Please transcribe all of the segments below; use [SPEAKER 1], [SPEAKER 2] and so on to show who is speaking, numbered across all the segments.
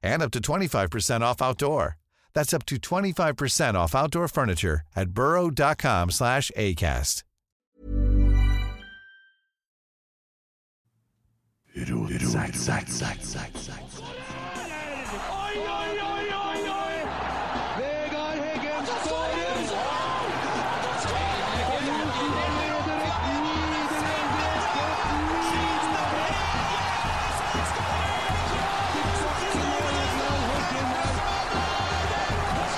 [SPEAKER 1] and up to 25% off outdoor. That's up to 25% off outdoor furniture at burrow.com slash ACAST.
[SPEAKER 2] Oi, oi, oi, oi, oi! Vegard Heggen skårer!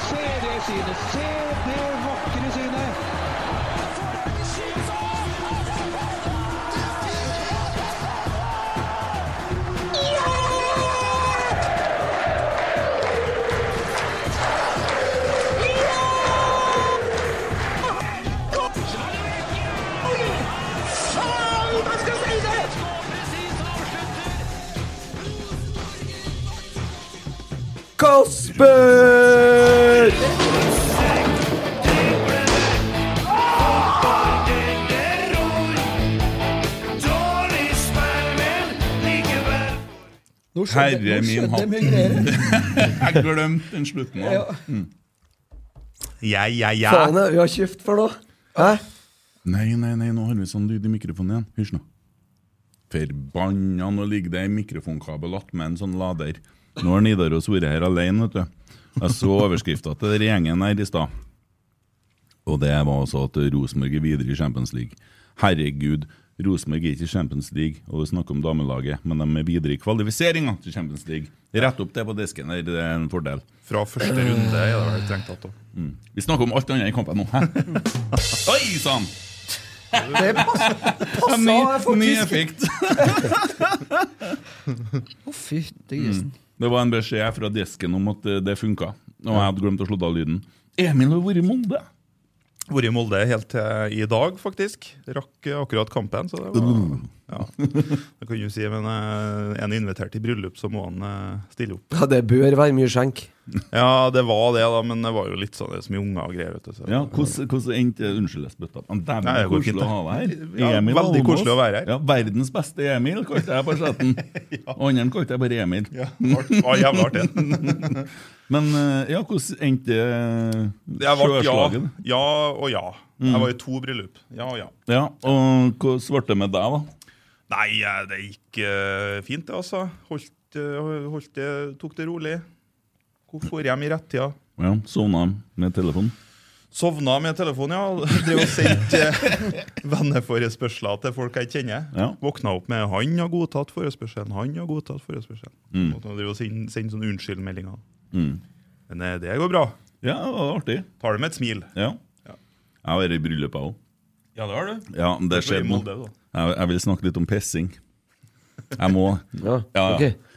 [SPEAKER 2] Se det synet! Se det vakre synet!
[SPEAKER 3] Kåssbø!
[SPEAKER 4] Nå skjedde,
[SPEAKER 3] Herre
[SPEAKER 4] nå
[SPEAKER 3] min
[SPEAKER 4] skjedde
[SPEAKER 3] hatt.
[SPEAKER 4] mye greier.
[SPEAKER 3] Jeg glemte den slutten.
[SPEAKER 4] Ja.
[SPEAKER 3] av. Ja, ja, ja.
[SPEAKER 4] Faen, jeg, vi har kjeft for noe. Hæ?
[SPEAKER 3] Nei, nei, nei, nå har vi sånn lyd i mikrofonen igjen. Hysj nå. Forbanna, nå ligger det en mikrofonkabel attmed en sånn lader. Nå har Nidaros vært her alene, vet du. Jeg så overskrifta til den gjengen her i stad. Og det var altså at Rosenborg er videre i Champions League. Herregud, Rosenborg er ikke i Champions League, og vi snakker om damelaget, men de er videre i kvalifiseringa til Champions League. Rett opp det på disken der, det er en fordel. Mm.
[SPEAKER 5] Fra første runde er det vel strengt tatt òg.
[SPEAKER 3] Vi snakker om alt annet i kampen nå. hæ? Oi sann!
[SPEAKER 4] Det passa
[SPEAKER 3] Ny, ny
[SPEAKER 4] faktisk.
[SPEAKER 3] effekt.
[SPEAKER 4] Å, fytti grisen.
[SPEAKER 3] Det var en beskjed fra desken om at eh, det funka. Og jeg hadde glemt å slå av lyden. Emil har vært i Molde!
[SPEAKER 5] Vært i Molde helt til i dag, faktisk. Rakk eh, akkurat kampen. så Det var, ja. Det kan du si, men eh, er han invitert til bryllup, så må han eh, stille opp.
[SPEAKER 4] Ja, det bør være mye skjenk.
[SPEAKER 5] Ja, det var det, da, men det var jo litt sånn det er så mye unger og greier. vet du. Så.
[SPEAKER 3] Ja, hvordan hvordan endte Unnskyld, jeg spytta. Men Dæven,
[SPEAKER 5] Nei, det går
[SPEAKER 3] koselig
[SPEAKER 5] fint,
[SPEAKER 3] å ha deg her.
[SPEAKER 5] Ja,
[SPEAKER 3] Emil
[SPEAKER 5] veldig
[SPEAKER 3] Almås.
[SPEAKER 5] koselig å være her.
[SPEAKER 3] Ja, Verdens beste Emil, kalte jeg på chatten. Og Andre kalte jeg bare Emil.
[SPEAKER 5] Ja, art, ah, jævla artig.
[SPEAKER 3] Men eh, ja, hvordan endte eh,
[SPEAKER 5] Jeg var ja,
[SPEAKER 3] sjøslaget?
[SPEAKER 5] ja og ja. Jeg var i to bryllup. Ja og ja.
[SPEAKER 3] Ja, og hvordan ble det med deg, da?
[SPEAKER 5] Nei, eh, det gikk eh, fint, det, altså. Holdt, eh, holdt det, tok det rolig. Hvorfor hjem i rettida?
[SPEAKER 3] Ja, Sovna med telefonen?
[SPEAKER 5] Sovna med telefonen, ja. Drev og sendte eh, venneforespørsler til folk jeg kjenner.
[SPEAKER 3] Ja.
[SPEAKER 5] Våkna opp med 'han har godtatt forespørselen', 'han har godtatt forespørselen'.
[SPEAKER 3] Mm.
[SPEAKER 5] Og så Drev og sendte send sånne unnskyldmeldinger. Men eh, det går bra.
[SPEAKER 3] Ja, det var artig.
[SPEAKER 5] Tar det med et smil.
[SPEAKER 3] Ja.
[SPEAKER 5] Ja.
[SPEAKER 3] Jeg har vært i bryllup, jeg òg.
[SPEAKER 5] Ja, det har du.
[SPEAKER 3] Ja, det
[SPEAKER 5] I
[SPEAKER 3] skjedde nå.
[SPEAKER 5] Molde, da.
[SPEAKER 3] Jeg, jeg vil snakke litt om pissing. Jeg må.
[SPEAKER 4] Ja,
[SPEAKER 3] Ja, ja.
[SPEAKER 4] ok.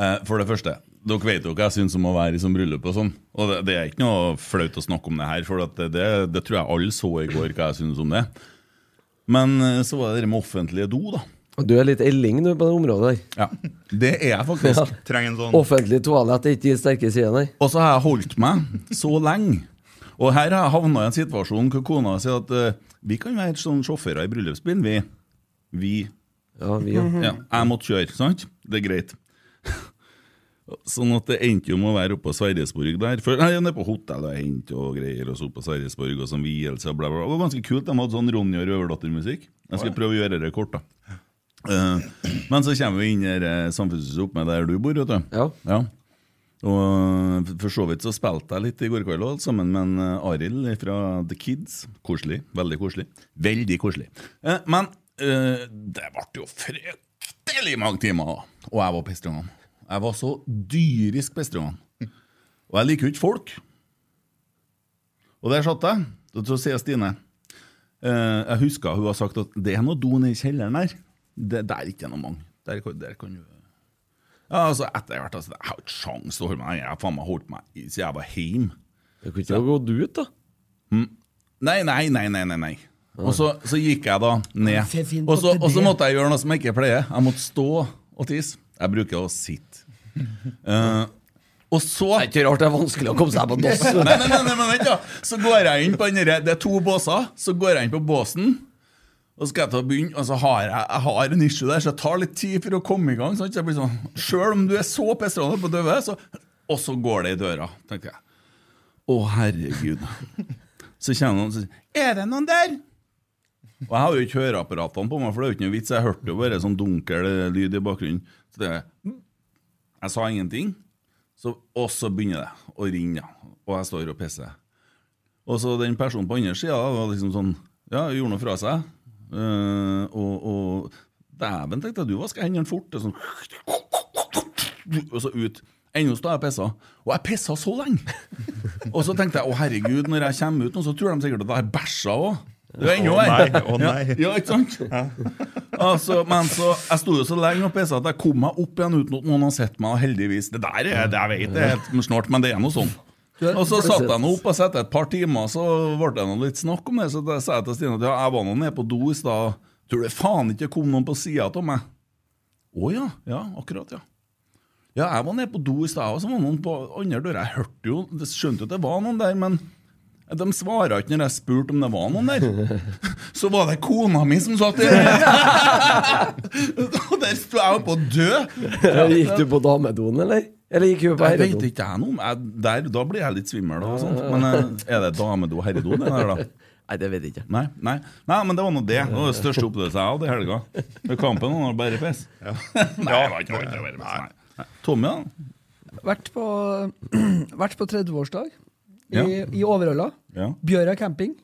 [SPEAKER 3] Eh, for det første, dere vet jo hva jeg syns om å være i sånn bryllup og sånn. Og det, det er ikke noe flaut å snakke om det her, for at det, det, det tror jeg alle så i går hva jeg syns om det. Men eh, så var det det med offentlige do, da.
[SPEAKER 4] Og Du er litt elling du på det området der.
[SPEAKER 3] Ja, Det er jeg faktisk.
[SPEAKER 4] Mm.
[SPEAKER 5] Trenger en sånn
[SPEAKER 4] Offentlig toalett er ikke de sterke sidene der.
[SPEAKER 3] Og så har jeg holdt meg så lenge. Og her har jeg havna i en situasjon hvor kona sier at eh, vi kan være sånne sjåfører i bryllupsbilen. Vi. vi
[SPEAKER 4] Ja, vi jo.
[SPEAKER 3] ja, jeg måtte kjøre, sant? Det er greit. Sånn at det endte jo med å være oppe på Sverresborg der. Før, nei, nede på hotellet og hente og greier, og så opp på Sverresborg og sånn vielse og bla, bla. bla. Det var ganske kult. De hadde sånn Ronny og Røverdatter-musikk. Jeg skal prøve å gjøre det kort, da. Eh, men så kommer vi inn i eh, samfunnshuset oppe med der du bor, vet du.
[SPEAKER 4] Ja.
[SPEAKER 3] Ja. Og for så vidt så spilte jeg litt i går kveld også, sammen med en eh, Arild fra The Kids. Koselig. Veldig koselig. Veldig koselig. Eh, Men eh, det ble jo fryktelig mange timer, og jeg var pestrungene. Jeg var så dyrisk pestrungene. Og jeg liker jo ikke folk. Og der satt jeg. Og så sier Stine eh, Jeg husker hun har sagt at det er noe do nede i kjelleren der. Det, der er ikke noe mange. Der, kan- der kan du ja, altså etter hvert altså, Jeg har ikke sjans til å holde meg Jeg har faen meg holdt meg i- siden jeg var hjemme.
[SPEAKER 4] Du kunne ikke ha gått ut, da.
[SPEAKER 3] Nei, nei, nei, nei, nei, nei. Og så, så gikk jeg da ned.
[SPEAKER 6] Fin- fin
[SPEAKER 3] Og så,
[SPEAKER 6] på
[SPEAKER 3] og så
[SPEAKER 6] det.
[SPEAKER 3] måtte jeg gjøre noe som jeg ikke pleier. Jeg måtte stå og tisse. Jeg bruker å sitte. Eh, og så
[SPEAKER 4] Ikke rart det er vanskelig å komme seg på dass.
[SPEAKER 3] nei, nei, nei, nei, men vent da Så går jeg inn på den der- Det er to båser Så går jeg inn på båsen Og så skal jeg ta og begynne Og så har jeg, jeg har en issue der Så jeg tar litt tid for å komme i gang sant? Så jeg blir sånn Selv om du er så pestrende på døve så, Og så går det i døra Tenkte jeg Å herregud Så kjenner noen og sier Er det noen der? Og jeg har jo ikke høreapparatene på meg For det er jo ikke noe vits Jeg hørte jo bare sånn dunkel lyd i bakgrunnen Så det Jeg sa ingenting så, og så begynner det å ringe, ja. og jeg står og pisser. Og så den personen på andre sida var liksom sånn Ja, gjorde noe fra seg. Eh, og og dæven, tenkte jeg, du vasker hendene fort. Og, sånn, og så ut. Ennå står jeg og pisser. Og jeg pissa så lenge! Og så tenkte jeg å herregud, når jeg kommer ut nå, så tror de sikkert at jeg bæsja òg. Det er ennå
[SPEAKER 5] Å nei,
[SPEAKER 3] verre.
[SPEAKER 5] å nei.
[SPEAKER 3] Ja, ikke sant? Altså, men så, jeg sto jo så lenge og pissa at jeg kom meg opp igjen uten at noen har sett meg. Og heldigvis. Det der er det jeg vet, det er helt snålt, men det er nå sånn. Og så satt jeg nå opp og satt et par timer, så ble det nå litt snakk om det. Så da sa jeg til Stine at ja, jeg var nå nede på do i stad. Tror det faen ikke kom noen på sida av meg. Å ja. Ja, akkurat, ja. Ja, jeg var nede på do i stad, og så var det noen på andre døra. Jeg hørte jo, jeg skjønte jo at det var noen der, men de svara ikke når jeg spurte om det var noen der. Så var det kona mi som satt der! Og der sto jeg oppe og død!
[SPEAKER 4] Gikk du på damedoen, eller? Eller gikk du på
[SPEAKER 3] Jeg vet
[SPEAKER 4] herredoen?
[SPEAKER 3] ikke jeg noe om jeg- der, Da blir jeg litt svimmel og sånt. Men eh, er det damedo og herredo, det der, da?
[SPEAKER 4] Nei, det vet jeg ikke.
[SPEAKER 3] Nei, nei, nei, men det var nå det. Det var det største opplevelsen jeg hadde i helga. Med kampen han har bare piss. Nei, det var ikke noe annet å være med. Nei. Nei. Tommy, da?
[SPEAKER 6] Vært på, vært på 30-årsdag i,
[SPEAKER 3] Ja.
[SPEAKER 6] i Overhalla.
[SPEAKER 3] Ja.
[SPEAKER 6] Bjøra camping.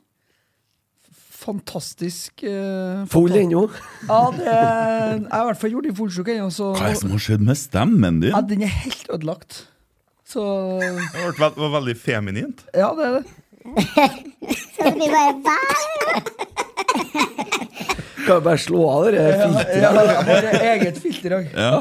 [SPEAKER 6] Fantastisk eh,
[SPEAKER 4] Full ennå.
[SPEAKER 6] Ja, det er, jeg har i hvert fall gjort det i full sjuk ennå, så
[SPEAKER 3] Hva er det som har skjedd med stemmen
[SPEAKER 6] ja,
[SPEAKER 3] din?
[SPEAKER 6] den er helt ødelagt. Så
[SPEAKER 5] Det ble veld, var veldig feminint.
[SPEAKER 6] Ja, det er det.
[SPEAKER 4] Kan jeg bare slå av det der filteret?
[SPEAKER 6] Ja, det er bare eget filter i dag.
[SPEAKER 3] Ja.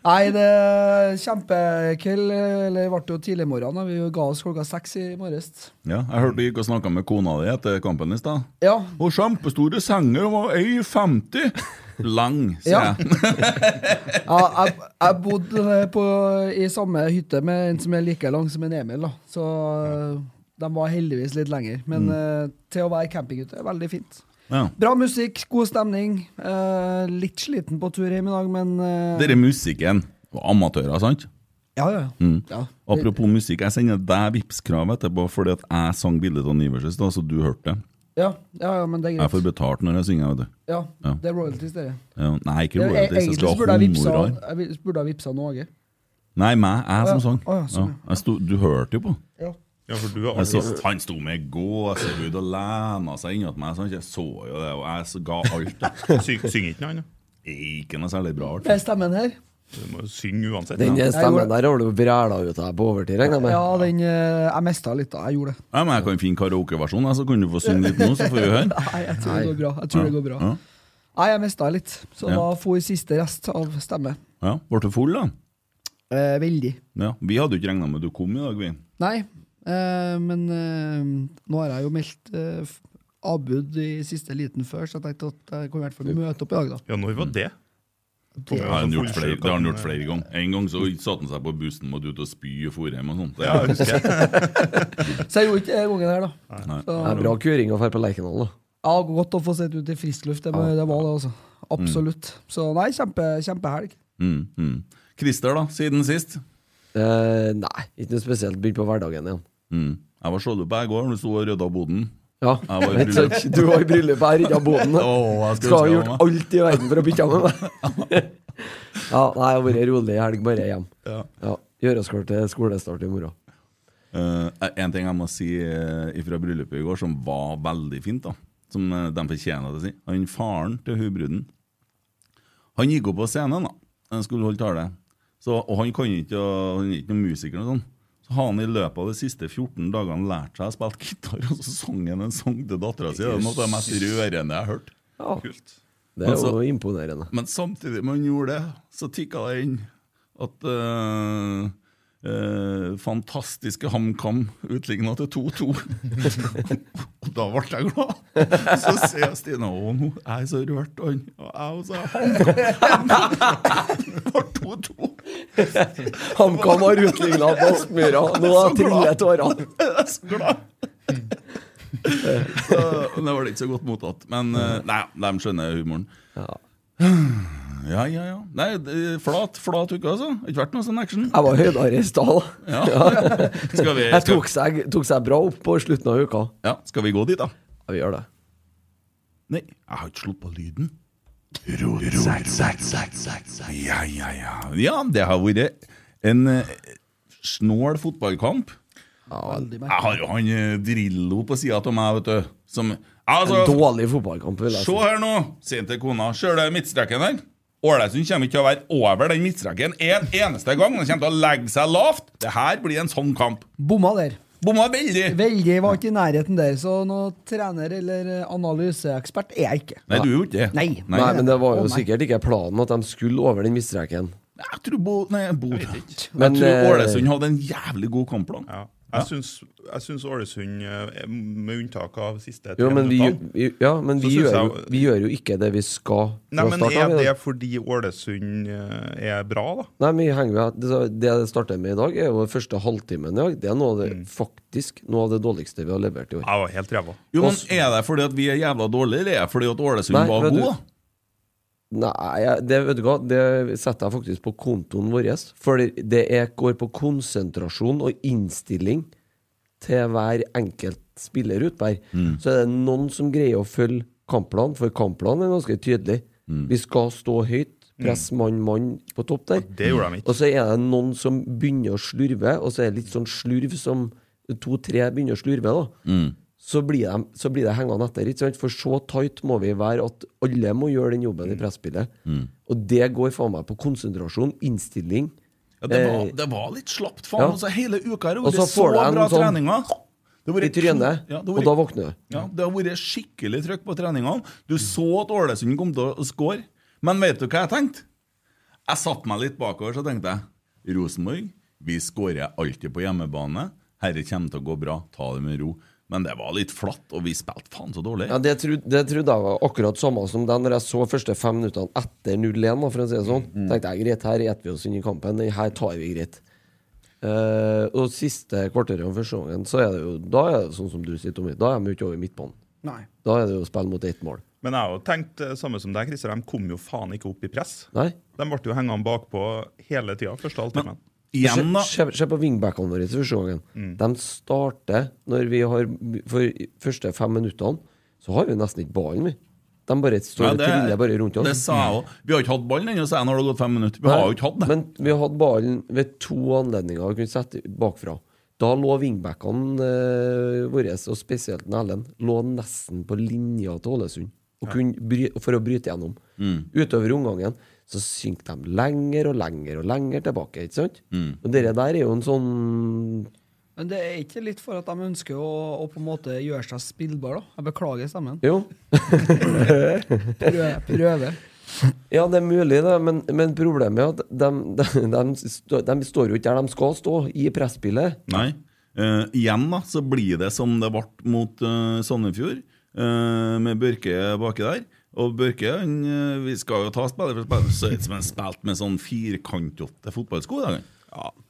[SPEAKER 6] Nei, det er kjempekveld. Eller det ble jo tidlig morgen. da. Vi ga oss klokka seks i morges.
[SPEAKER 3] ja. Jeg hørte du gikk og snakka med kona di etter kampen i stad.
[SPEAKER 6] Ja.
[SPEAKER 3] Og kjempestore senger og ei 50 lang, sier
[SPEAKER 6] Ja.
[SPEAKER 3] jeg.
[SPEAKER 6] ja jeg, jeg bodde på, i samme hytte med en som er like lang som en Emil, da. Så øh, de var heldigvis litt lenger. Men øh, til å være campinghytte, veldig fint.
[SPEAKER 3] Ja.
[SPEAKER 6] Bra musikk, god stemning. Eh, litt sliten på tur hjem i dag, men øh,
[SPEAKER 3] Dere musikken var amatører, sant?
[SPEAKER 6] Ja, ja. ja.
[SPEAKER 3] Mm. Apropos musikk, jeg sender deg Vipps-krav etterpå fordi at jeg sang bildet av Niverses, da, så du hørte det.
[SPEAKER 6] Ja, ja, ja, men det er
[SPEAKER 3] Jeg får
[SPEAKER 6] greit.
[SPEAKER 3] betalt når jeg synger, vet du.
[SPEAKER 6] Ja,
[SPEAKER 3] Ja.
[SPEAKER 6] det er royalties, dere.
[SPEAKER 3] Ja, Nei, ikke
[SPEAKER 6] Jeg- jeg-
[SPEAKER 3] royalties, jeg
[SPEAKER 6] Egentlig
[SPEAKER 3] skal
[SPEAKER 6] så burde
[SPEAKER 3] ha
[SPEAKER 6] jeg vipsa,
[SPEAKER 3] honorar.
[SPEAKER 6] jeg burde ha vipsa Norge.
[SPEAKER 3] Nei, meg, jeg som
[SPEAKER 6] Å ja,
[SPEAKER 3] sang.
[SPEAKER 6] å ja, sånn,
[SPEAKER 3] Ja, jeg sto, du hørte jo på.
[SPEAKER 6] Ja.
[SPEAKER 5] Ja, for du er
[SPEAKER 3] Jeg så,
[SPEAKER 5] artist.
[SPEAKER 3] han sto med gåsehud og lena seg innat meg, sånn. jeg så jo det, og jeg så ga alt. da.
[SPEAKER 5] Syng, synger ikke noe annet.
[SPEAKER 3] Ikke noe særlig bra. altså.
[SPEAKER 6] Det er
[SPEAKER 3] Art.
[SPEAKER 6] Eh, stemmen her.
[SPEAKER 5] Du må jo synge uansett.
[SPEAKER 4] Den
[SPEAKER 5] Ja.
[SPEAKER 4] der stemmen der har du vræla ut av deg på overtid, regner jeg
[SPEAKER 6] Ja,
[SPEAKER 4] med.
[SPEAKER 6] den, eh, jeg mista litt, da. Jeg gjorde det.
[SPEAKER 3] Ja, men jeg kan finne karaokeversjonen, jeg, så kan du få synge litt nå, så får vi høre.
[SPEAKER 6] Nei, jeg tror det går bra. Jeg tror det går bra.
[SPEAKER 3] Ja.
[SPEAKER 6] Nei, jeg mista litt, så
[SPEAKER 3] Ja.
[SPEAKER 6] da får jeg siste rest av stemme.
[SPEAKER 3] Ja, Ble du full, da?
[SPEAKER 6] Eh, veldig.
[SPEAKER 3] Ja, Vi hadde jo ikke regna med at du kom i dag, vi.
[SPEAKER 6] Nei, eh, men eh, nå har jeg jo meldt eh, f- avbud i siste liten før, så jeg tenkte at jeg kunne i hvert fall møte opp i dag, da.
[SPEAKER 5] Ja, når var det?
[SPEAKER 3] Det har han gjort flere, det har han gjort
[SPEAKER 5] Fullsjuk,
[SPEAKER 3] flere ganger. En gang så satte han seg på bussen og måtte ut og spy og for hjem og sånt. Det-
[SPEAKER 5] Ja, jeg husker jeg.
[SPEAKER 6] Så jeg gjorde ikke det gangen her, da.
[SPEAKER 3] Nei.
[SPEAKER 6] Så,
[SPEAKER 4] Det er bra kuring å dra på Lerkendal, da.
[SPEAKER 6] ja, godt å få sett ut i frisk luft. Det, var- det var det, altså. Absolutt. Så nei, kjempe, kjempehelg.
[SPEAKER 3] Mm, mm. Christer, da, siden sist?
[SPEAKER 4] Eh, nei, ikke noe spesielt. Begynte på hverdagen igjen.
[SPEAKER 3] Mm. Jeg var sjåløp jeg i går, du sto og rydda boden.
[SPEAKER 4] Ja,
[SPEAKER 3] Jeg var i
[SPEAKER 4] ikke sant? Du var i bryllup her, ikke av båten. da.
[SPEAKER 3] Åh, jeg skulle
[SPEAKER 4] Skal ha
[SPEAKER 3] ønske jeg
[SPEAKER 4] gjort
[SPEAKER 3] var med.
[SPEAKER 4] alt i verden for å bytte av med meg. Ja, nei, jeg har vært rolig i helg, bare hjem. Ja, Gjøre oss klar til skolestart i morgen.
[SPEAKER 3] Eh, en ting jeg må si eh, ifra bryllupet i går, som var veldig fint, da som eh, de fortjener å si. Han faren til hun bruden, han gikk opp på scenen, da. Han skulle holde tale. Så, og han kan ikke å- Han er ikke noen musiker, og sånn. Så har han i løpet av de siste 14 dagene lært seg å spille gitar, og så sang han en sang til dattera si. Det er noe av det mest rørende jeg har hørt.
[SPEAKER 4] Ja,
[SPEAKER 5] Kult.
[SPEAKER 4] det er
[SPEAKER 3] Men
[SPEAKER 4] jo
[SPEAKER 3] så-
[SPEAKER 4] imponerende.
[SPEAKER 3] Men samtidig med han gjorde det, så tikka det inn at eh, eh, fantastiske HamKam utligna til 2-2. og da ble jeg glad. Så ser jeg Stine Å, nå er jeg så rørt. Og han og jeg også. HamKam Det ble 2-2.
[SPEAKER 4] HamKam har utligna Aspmyra. Nå
[SPEAKER 3] Så glad.
[SPEAKER 4] triller tårene.
[SPEAKER 3] Jeg er så glad. så, men det var ikke så godt mottatt. Men eh, nei, de skjønner humoren.
[SPEAKER 4] Ja.
[SPEAKER 3] Ja, ja, ja. Nei, det- flat, flat uke, altså. Ikke vært noe sånn action.
[SPEAKER 4] Jeg var høydere i stad. da.
[SPEAKER 3] Ja. Skal, vi,
[SPEAKER 4] Jeg
[SPEAKER 3] skal,
[SPEAKER 4] tok seg, tok seg bra opp på slutten av uka.
[SPEAKER 3] ja, skal vi gå dit, da?
[SPEAKER 4] Ja, vi gjør det.
[SPEAKER 3] Nei, jeg har ikke slått på lyden. Rotsekk, sekk, sekk, sekk, sekk. Ja, ja, ja. Ja, det har vært en eh, snål fotballkamp.
[SPEAKER 6] Veldig
[SPEAKER 3] Jeg
[SPEAKER 6] merkelig.
[SPEAKER 3] har jo han eh, Drillo på sida av meg, vet du. Som altså,
[SPEAKER 4] En dårlig fotballkamp, vil jeg
[SPEAKER 3] Se
[SPEAKER 4] si.
[SPEAKER 3] her nå, sier han til kona. Ser du midtstreken der? Ålesund kommer ikke til å være over den midtstreken en eneste gang. Den kommer til å legge seg lavt. Det her blir en sånn kamp.
[SPEAKER 6] Bomma der.
[SPEAKER 3] Bomma veldig.
[SPEAKER 6] Veldig var ikke i nærheten der, så noen trener eller analyseekspert er jeg ikke.
[SPEAKER 3] Nei, du er jo ikke det.
[SPEAKER 6] Nei.
[SPEAKER 4] Nei, men det var
[SPEAKER 6] Å,
[SPEAKER 4] jo
[SPEAKER 6] nei.
[SPEAKER 4] sikkert ikke planen at de skulle over den mistreken.
[SPEAKER 3] Jeg tror Bo... Nei, Bodø. Jeg,
[SPEAKER 4] Men,
[SPEAKER 3] tror
[SPEAKER 4] eh,
[SPEAKER 3] Ålesund hadde en jævlig god kampplan.
[SPEAKER 5] Ja. Jeg syns- Jeg syns Ålesund, eh, med unntak av siste
[SPEAKER 4] Jo,
[SPEAKER 5] tre
[SPEAKER 4] men vi,
[SPEAKER 5] minuttene
[SPEAKER 4] vi- ja, men
[SPEAKER 5] Så
[SPEAKER 4] vi,
[SPEAKER 5] synes
[SPEAKER 4] gjør,
[SPEAKER 5] jeg-
[SPEAKER 4] jo, vi gjør jo ikke det vi skal
[SPEAKER 5] Nei,
[SPEAKER 4] fra
[SPEAKER 5] men
[SPEAKER 4] start av.
[SPEAKER 5] Er
[SPEAKER 4] vi da.
[SPEAKER 5] det fordi Ålesund eh, er bra, da?
[SPEAKER 4] Nei, men vi henger jo her. Det- Det jeg starter med i dag, er jo den første halvtimen i dag. Det er noe av det,
[SPEAKER 5] Mm.
[SPEAKER 4] faktisk noe av det dårligste vi har levert i år.
[SPEAKER 5] Jeg var helt ræva.
[SPEAKER 3] Jo, men Er det fordi at vi er jævla dårlige, eller er det fordi at Ålesund
[SPEAKER 4] Nei,
[SPEAKER 3] var
[SPEAKER 4] vet du-
[SPEAKER 3] god? da?
[SPEAKER 4] Nei, jeg- det, vet du hva, det setter jeg faktisk på kontoen vår. For det er, går på konsentrasjon og innstilling til hver enkelt spiller ute der. Så er det noen som greier å følge kampplanen, for kampplanen er ganske tydelig. Vi skal stå høyt, press mann, mann på topp der.
[SPEAKER 5] Mm. Det gjorde
[SPEAKER 4] Og
[SPEAKER 5] de ikke.
[SPEAKER 4] så er det noen som begynner å slurve, og så er det litt sånn slurv som to-tre begynner å slurve, da. Så, blir de, så blir det hengende etter. Ikke sant? For så tight må vi være at alle må gjøre den jobben i
[SPEAKER 5] Mm.
[SPEAKER 4] presspillet. Og det går faen meg på konsentrasjon, innstilling.
[SPEAKER 3] Ja, det, var, det var litt slapt, faen.
[SPEAKER 4] eh, ja.
[SPEAKER 3] Altså, hele uka har det
[SPEAKER 4] Og så
[SPEAKER 3] vært så
[SPEAKER 4] får du en
[SPEAKER 3] bra
[SPEAKER 4] sånn
[SPEAKER 3] treninger. Det har vært
[SPEAKER 4] I trynet,
[SPEAKER 3] to- ja, det har
[SPEAKER 4] og da
[SPEAKER 3] vært-
[SPEAKER 4] våkner du.
[SPEAKER 3] Ja, Det har vært skikkelig trøkk på treningene. Du så at Ålesund kom til å score. Men vet du hva jeg tenkte? Jeg satte meg litt bakover så tenkte jeg Rosenborg, vi skårer alltid på hjemmebane. Herre kommer til å gå bra. Ta det med ro. Men det var litt flatt, og vi spilte faen så dårlig.
[SPEAKER 4] Ja, det, tro, det trodde jeg var akkurat samme som den når jeg så første fem minuttene etter 0-1. da, for å si det
[SPEAKER 3] Mm,
[SPEAKER 4] sånn. tenkte jeg greit, her gjetter vi oss inn i kampen. Den her tar vi greit. Eh, og siste kvarteret av første gangen, så er det jo da er det sånn som du sier, Tommy. Da er de jo ikke over midtbanen.
[SPEAKER 6] Nei.
[SPEAKER 4] Da er det jo spill mot ett mål.
[SPEAKER 5] Men jeg har jo tenkt eh, samme som deg, Christer. De kom jo faen ikke opp i press.
[SPEAKER 4] Nei?
[SPEAKER 5] De ble jo hengende bakpå hele tida, første halvtimen.
[SPEAKER 4] Se,
[SPEAKER 3] Igjen, da. Mm.
[SPEAKER 4] se, se på wingbackene våre i første gangen. De starter når vi har For de første fem minuttene så har vi nesten ikke ballen, vi. De bare står
[SPEAKER 3] Ja,
[SPEAKER 4] og
[SPEAKER 3] det-
[SPEAKER 4] triller bare rundt oss.
[SPEAKER 3] Det sa jeg òg. Vi har ikke hatt ballen ennå, sa jeg når det har gått fem minutter. Vi har jo ikke hatt det.
[SPEAKER 4] Men vi har hatt ballen ved to anledninger vi kunne sette bakfra. Da lå wingbackene eh, våre, og spesielt den Ellen, lå nesten på linja til Ålesund og kunne bry, for å bryte gjennom.
[SPEAKER 3] Mm.
[SPEAKER 4] Utover omgangen så synker de lenger og lenger og lenger tilbake. ikke sant?
[SPEAKER 3] Mm.
[SPEAKER 4] Og det der er jo en sånn
[SPEAKER 6] Men det er ikke litt for at de ønsker å, å på en måte gjøre seg spillbar, da? Jeg beklager stemmen.
[SPEAKER 4] Jo.
[SPEAKER 6] Prøve. prøve.
[SPEAKER 4] Ja, det er mulig, det, men, men problemet er at de, de, de, stå- de står jo ikke der de skal stå, i presspillet.
[SPEAKER 3] Nei. Eh, igjen da, så blir det som det ble mot eh, Sandefjord, eh, med Børke baki der. Og Børke han, eh, vi skal jo ta spiller for spiller, så ut som han spilte med sånn firkantete fotballsko. i dag, han.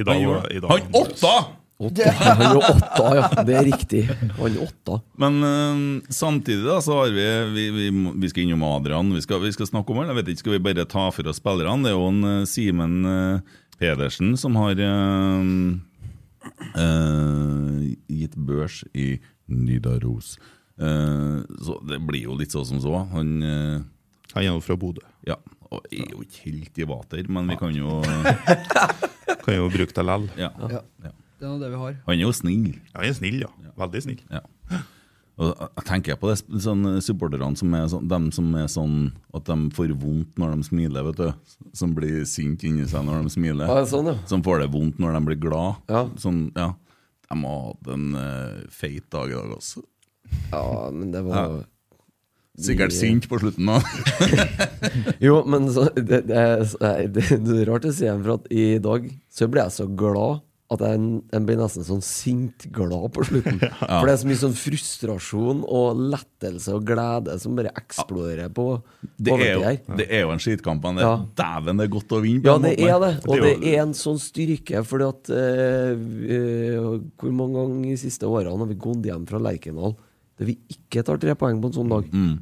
[SPEAKER 5] I dag,
[SPEAKER 3] Han
[SPEAKER 5] var-
[SPEAKER 3] gjorde
[SPEAKER 5] i
[SPEAKER 3] det.
[SPEAKER 5] dag
[SPEAKER 3] Han åtta!
[SPEAKER 6] Det-
[SPEAKER 4] Han er åtta, ja. Det er riktig. Han er åtta.
[SPEAKER 3] Men eh, samtidig da, så har vi Vi, vi, må- vi skal innom Adrian, vi skal, vi skal snakke om han. Jeg vet ikke, Skal vi bare ta for oss spillerne? Det er jo en eh, Simen eh, Pedersen som har eh, eh, gitt børs i Nidaros. Eh, så det blir jo litt så som så. Han eh,
[SPEAKER 5] Han er jo fra Bodø.
[SPEAKER 3] ja, og er jo ikke helt i vater, men vi kan jo
[SPEAKER 5] Kan jo bruke det lell.
[SPEAKER 3] ja.
[SPEAKER 6] Ja.
[SPEAKER 3] Ja.
[SPEAKER 6] Det er nå det vi har.
[SPEAKER 3] Han er jo snill.
[SPEAKER 5] Han er snill, ja. Veldig snill.
[SPEAKER 3] Ja. Og jeg tenker på det, sånn, supporterne som er sånn, dem som er sånn at de får vondt når de smiler, vet du. Som blir sint inni seg når de smiler.
[SPEAKER 4] Ja, sånn, ja.
[SPEAKER 3] Som får det vondt når de blir glad.
[SPEAKER 4] Ja.
[SPEAKER 3] Sånn, ja. De har hatt en eh, feit dag i dag altså. også.
[SPEAKER 4] Ja, men det var
[SPEAKER 3] Sikkert
[SPEAKER 4] De-
[SPEAKER 3] sint på slutten, da.
[SPEAKER 4] Jo, men så, det, det, er, nei, det, det er rart å si igjen, for at i dag så ble jeg så glad at jeg, jeg ble nesten sånn sint glad på slutten. For det er så mye sånn frustrasjon og lettelse og glede som bare eksploderer på
[SPEAKER 3] Det er,
[SPEAKER 4] overtid her.
[SPEAKER 3] jo, det er jo en skitkamp, men det er
[SPEAKER 4] Ja.
[SPEAKER 3] dæven det er godt å vinne. på
[SPEAKER 4] Ja,
[SPEAKER 3] den
[SPEAKER 4] det
[SPEAKER 3] måten
[SPEAKER 4] er
[SPEAKER 3] her.
[SPEAKER 4] det. Og det
[SPEAKER 3] jo-
[SPEAKER 4] er en sånn styrke, fordi at eh, eh, Hvor mange ganger i siste årene har vi gått hjem fra Lerkendal der vi ikke tar tre poeng på en sånn dag?
[SPEAKER 3] Mm.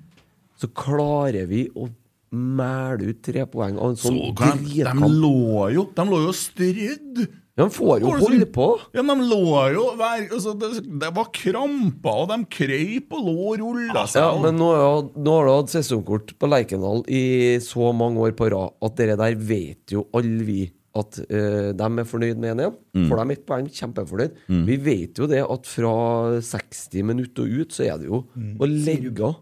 [SPEAKER 4] Så klarer vi å mæle ut tre poeng av en sånn
[SPEAKER 3] Så kan de, de
[SPEAKER 4] dritkamp.
[SPEAKER 3] lå jo De lå jo strødd!
[SPEAKER 4] Ja, de får jo
[SPEAKER 3] Går det så-
[SPEAKER 4] holde på!
[SPEAKER 3] Ja, men de lå jo hver, altså, det, det var kramper, og de krøp og lå og rulla seg.
[SPEAKER 4] Ja,
[SPEAKER 3] og-
[SPEAKER 4] men nå, har jeg- nå har du hatt sesongkort på Lerkendal i så mange år på rad at dere der vet jo alle vi at eh, de er fornøyd med en igjen.
[SPEAKER 3] Mm.
[SPEAKER 4] For de er ett poeng, kjempefornøyd. Vi vet jo det at fra 60 minutter og ut, så er det jo å legge av.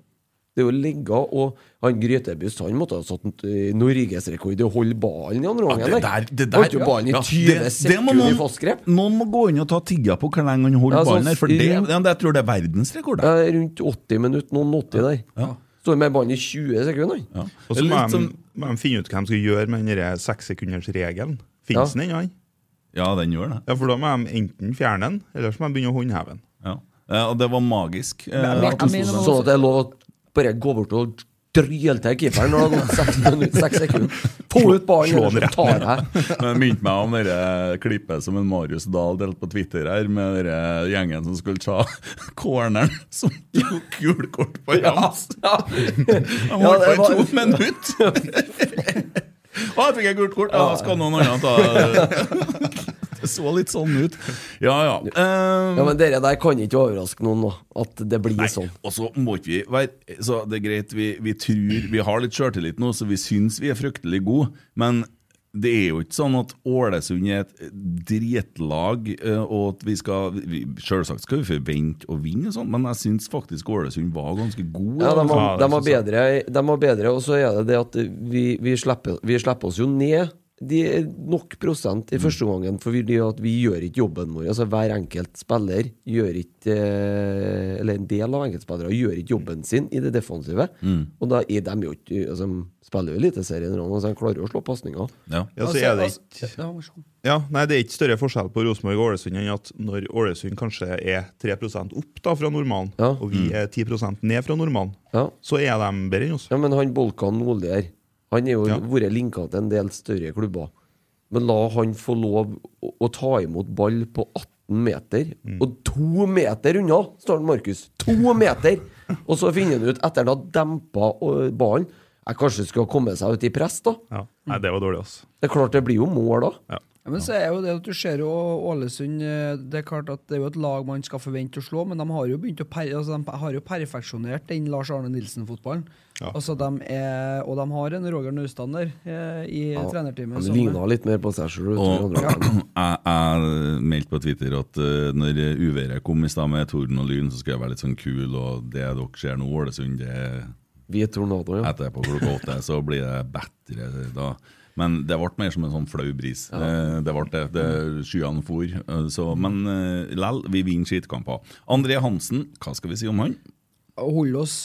[SPEAKER 4] Det er jo å legge av, og han Grytebyst han måtte ha satt eh, norgesrekord i å holde ballen i andre
[SPEAKER 3] Ja,
[SPEAKER 4] gangen.
[SPEAKER 3] det
[SPEAKER 4] der.
[SPEAKER 3] der, det der
[SPEAKER 4] Holdt jo ballen i
[SPEAKER 3] ja,
[SPEAKER 4] 20
[SPEAKER 3] det- det må
[SPEAKER 4] sekunder i
[SPEAKER 3] noen-
[SPEAKER 4] fast grep.
[SPEAKER 3] Noen må gå inn og ta tida på hvor lenge han holder
[SPEAKER 4] Ja, sånn
[SPEAKER 3] ballen her, for det, ja,
[SPEAKER 4] fire-
[SPEAKER 3] det, jeg tror det er verdensrekord.
[SPEAKER 4] Ja,
[SPEAKER 3] det.
[SPEAKER 4] Eh, Rundt 80 minutter, noen 80 der. Står med ballen i 20 sekunder. han.
[SPEAKER 3] Ja.
[SPEAKER 5] Og
[SPEAKER 3] Det
[SPEAKER 5] så
[SPEAKER 3] er
[SPEAKER 5] må
[SPEAKER 3] litt
[SPEAKER 5] de,
[SPEAKER 3] som-
[SPEAKER 5] må de finne ut hva de skal gjøre med den sekssekundersregelen.
[SPEAKER 4] Ja.
[SPEAKER 5] Fins den ennå? han?
[SPEAKER 3] ja, den gjør det.
[SPEAKER 5] Ja, for da må de enten fjerne den, eller så må de begynne å håndheve den.
[SPEAKER 3] Ja. Eh, Og det var magisk. eh,
[SPEAKER 6] Men-
[SPEAKER 3] at han sto
[SPEAKER 6] men-
[SPEAKER 3] sånn.
[SPEAKER 4] Sånn at det er lov å bare gå bort og dryle til keeperen når det har gått seks minutter. Seks sekunder. Få ut ballen,
[SPEAKER 5] slå den
[SPEAKER 4] eller så
[SPEAKER 5] rett
[SPEAKER 4] tar jeg.
[SPEAKER 3] Men Det minte meg om det klippet som en Marius Dahl delte på Twitter her, med dere gjengen som skulle ta corneren som tok gult kort på Jams. Han
[SPEAKER 4] Ja,
[SPEAKER 3] holdt på
[SPEAKER 4] det
[SPEAKER 3] i
[SPEAKER 4] var-
[SPEAKER 3] to minutter! Å, jeg fikk jeg gult kort! Ja, skal noen andre ta det? Det så litt sånn ut. Ja, ja. Eh,
[SPEAKER 4] Ja, men dere der kan ikke overraske noen nå, at det blir
[SPEAKER 3] Nei,
[SPEAKER 4] sånn.
[SPEAKER 3] og så må ikke vi være Så det er greit, vi, vi tror Vi har litt sjøltillit nå, så vi syns vi er fryktelig gode, men det er jo ikke sånn at Ålesund er et dritlag, eh, og at vi skal vi, Selvsagt skal vi forvente å vinne, og sånn, men jeg syns faktisk Ålesund var ganske god.
[SPEAKER 4] Ja, de har,
[SPEAKER 5] Ja, det
[SPEAKER 4] de har
[SPEAKER 5] synes jeg.
[SPEAKER 4] bedre, de har bedre og så er det det at vi, vi, slipper, vi slipper oss jo ned de er nok prosent i første omgangen, for vi, at vi gjør ikke jobben vår. Altså Hver enkelt spiller gjør ikke eh, Eller en del av enkeltspillere gjør ikke jobben sin i det defensive. Og da er de jo ikke altså, de spiller jo Eliteserien, og sånn, så de klarer jo å slå pasninger.
[SPEAKER 3] Ja.
[SPEAKER 5] Ja, så er det
[SPEAKER 6] Altså,
[SPEAKER 5] ikke
[SPEAKER 6] altså, ja, vær så god.
[SPEAKER 5] Ja, nei, Det er ikke større forskjell på Rosenborg og Ålesund enn at når Ålesund kanskje er 3 opp da fra normalen,
[SPEAKER 4] Ja. Mm.
[SPEAKER 5] og vi er 10 ned fra normalen,
[SPEAKER 4] Ja.
[SPEAKER 5] så er de bedre enn oss.
[SPEAKER 4] Ja, men han Bolkan Nordli her, han er jo
[SPEAKER 5] Ja.
[SPEAKER 4] vært linka til en del større klubber. Men la han få lov å, å ta imot ball på 18 meter,
[SPEAKER 3] Mm.
[SPEAKER 4] og to meter unna står han Markus. To meter! Og så finner han ut, etter han har dempa øh, ballen Jeg kanskje skulle ha kommet seg ut i press, da.
[SPEAKER 5] Ja. Nei, det var dårlig, altså.
[SPEAKER 4] Det er klart det blir jo mål da.
[SPEAKER 6] Ja, men så er jo det at du ser jo Ålesund eh, Det er klart at det er jo et lag man skal forvente å slå, men de har jo begynt å per, altså de har jo perfeksjonert den Lars Arne Nilsen-fotballen. Altså de er, Og de har en Roger Naustad der eh, i trenerteamet.
[SPEAKER 4] Han
[SPEAKER 6] som-
[SPEAKER 4] ligna litt mer på seg sjøl.
[SPEAKER 3] Og jeg, jeg meldte på Twitter at eh, når uværet kom i stad med torden og lyn, så skal jeg være litt sånn kul, og det dere ser nå, Ålesund, det
[SPEAKER 4] Vi er tornado, ja.
[SPEAKER 3] etterpå klokka åtte, så blir det bedre da. Men det ble mer som en sånn flau bris. Eh, Det ble det. det skyene for. eh, Så, men eh, lell, vi vinner skitkamper. André Hansen, hva skal vi si om han?
[SPEAKER 6] holde oss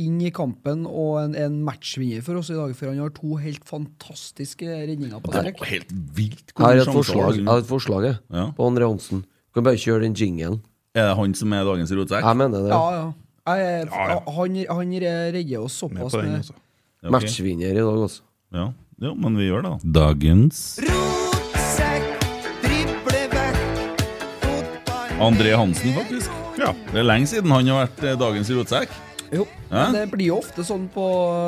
[SPEAKER 6] inn i kampen og en, en matchvinner for oss i dag, for han har to helt fantastiske redninger på
[SPEAKER 3] Det er
[SPEAKER 6] strek.
[SPEAKER 3] jo helt vilt
[SPEAKER 4] Jeg
[SPEAKER 3] hvor
[SPEAKER 4] har
[SPEAKER 3] mye
[SPEAKER 4] et
[SPEAKER 3] sjanser
[SPEAKER 4] forslag, jeg
[SPEAKER 3] Ålesund-
[SPEAKER 4] har et forslag jeg,
[SPEAKER 3] Ja.
[SPEAKER 4] på André Hansen. Du kan bare kjøre den jingelen.
[SPEAKER 3] Er det han som er dagens rotsekk?
[SPEAKER 4] Jeg mener det.
[SPEAKER 6] Ja, ja. Jeg,
[SPEAKER 5] Ja, ja.
[SPEAKER 6] han, han redder
[SPEAKER 5] Med
[SPEAKER 6] oss såpass
[SPEAKER 5] på den
[SPEAKER 6] med
[SPEAKER 5] også.
[SPEAKER 3] Ok.
[SPEAKER 4] Matchvinner i dag, altså.
[SPEAKER 3] Ja. Jo, men vi gjør det, da. Dagens André Hansen, faktisk.
[SPEAKER 5] Ja.
[SPEAKER 3] Det er lenge siden han har vært eh, dagens rotsekk.
[SPEAKER 6] Jo,
[SPEAKER 3] Ja.
[SPEAKER 6] men det blir jo ofte sånn på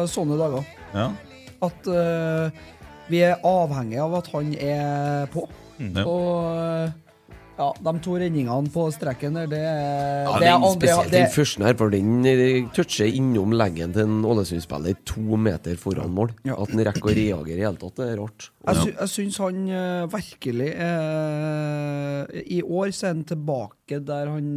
[SPEAKER 6] sånne dager
[SPEAKER 3] Ja.
[SPEAKER 6] at eh, vi er avhengig av at han er på.
[SPEAKER 3] Ja.
[SPEAKER 6] Og eh, ja, de to renningene på streken der, det,
[SPEAKER 4] Ja,
[SPEAKER 6] det
[SPEAKER 4] den,
[SPEAKER 6] andre-
[SPEAKER 4] spesielt
[SPEAKER 6] det-
[SPEAKER 4] den første her, for den eh, toucher innom leggen til en Ålesund-spiller to meter foran mål.
[SPEAKER 6] Ja.
[SPEAKER 4] At den rekker å reagere i det hele tatt, det er rart.
[SPEAKER 6] Jeg, sy jeg syns han eh, virkelig eh, I år så er han tilbake der han,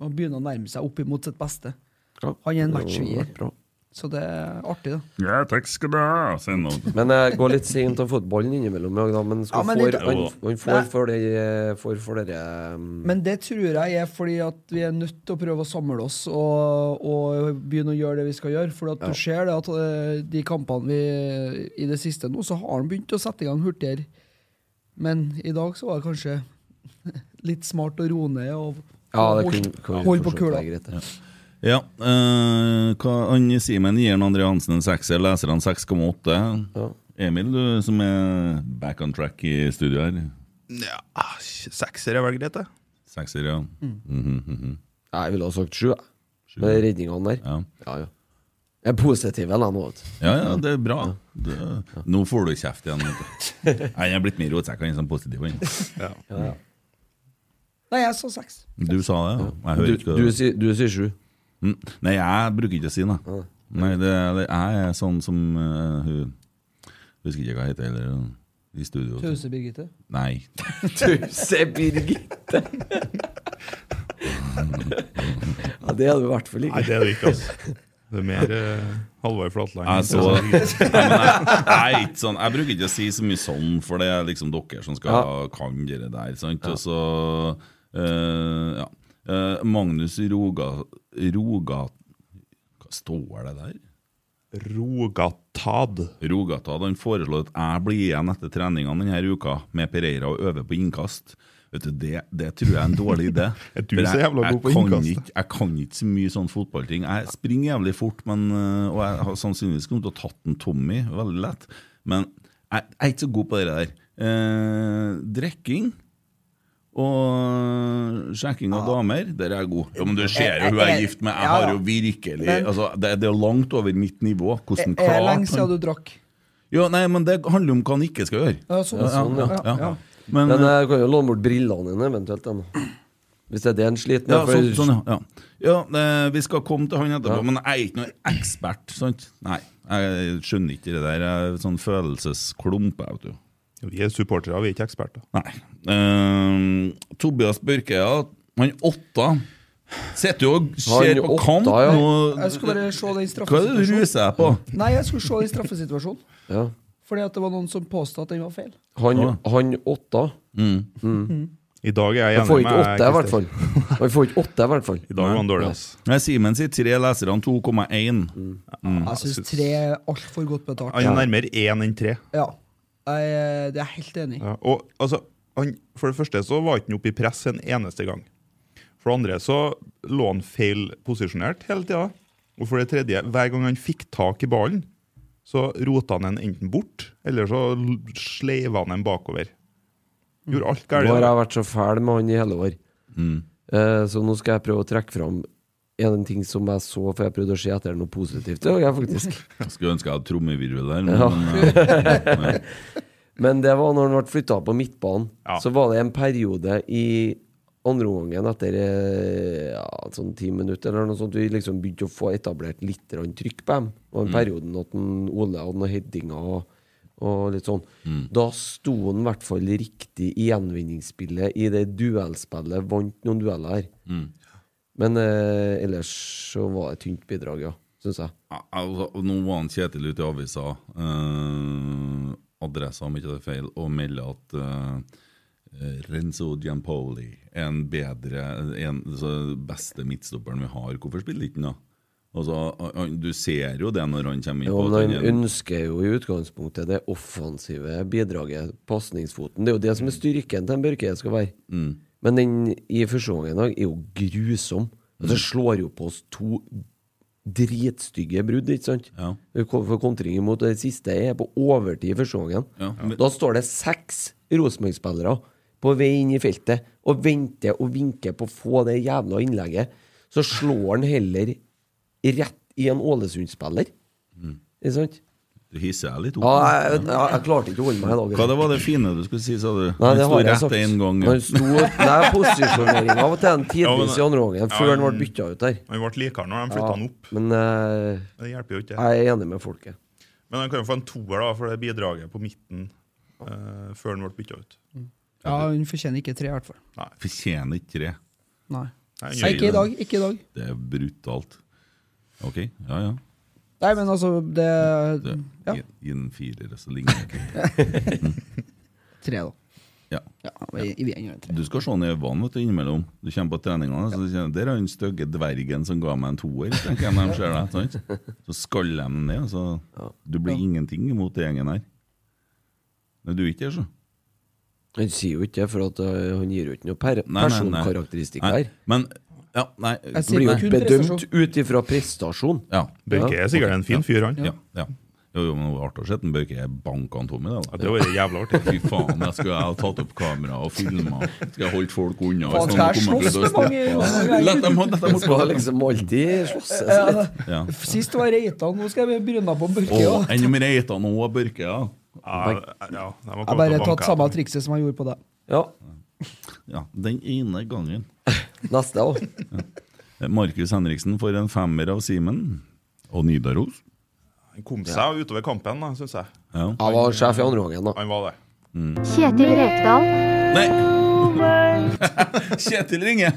[SPEAKER 6] han begynner å nærme seg opp imot sitt beste.
[SPEAKER 4] Ja.
[SPEAKER 6] Han er
[SPEAKER 4] Det
[SPEAKER 6] en
[SPEAKER 4] har
[SPEAKER 6] matchvinner.
[SPEAKER 4] vært bra.
[SPEAKER 6] Så det er artig, da.
[SPEAKER 3] Ja, takk skal du ha. Send noe.
[SPEAKER 4] Men jeg går litt sent av fotballen innimellom, jeg, da, men, skal
[SPEAKER 6] Ja, men
[SPEAKER 4] får,
[SPEAKER 6] det-
[SPEAKER 4] han,
[SPEAKER 3] Jo
[SPEAKER 4] han
[SPEAKER 6] Nei.
[SPEAKER 4] får for det for, for dere um,
[SPEAKER 6] Men det tror jeg er fordi at vi er nødt til å prøve å samle oss og, og begynne å gjøre det vi skal gjøre. For at
[SPEAKER 4] Ja.
[SPEAKER 6] du ser det at eh, de kampene vi i det siste nå, så har han begynt å sette i gang hurtigere. Men i dag så var det kanskje litt smart å roe ned og
[SPEAKER 4] Ja, det
[SPEAKER 6] og
[SPEAKER 4] kunne, kunne
[SPEAKER 6] holde på
[SPEAKER 4] for så vidt
[SPEAKER 6] kula.
[SPEAKER 4] være greit, det.
[SPEAKER 3] Ja. eh, hva, han Simen gir han André Hansen en sekser, leser han 6,8.
[SPEAKER 4] Ja.
[SPEAKER 3] Emil, du som er back on track i studio her.
[SPEAKER 5] Ja, Sekser er vel greit, det.
[SPEAKER 3] Sekser, ja. Mhm, mhm.
[SPEAKER 4] Nei, Jeg ville ha sagt sju, jeg. Med redningene der.
[SPEAKER 3] ja.
[SPEAKER 4] Ja, ja. Jeg er positiv enn jeg nå, vet du.
[SPEAKER 3] Ja, ja, det er bra. Det, nå får du kjeft igjen. vet du. Nei, jeg er blitt mer rotsekk enn sånn positiv. enn.
[SPEAKER 6] Nei, jeg sa seks.
[SPEAKER 3] Du sa det, ja. Jeg hører
[SPEAKER 4] Du,
[SPEAKER 3] ikke
[SPEAKER 4] du,
[SPEAKER 3] det.
[SPEAKER 4] sier- du sier sju.
[SPEAKER 3] Mm. Nei, jeg bruker ikke å si det. Nei, det, det jeg er sånn som eh, hun Husker ikke hva hun heter heller. hun I studio.
[SPEAKER 6] Tause, Birgitte.
[SPEAKER 3] Nei.
[SPEAKER 4] Tause Birgitte. ja, det hadde vi i hvert fall
[SPEAKER 5] Nei,
[SPEAKER 4] ikke.
[SPEAKER 5] det er det ikke, altså. Det er mer uh, Halvard Flatland.
[SPEAKER 3] Jeg så Nei, men jeg, jeg, er ikke sånn, jeg bruker ikke å si så mye sånn, for det er liksom dere som skal
[SPEAKER 4] Ja.
[SPEAKER 3] kan dere der. Sant? Og så eh, ja. Eh, Magnus Roga, Roga Hva står det der?
[SPEAKER 5] Rogatad.
[SPEAKER 3] Rogatad han foreslår at jeg blir igjen etter treningene denne uka med Pereira og øver på innkast. Vet du, det, det tror jeg er en dårlig idé.
[SPEAKER 5] Er du
[SPEAKER 3] For
[SPEAKER 5] så
[SPEAKER 3] jeg-
[SPEAKER 5] jævla god
[SPEAKER 3] jeg
[SPEAKER 5] på
[SPEAKER 3] kan
[SPEAKER 5] innkast, da?
[SPEAKER 3] Ikke, jeg kan ikke så mye sånn fotballting. Jeg springer jævlig fort, men, øh, og jeg har sannsynligvis kommet til å tatt en Tommy veldig lett. Men jeg, jeg er ikke så god på det der. Eh, Drikking og sjekking av damer, der er jeg god. Ja, men du ser jo hun jeg er gift med. Jeg
[SPEAKER 6] Ja, ja.
[SPEAKER 3] har jo virkelig
[SPEAKER 6] Men-
[SPEAKER 3] altså, det, det er langt over mitt nivå. Hvordan
[SPEAKER 6] Er det lenge
[SPEAKER 3] klarte han
[SPEAKER 6] siden du drakk?
[SPEAKER 3] ja, nei, men det handler om hva han ikke skal gjøre.
[SPEAKER 6] Ja, sånn,
[SPEAKER 3] Ja, ja, ja, ja. Men,
[SPEAKER 4] Men jeg kan jo låne bort brillene dine, eventuelt. Da. Hvis det er det en sliter
[SPEAKER 3] ja,
[SPEAKER 4] med.
[SPEAKER 3] sånn,
[SPEAKER 4] for-
[SPEAKER 3] sånn, ja, ja. ja eh, Vi skal komme til han etterpå,
[SPEAKER 4] Ja.
[SPEAKER 3] men jeg er ikke noen ekspert. Sant? Nei, jeg skjønner ikke det der. Jeg er sånn følelsesklump. jeg, Vet du.
[SPEAKER 5] Vi er supportere, vi er ikke eksperter.
[SPEAKER 3] Nei. Eh, Tobias Børke, ja. Han åtta sitter jo og ser
[SPEAKER 4] Han
[SPEAKER 3] på
[SPEAKER 4] åtta,
[SPEAKER 3] kamp
[SPEAKER 4] ja. Mm.
[SPEAKER 3] nå.
[SPEAKER 6] Jeg skulle bare se den
[SPEAKER 3] Hva er det du
[SPEAKER 6] straffesituasjonen.
[SPEAKER 3] ruser deg på?
[SPEAKER 6] Nei, jeg skulle se den straffesituasjonen.
[SPEAKER 4] Ja.
[SPEAKER 6] Fordi at det var noen som påstod at den var feil.
[SPEAKER 4] Han, han åtta.
[SPEAKER 5] I dag er jeg
[SPEAKER 4] Han
[SPEAKER 5] enig
[SPEAKER 4] får
[SPEAKER 5] med
[SPEAKER 4] ikke åtte, i hvert
[SPEAKER 5] Christer.
[SPEAKER 4] fall. Han får ikke åtte, i hvert fall.
[SPEAKER 5] I dag var han dårlig, altså.
[SPEAKER 3] Nei, Simen sier tre lesere, han 2,1.
[SPEAKER 4] Mm.
[SPEAKER 3] Mm.
[SPEAKER 6] Jeg syns
[SPEAKER 5] synes-
[SPEAKER 6] tre er altfor godt
[SPEAKER 3] Ah,
[SPEAKER 6] betalt.
[SPEAKER 5] Han er nærmere én enn tre.
[SPEAKER 6] Ja. Jeg, eh, det er jeg helt enig i.
[SPEAKER 5] Ja, og altså, han, For det første så var ikke han oppe i press en eneste gang. For det andre så lå han feil posisjonert hele tida. Og for det tredje, hver gang han fikk tak i ballen, så rota han den enten bort, eller så l- sleiva han den bakover. Gjorde alt
[SPEAKER 4] Nå har
[SPEAKER 5] galt.
[SPEAKER 4] jeg vært så fæl med han i hele år.
[SPEAKER 3] Mm.
[SPEAKER 4] Eh, så nå skal jeg prøve å trekke fram en ting som jeg så, for jeg prøvde å se etter noe positivt. Det gjorde jeg faktisk.
[SPEAKER 3] Jeg Skulle ønske jeg hadde trommevirvel der. Men,
[SPEAKER 4] Ja.
[SPEAKER 3] eh, nei.
[SPEAKER 4] Men det var når han ble flytta på midtbanen.
[SPEAKER 5] Ja.
[SPEAKER 4] Så var det en periode i andre omgangen etter eh, ja, sånn ti minutter eller noe sånt, vi liksom begynte å få etablert litt grann trykk på dem. Og den perioden at den, Ole hadde noen headinger og, og litt sånn. Da sto han i hvert fall riktig i gjenvinningsspillet i det duellspillet. Vant noen dueller her. Men eh, ellers så var det et tynt bidrag, ja. Syns jeg.
[SPEAKER 3] Ja, altså, og nå var han Kjetil ute i avisa, eh, adressa om ikke det er feil, og melder at eh, Renzo Giampoli er en bedre, en, altså, beste midtstopperen vi har. Hvorfor spiller ikke han da? Altså, han- du ser jo det når han kommer inn.
[SPEAKER 4] Jo,
[SPEAKER 3] på at
[SPEAKER 4] men
[SPEAKER 3] han
[SPEAKER 4] han
[SPEAKER 3] er en-
[SPEAKER 4] ønsker jo i utgangspunktet det offensive bidraget, pasningsfoten. Det er jo det
[SPEAKER 3] Mm.
[SPEAKER 4] som er styrken til en Børke skal være. Men den i første omgang i dag er jo grusom.
[SPEAKER 3] Mm.
[SPEAKER 4] Og så slår jo på oss to dritstygge brudd, ikke sant?
[SPEAKER 3] Ja.
[SPEAKER 4] Vi kom- For kontring imot og det siste er på overtid i første gangen.
[SPEAKER 3] Ja, men-
[SPEAKER 4] Da står det seks Rosenborg-spillere på vei inn i feltet og venter og vinker på å få det jævla innlegget. Så slår han heller rett i en Ålesund-spiller. Ikke sant?
[SPEAKER 3] Du hisser deg litt
[SPEAKER 4] Ja,
[SPEAKER 3] opp.
[SPEAKER 4] jeg, jeg, jeg klarte ikke å holde meg i dag.
[SPEAKER 3] Hva det var det fine du skulle si, sa du?
[SPEAKER 4] Nei,
[SPEAKER 3] Han
[SPEAKER 4] det
[SPEAKER 3] sto
[SPEAKER 4] har jeg
[SPEAKER 3] rett
[SPEAKER 4] sagt.
[SPEAKER 3] en gang.
[SPEAKER 4] Han sto, nei, posisjoneringa var til en
[SPEAKER 5] Ja,
[SPEAKER 4] tidvis
[SPEAKER 5] men-
[SPEAKER 4] i andre gangen, før
[SPEAKER 5] Ja,
[SPEAKER 4] han ble
[SPEAKER 5] men-
[SPEAKER 4] bytta ut der.
[SPEAKER 5] Han ble likere når de flytta
[SPEAKER 4] Ja,
[SPEAKER 5] han opp.
[SPEAKER 4] men eh,
[SPEAKER 5] Men Det hjelper jo ikke.
[SPEAKER 4] jeg er enig med folket.
[SPEAKER 5] Men han kan jo få en toer da, for det bidraget på midten eh, før han ble bytta ut.
[SPEAKER 6] Ja, Hun fortjener ikke tre, i hvert fall.
[SPEAKER 3] Fortjener ikke tre.
[SPEAKER 6] Nei.
[SPEAKER 5] Nei,
[SPEAKER 6] Nei, ikke i dag. Ikke i dag.
[SPEAKER 3] Det er brutalt. OK, ja ja.
[SPEAKER 6] Nei, men altså, det
[SPEAKER 3] Det,
[SPEAKER 6] Ja,
[SPEAKER 3] gi- Gi den en firer, så ligner det ikke.
[SPEAKER 6] tre, da.
[SPEAKER 3] Ja.
[SPEAKER 6] Ja, vi, vi er en tre.
[SPEAKER 3] Du skal se han i øynene vet du, innimellom. Du kommer på treningene. Så du kjenner, der er den stygge dvergen som ga meg en toer. tenker jeg når de ser deg, sant? Så skaller de den ned. Så du blir ingenting imot den gjengen her. Men du er ikke her, så.
[SPEAKER 4] Han sier jo ikke det, for at, eh, han gir jo ikke noe per
[SPEAKER 3] Nei, nei, nei.
[SPEAKER 4] personkarakteristikk
[SPEAKER 3] Nei,
[SPEAKER 4] her.
[SPEAKER 3] Men ja, nei,
[SPEAKER 6] Jeg sier
[SPEAKER 4] Han blir
[SPEAKER 6] Nei.
[SPEAKER 4] jo
[SPEAKER 6] Kun
[SPEAKER 4] ikke bedømt
[SPEAKER 6] prestasjon.
[SPEAKER 4] ut ifra prestasjon.
[SPEAKER 3] ja,
[SPEAKER 5] Børke er sikkert en fin fyr, han.
[SPEAKER 3] ja, ja. Jo, jo, men det var artig å se den Børke banka han Tommy.
[SPEAKER 5] Ja,
[SPEAKER 3] Det,
[SPEAKER 5] det var jævla artig.
[SPEAKER 3] Fy faen, jeg skulle ha tatt opp kamera og filma. Skal jeg holdt folk unna?
[SPEAKER 6] Faen, skal jeg slåss med mange?
[SPEAKER 3] La dem ha
[SPEAKER 4] Han skal liksom alltid slåss. altså.
[SPEAKER 3] Ja.
[SPEAKER 6] Sist var Reitan, nå skal jeg bryne på Børke.
[SPEAKER 3] Og
[SPEAKER 6] også.
[SPEAKER 3] enn om Reitan og Børke, ja.
[SPEAKER 5] Ja, ja, de har
[SPEAKER 6] Jeg har
[SPEAKER 5] kommet til
[SPEAKER 6] bare
[SPEAKER 5] å
[SPEAKER 6] tatt
[SPEAKER 5] banke
[SPEAKER 6] samme
[SPEAKER 5] etter.
[SPEAKER 6] trikset som jeg gjorde på deg.
[SPEAKER 4] Ja,
[SPEAKER 3] ja. Den ene gangen.
[SPEAKER 4] neste òg.
[SPEAKER 3] Markus Henriksen får en femmer av Simen. Og Nidaros.
[SPEAKER 5] Han kom seg utover kampen, da, syns jeg.
[SPEAKER 3] Ja.
[SPEAKER 4] Jeg var sjef i andre gangen, da.
[SPEAKER 5] Han var det.
[SPEAKER 7] Kjetil Rekdal.
[SPEAKER 3] Nei! Kjetil ringer!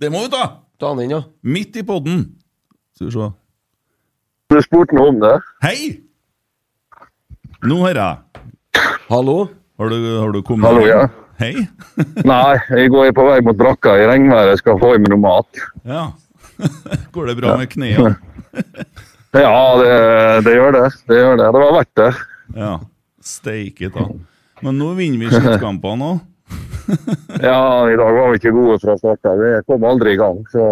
[SPEAKER 3] Det må vi ta!
[SPEAKER 4] Ta han inn, ja.
[SPEAKER 3] Midt i podden. Skal vi se.
[SPEAKER 8] Du spurte noe om det?
[SPEAKER 3] Hei! Nå hører jeg.
[SPEAKER 4] Hallo?
[SPEAKER 3] Har du, har du kommet
[SPEAKER 8] Hallo, ja.
[SPEAKER 3] Hei.
[SPEAKER 8] Nei, jeg går på vei mot brakka i regnværet. Skal få i meg noe mat.
[SPEAKER 3] Ja. Går det bra med knærne?
[SPEAKER 8] Ja, det, det gjør det. Det gjør det. Det var verdt det.
[SPEAKER 3] Ja. Steike ta. Men nå vinner vi sluttkampene òg.
[SPEAKER 8] Ja, i dag var vi ikke gode fra start av. Vi kom aldri i gang. Så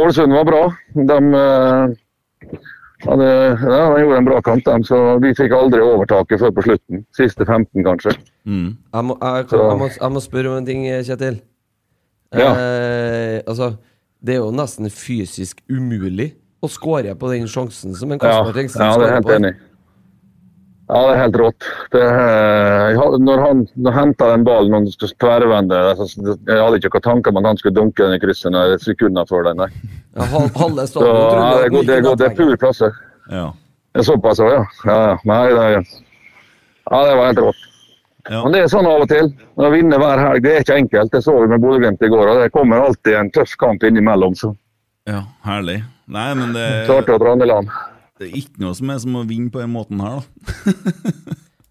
[SPEAKER 8] Ålesund var bra. De eh, hadde, ja, de gjorde en bra kamp, de. Så vi fikk aldri overtaket før på slutten. Siste 15, kanskje.
[SPEAKER 4] Jeg må, jeg, kan, jeg, må, jeg må spørre om en ting, Kjetil.
[SPEAKER 8] Ja.
[SPEAKER 4] Eh, altså, det er jo nesten fysisk umulig å skåre på den sjansen som en
[SPEAKER 8] Ja,
[SPEAKER 4] Kasper Tengstedt
[SPEAKER 8] ja, det er
[SPEAKER 4] skårer
[SPEAKER 8] helt
[SPEAKER 4] på.
[SPEAKER 8] enig. Ja, det er helt rått. Det, eh, jeg hadde- når han når han hentet den ballen og skulle tverrvende altså, det- Jeg hadde ikke noen tanker om at han skulle dunke den i krysset når- sekunder før den. Nei.
[SPEAKER 4] Ja, hal- halve
[SPEAKER 8] Så,
[SPEAKER 4] stadion trodde
[SPEAKER 8] ja, det, er
[SPEAKER 4] at den
[SPEAKER 8] god, det, er
[SPEAKER 4] gikk
[SPEAKER 8] god, det
[SPEAKER 4] i
[SPEAKER 8] er
[SPEAKER 4] nettlegget.
[SPEAKER 8] pur klasse.
[SPEAKER 3] Ja.
[SPEAKER 8] Det er Såpass, ja. ja. ja. Nei, det, er- ja, det var helt rått.
[SPEAKER 3] Ja.
[SPEAKER 8] Men det er sånn av og til. Å vinne hver helg det er ikke enkelt. Det så vi med Bodø-Glimt i går. og Det kommer alltid en tøff kamp innimellom. Så
[SPEAKER 3] ja. Herlig. Nei, men det,
[SPEAKER 8] klarte at Randeland
[SPEAKER 3] det er ikke noe som er som å vinne på den måten her, da.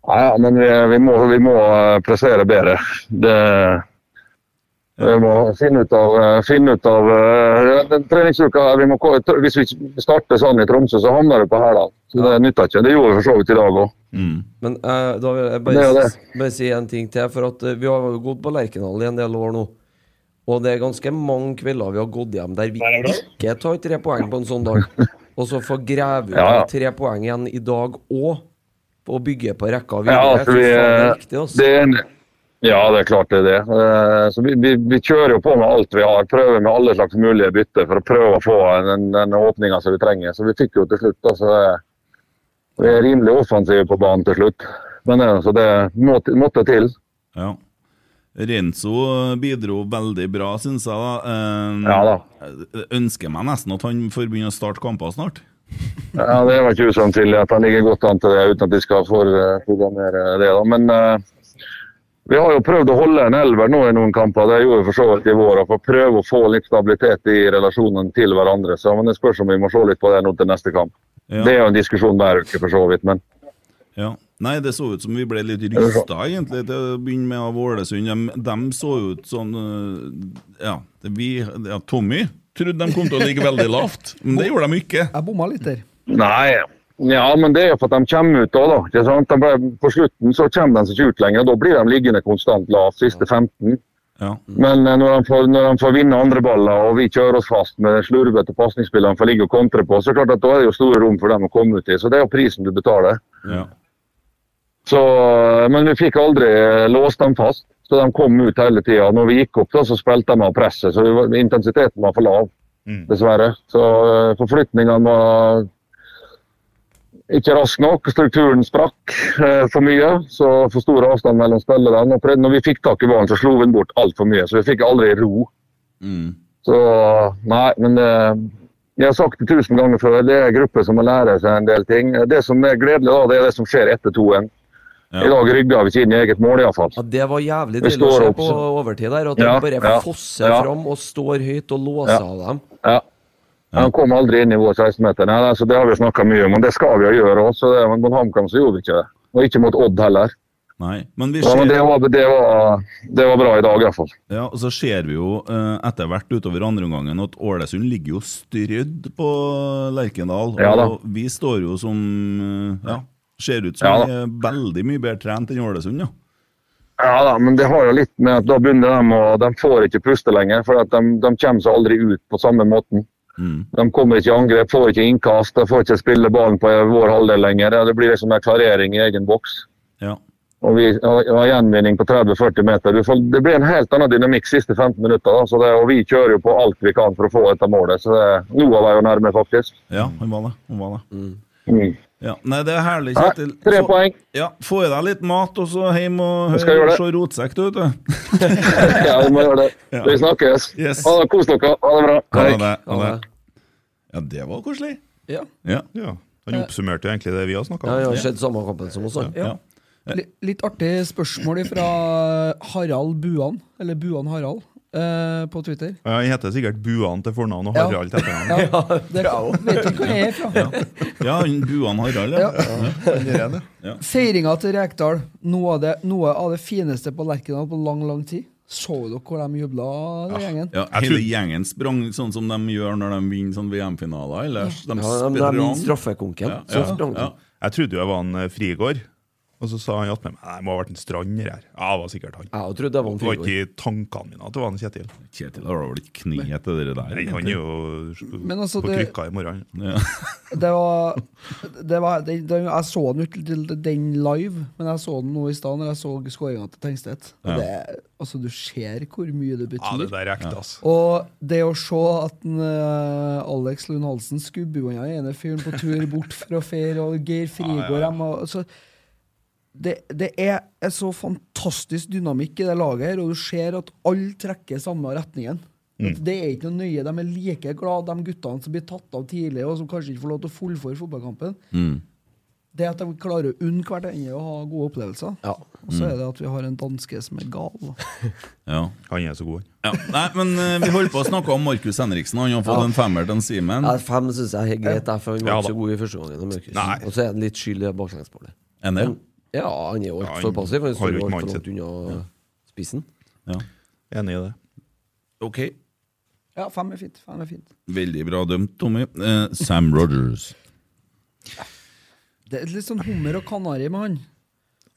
[SPEAKER 8] Ja, ja, men vi, vi, må, vi må eh, prestere bedre. Det, vi må finne ut av, eh, finne ut av eh, den treningsuka her, vi må, ko- tr- Hvis vi ikke starter sånn i Tromsø, så havner det på Hærland. Så det nytter ikke. Det gjorde vi for så vidt i dag òg.
[SPEAKER 4] Men eh, da vil jeg
[SPEAKER 8] Det er
[SPEAKER 4] bare,
[SPEAKER 8] jo det.
[SPEAKER 4] s- bare si en ting til. For at eh, vi har jo gått på Lerkendal i en del år nå. Og det er ganske mange kvelder vi har gått hjem der vi ikke tar tre poeng på en sånn dag. Og så får grave ut
[SPEAKER 8] Ja, ja.
[SPEAKER 4] tre poeng igjen i dag òg, og bygge på rekka
[SPEAKER 8] Ja,
[SPEAKER 4] videre.
[SPEAKER 8] altså,
[SPEAKER 4] Fy
[SPEAKER 8] vi,
[SPEAKER 4] faen, det er viktig,
[SPEAKER 8] eh,
[SPEAKER 4] altså.
[SPEAKER 8] det er en, ja, det er klart det er det. Eh, Så vi, vi, vi kjører jo på med alt vi har. Prøver med alle slags mulige bytter for å prøve å få den, den åpninga som vi trenger. Så vi fikk jo til slutt, da. Så det- vi er rimelig offensive på banen til slutt. Men eh, så det måtte, måtte til.
[SPEAKER 3] Ja. Renzo bidro veldig bra, syns jeg. da. Eh,
[SPEAKER 4] Mm.
[SPEAKER 8] Ja da.
[SPEAKER 3] jeg Ønsker meg nesten at han får begynne å starte kamper snart.
[SPEAKER 8] Ja, Det var ikke usannsynlig at han ligger godt an til det, uten at de skal forprogrammere det. da. Men eh, vi har jo prøvd å holde en elver nå i noen kamper. Det gjorde vi for så vidt i vår. og For å prøve å få litt stabilitet i relasjonen til hverandre. Så men det spørs om vi må se litt på det nå til neste kamp.
[SPEAKER 3] Ja.
[SPEAKER 8] Det er jo en diskusjon hver uke, for så vidt. Men
[SPEAKER 3] Ja. Nei, det så ut som vi ble litt rysta, egentlig, til å begynne med av Ålesund. De, så ut sånn eh, Ja, det vi, ja Tommy trodde de kom til å ligge veldig lavt, men det gjorde de ikke.
[SPEAKER 6] Jeg bomma
[SPEAKER 3] Mm.
[SPEAKER 6] litt der.
[SPEAKER 8] nei. Ja, men det er jo for at de kommer ut da, da. Ikke sant? De, ble- på slutten så kommer de seg ikke ut lenger. og Da blir de liggende konstant lavt, siste 15. Men eh, når han, får, når han får vinne andre baller og vi kjører oss fast med den slurvete pasningsspilleren for å ligge og kontre på, så er det klart at da er det jo store rom for dem å komme ut i. Så det er jo prisen du betaler.
[SPEAKER 3] Ja.
[SPEAKER 8] Så, eh, men vi fikk aldri eh, låst dem fast. Så de kom ut hele tida. Når vi gikk opp, da, så spilte de av presset. Så vi var- intensiteten var for lav, dessverre. Så eh, forflytningene var ikke rask nok. Strukturen sprakk eh, for mye. Så for stor avstand mellom spillerne. Og prøvde- når vi fikk tak i ballen, så slo vi den bort altfor mye. Så vi fikk aldri ro. Så nei, men eh, jeg har sagt det tusen ganger før, det er en gruppe som må lære seg en del ting. Det som er gledelig, da, det er det som skjer etter 2-1. I dag rygga vi ikke inn i eget mål, iallfall.
[SPEAKER 4] Ja, det var jævlig
[SPEAKER 8] Vi
[SPEAKER 4] deilig å
[SPEAKER 8] står
[SPEAKER 4] se
[SPEAKER 8] opp,
[SPEAKER 4] på
[SPEAKER 8] så-
[SPEAKER 4] overtid der. At de
[SPEAKER 8] Ja,
[SPEAKER 4] bare
[SPEAKER 8] ja,
[SPEAKER 4] fosser
[SPEAKER 8] ja.
[SPEAKER 4] fram og står høyt og låser
[SPEAKER 8] Ja.
[SPEAKER 4] av dem.
[SPEAKER 8] Ja. Han kom aldri inn i vår 16-meter. Nei, altså, det har vi snakka mye om, og det skal vi jo gjøre også. Det- Men mot HamKam så gjorde vi ikke det. Og ikke mot Odd heller.
[SPEAKER 3] Nei, men vi
[SPEAKER 8] Ja,
[SPEAKER 3] ser
[SPEAKER 8] men det var, det, var, det var bra i dag, iallfall.
[SPEAKER 3] Ja, og så ser vi jo eh, etter hvert utover andre omgangen at Ålesund ligger jo strødd på Lerkendal.
[SPEAKER 8] Ja da.
[SPEAKER 3] og vi står jo som eh, Ja, ser ut som
[SPEAKER 8] Ja da.
[SPEAKER 3] vi er veldig mye bedre trent enn Ålesund, ja.
[SPEAKER 8] Ja da, men det har jo litt med at da begynner de å De får ikke puste lenger, for at de, de kommer seg aldri ut på samme måten. De kommer ikke i angrep, får ikke innkast, de får ikke spille ballen på vår halvdel lenger. Det blir liksom en klarering i egen boks.
[SPEAKER 3] Ja.
[SPEAKER 8] Og vi har har gjenvinning på 30-40 meter. Du får, det blir en helt annen dynamikk siste 15 minutter. Da, så det, og vi kjører jo på alt vi kan for å få dette målet. Så det, noe var jo nærme, faktisk.
[SPEAKER 3] Ja, han var det. Han var det.
[SPEAKER 8] Mm.
[SPEAKER 3] Ja. Nei, det er herlig,
[SPEAKER 8] Nei,
[SPEAKER 3] Kjetil.
[SPEAKER 8] tre
[SPEAKER 3] Så-
[SPEAKER 8] poeng.
[SPEAKER 3] Ja, Få i deg litt mat, og så hjem og
[SPEAKER 8] Jeg skal
[SPEAKER 3] hør
[SPEAKER 8] gjøre det.
[SPEAKER 3] og se rotsekk, du, vet du.
[SPEAKER 8] Ja, vi må gjøre det. Vi snakkes.
[SPEAKER 3] Yes.
[SPEAKER 8] Ha det, kos dere. Ha det bra.
[SPEAKER 3] Ha
[SPEAKER 8] Hei.
[SPEAKER 3] det. Ha
[SPEAKER 4] Ja,
[SPEAKER 3] det. Ja, det var koselig.
[SPEAKER 6] Ja.
[SPEAKER 3] Ja.
[SPEAKER 5] Ja. Han oppsummerte jo egentlig det vi har snakka
[SPEAKER 4] Ja,
[SPEAKER 5] om.
[SPEAKER 4] jeg har sett samme kampen som oss. da.
[SPEAKER 3] ja.
[SPEAKER 6] Li- Litt artig spørsmål fra Harald Buan, eller Buan Harald, eh, på Twitter.
[SPEAKER 5] Ja, Han heter sikkert Buan til fornavn og
[SPEAKER 6] Ja.
[SPEAKER 5] Harald til etternavn.
[SPEAKER 6] Ja, det vet ikke hvor jeg er fra.
[SPEAKER 3] Ja, han Buan Harald, ja.
[SPEAKER 6] Feiringa til Rekdal, noe av, det, noe av det fineste på Lerkendal på lang, lang tid. Så dere hvor de jubla, den gjengen?
[SPEAKER 3] Ja,
[SPEAKER 5] Jeg
[SPEAKER 3] hele
[SPEAKER 5] tror-
[SPEAKER 3] gjengen sprang sånn som de gjør når de vinner sånn VM-finaler. Ellers de
[SPEAKER 4] Ja,
[SPEAKER 3] sprang.
[SPEAKER 4] men det er min straffekonken.
[SPEAKER 3] Ja,
[SPEAKER 4] Så
[SPEAKER 3] ja,
[SPEAKER 4] sprang de.
[SPEAKER 3] ja.
[SPEAKER 5] Jeg trodde jo jeg var en eh, Frigård, og så sa han attmed meg Nei, det må ha vært en Strander her. Ja, det var sikkert han.
[SPEAKER 4] Jeg trodde det var en
[SPEAKER 5] Det var
[SPEAKER 4] frigård.
[SPEAKER 5] ikke i tankene mine at det var en Kjetil.
[SPEAKER 3] Kjetil har vel ikke kni etter det der?
[SPEAKER 5] Nei,
[SPEAKER 3] egentlig?
[SPEAKER 5] han er jo
[SPEAKER 6] Men altså,
[SPEAKER 5] på
[SPEAKER 6] det-
[SPEAKER 5] krykka i morgen.
[SPEAKER 3] Ja.
[SPEAKER 6] Det var, det var det, det, Jeg så den ut til den live, men jeg så den nå i stad når jeg så skåringa til Tengstedt. Og det, altså, du ser hvor mye det
[SPEAKER 5] Ja, det
[SPEAKER 6] betyr.
[SPEAKER 5] der er ekte, ass.
[SPEAKER 6] Og det å se at den, eh, Alex Lund Halsen skubber unna den ene fyren på tur bort for å feire, og Geir Frigård dem, og- altså, det, det er en så fantastisk dynamikk i det laget, her, og du ser at alle trekker samme retningen. At Det er ikke noe nøye. De er like glad, de guttene som blir tatt av tidlig, og som kanskje ikke får lov til å fullføre fotballkampen. Det at de klarer å unne hverandre og ha gode opplevelser.
[SPEAKER 4] Ja.
[SPEAKER 6] Og så er det at vi har en danske som er gal. da.
[SPEAKER 3] Ja.
[SPEAKER 5] Han er så god, han.
[SPEAKER 3] Ja. Nei, men eh, vi holdt på å snakke om Markus Henriksen. Han har fått en femmer til en Simen.
[SPEAKER 4] Ja, fem syns jeg er greit, der, for han var
[SPEAKER 5] Ja,
[SPEAKER 4] ikke så
[SPEAKER 5] da.
[SPEAKER 4] god i første gangen. Markus.
[SPEAKER 5] Nei.
[SPEAKER 4] Og så er han litt skyld i det baklengsmålet.
[SPEAKER 3] Er det?
[SPEAKER 4] Ja, han er jo
[SPEAKER 5] Ja,
[SPEAKER 4] altfor
[SPEAKER 5] han
[SPEAKER 4] passiv. Han
[SPEAKER 5] har
[SPEAKER 4] står
[SPEAKER 5] jo
[SPEAKER 4] jo
[SPEAKER 5] ikke
[SPEAKER 4] altfor langt
[SPEAKER 5] mindset.
[SPEAKER 4] unna spissen.
[SPEAKER 3] Ja.
[SPEAKER 5] Enig i det.
[SPEAKER 3] Ok.
[SPEAKER 6] Ja, fem er fint. Fem er fint.
[SPEAKER 3] Veldig bra dømt, Tommy. Eh, Sam Rogers.
[SPEAKER 6] Det er litt sånn hummer og kanari med han.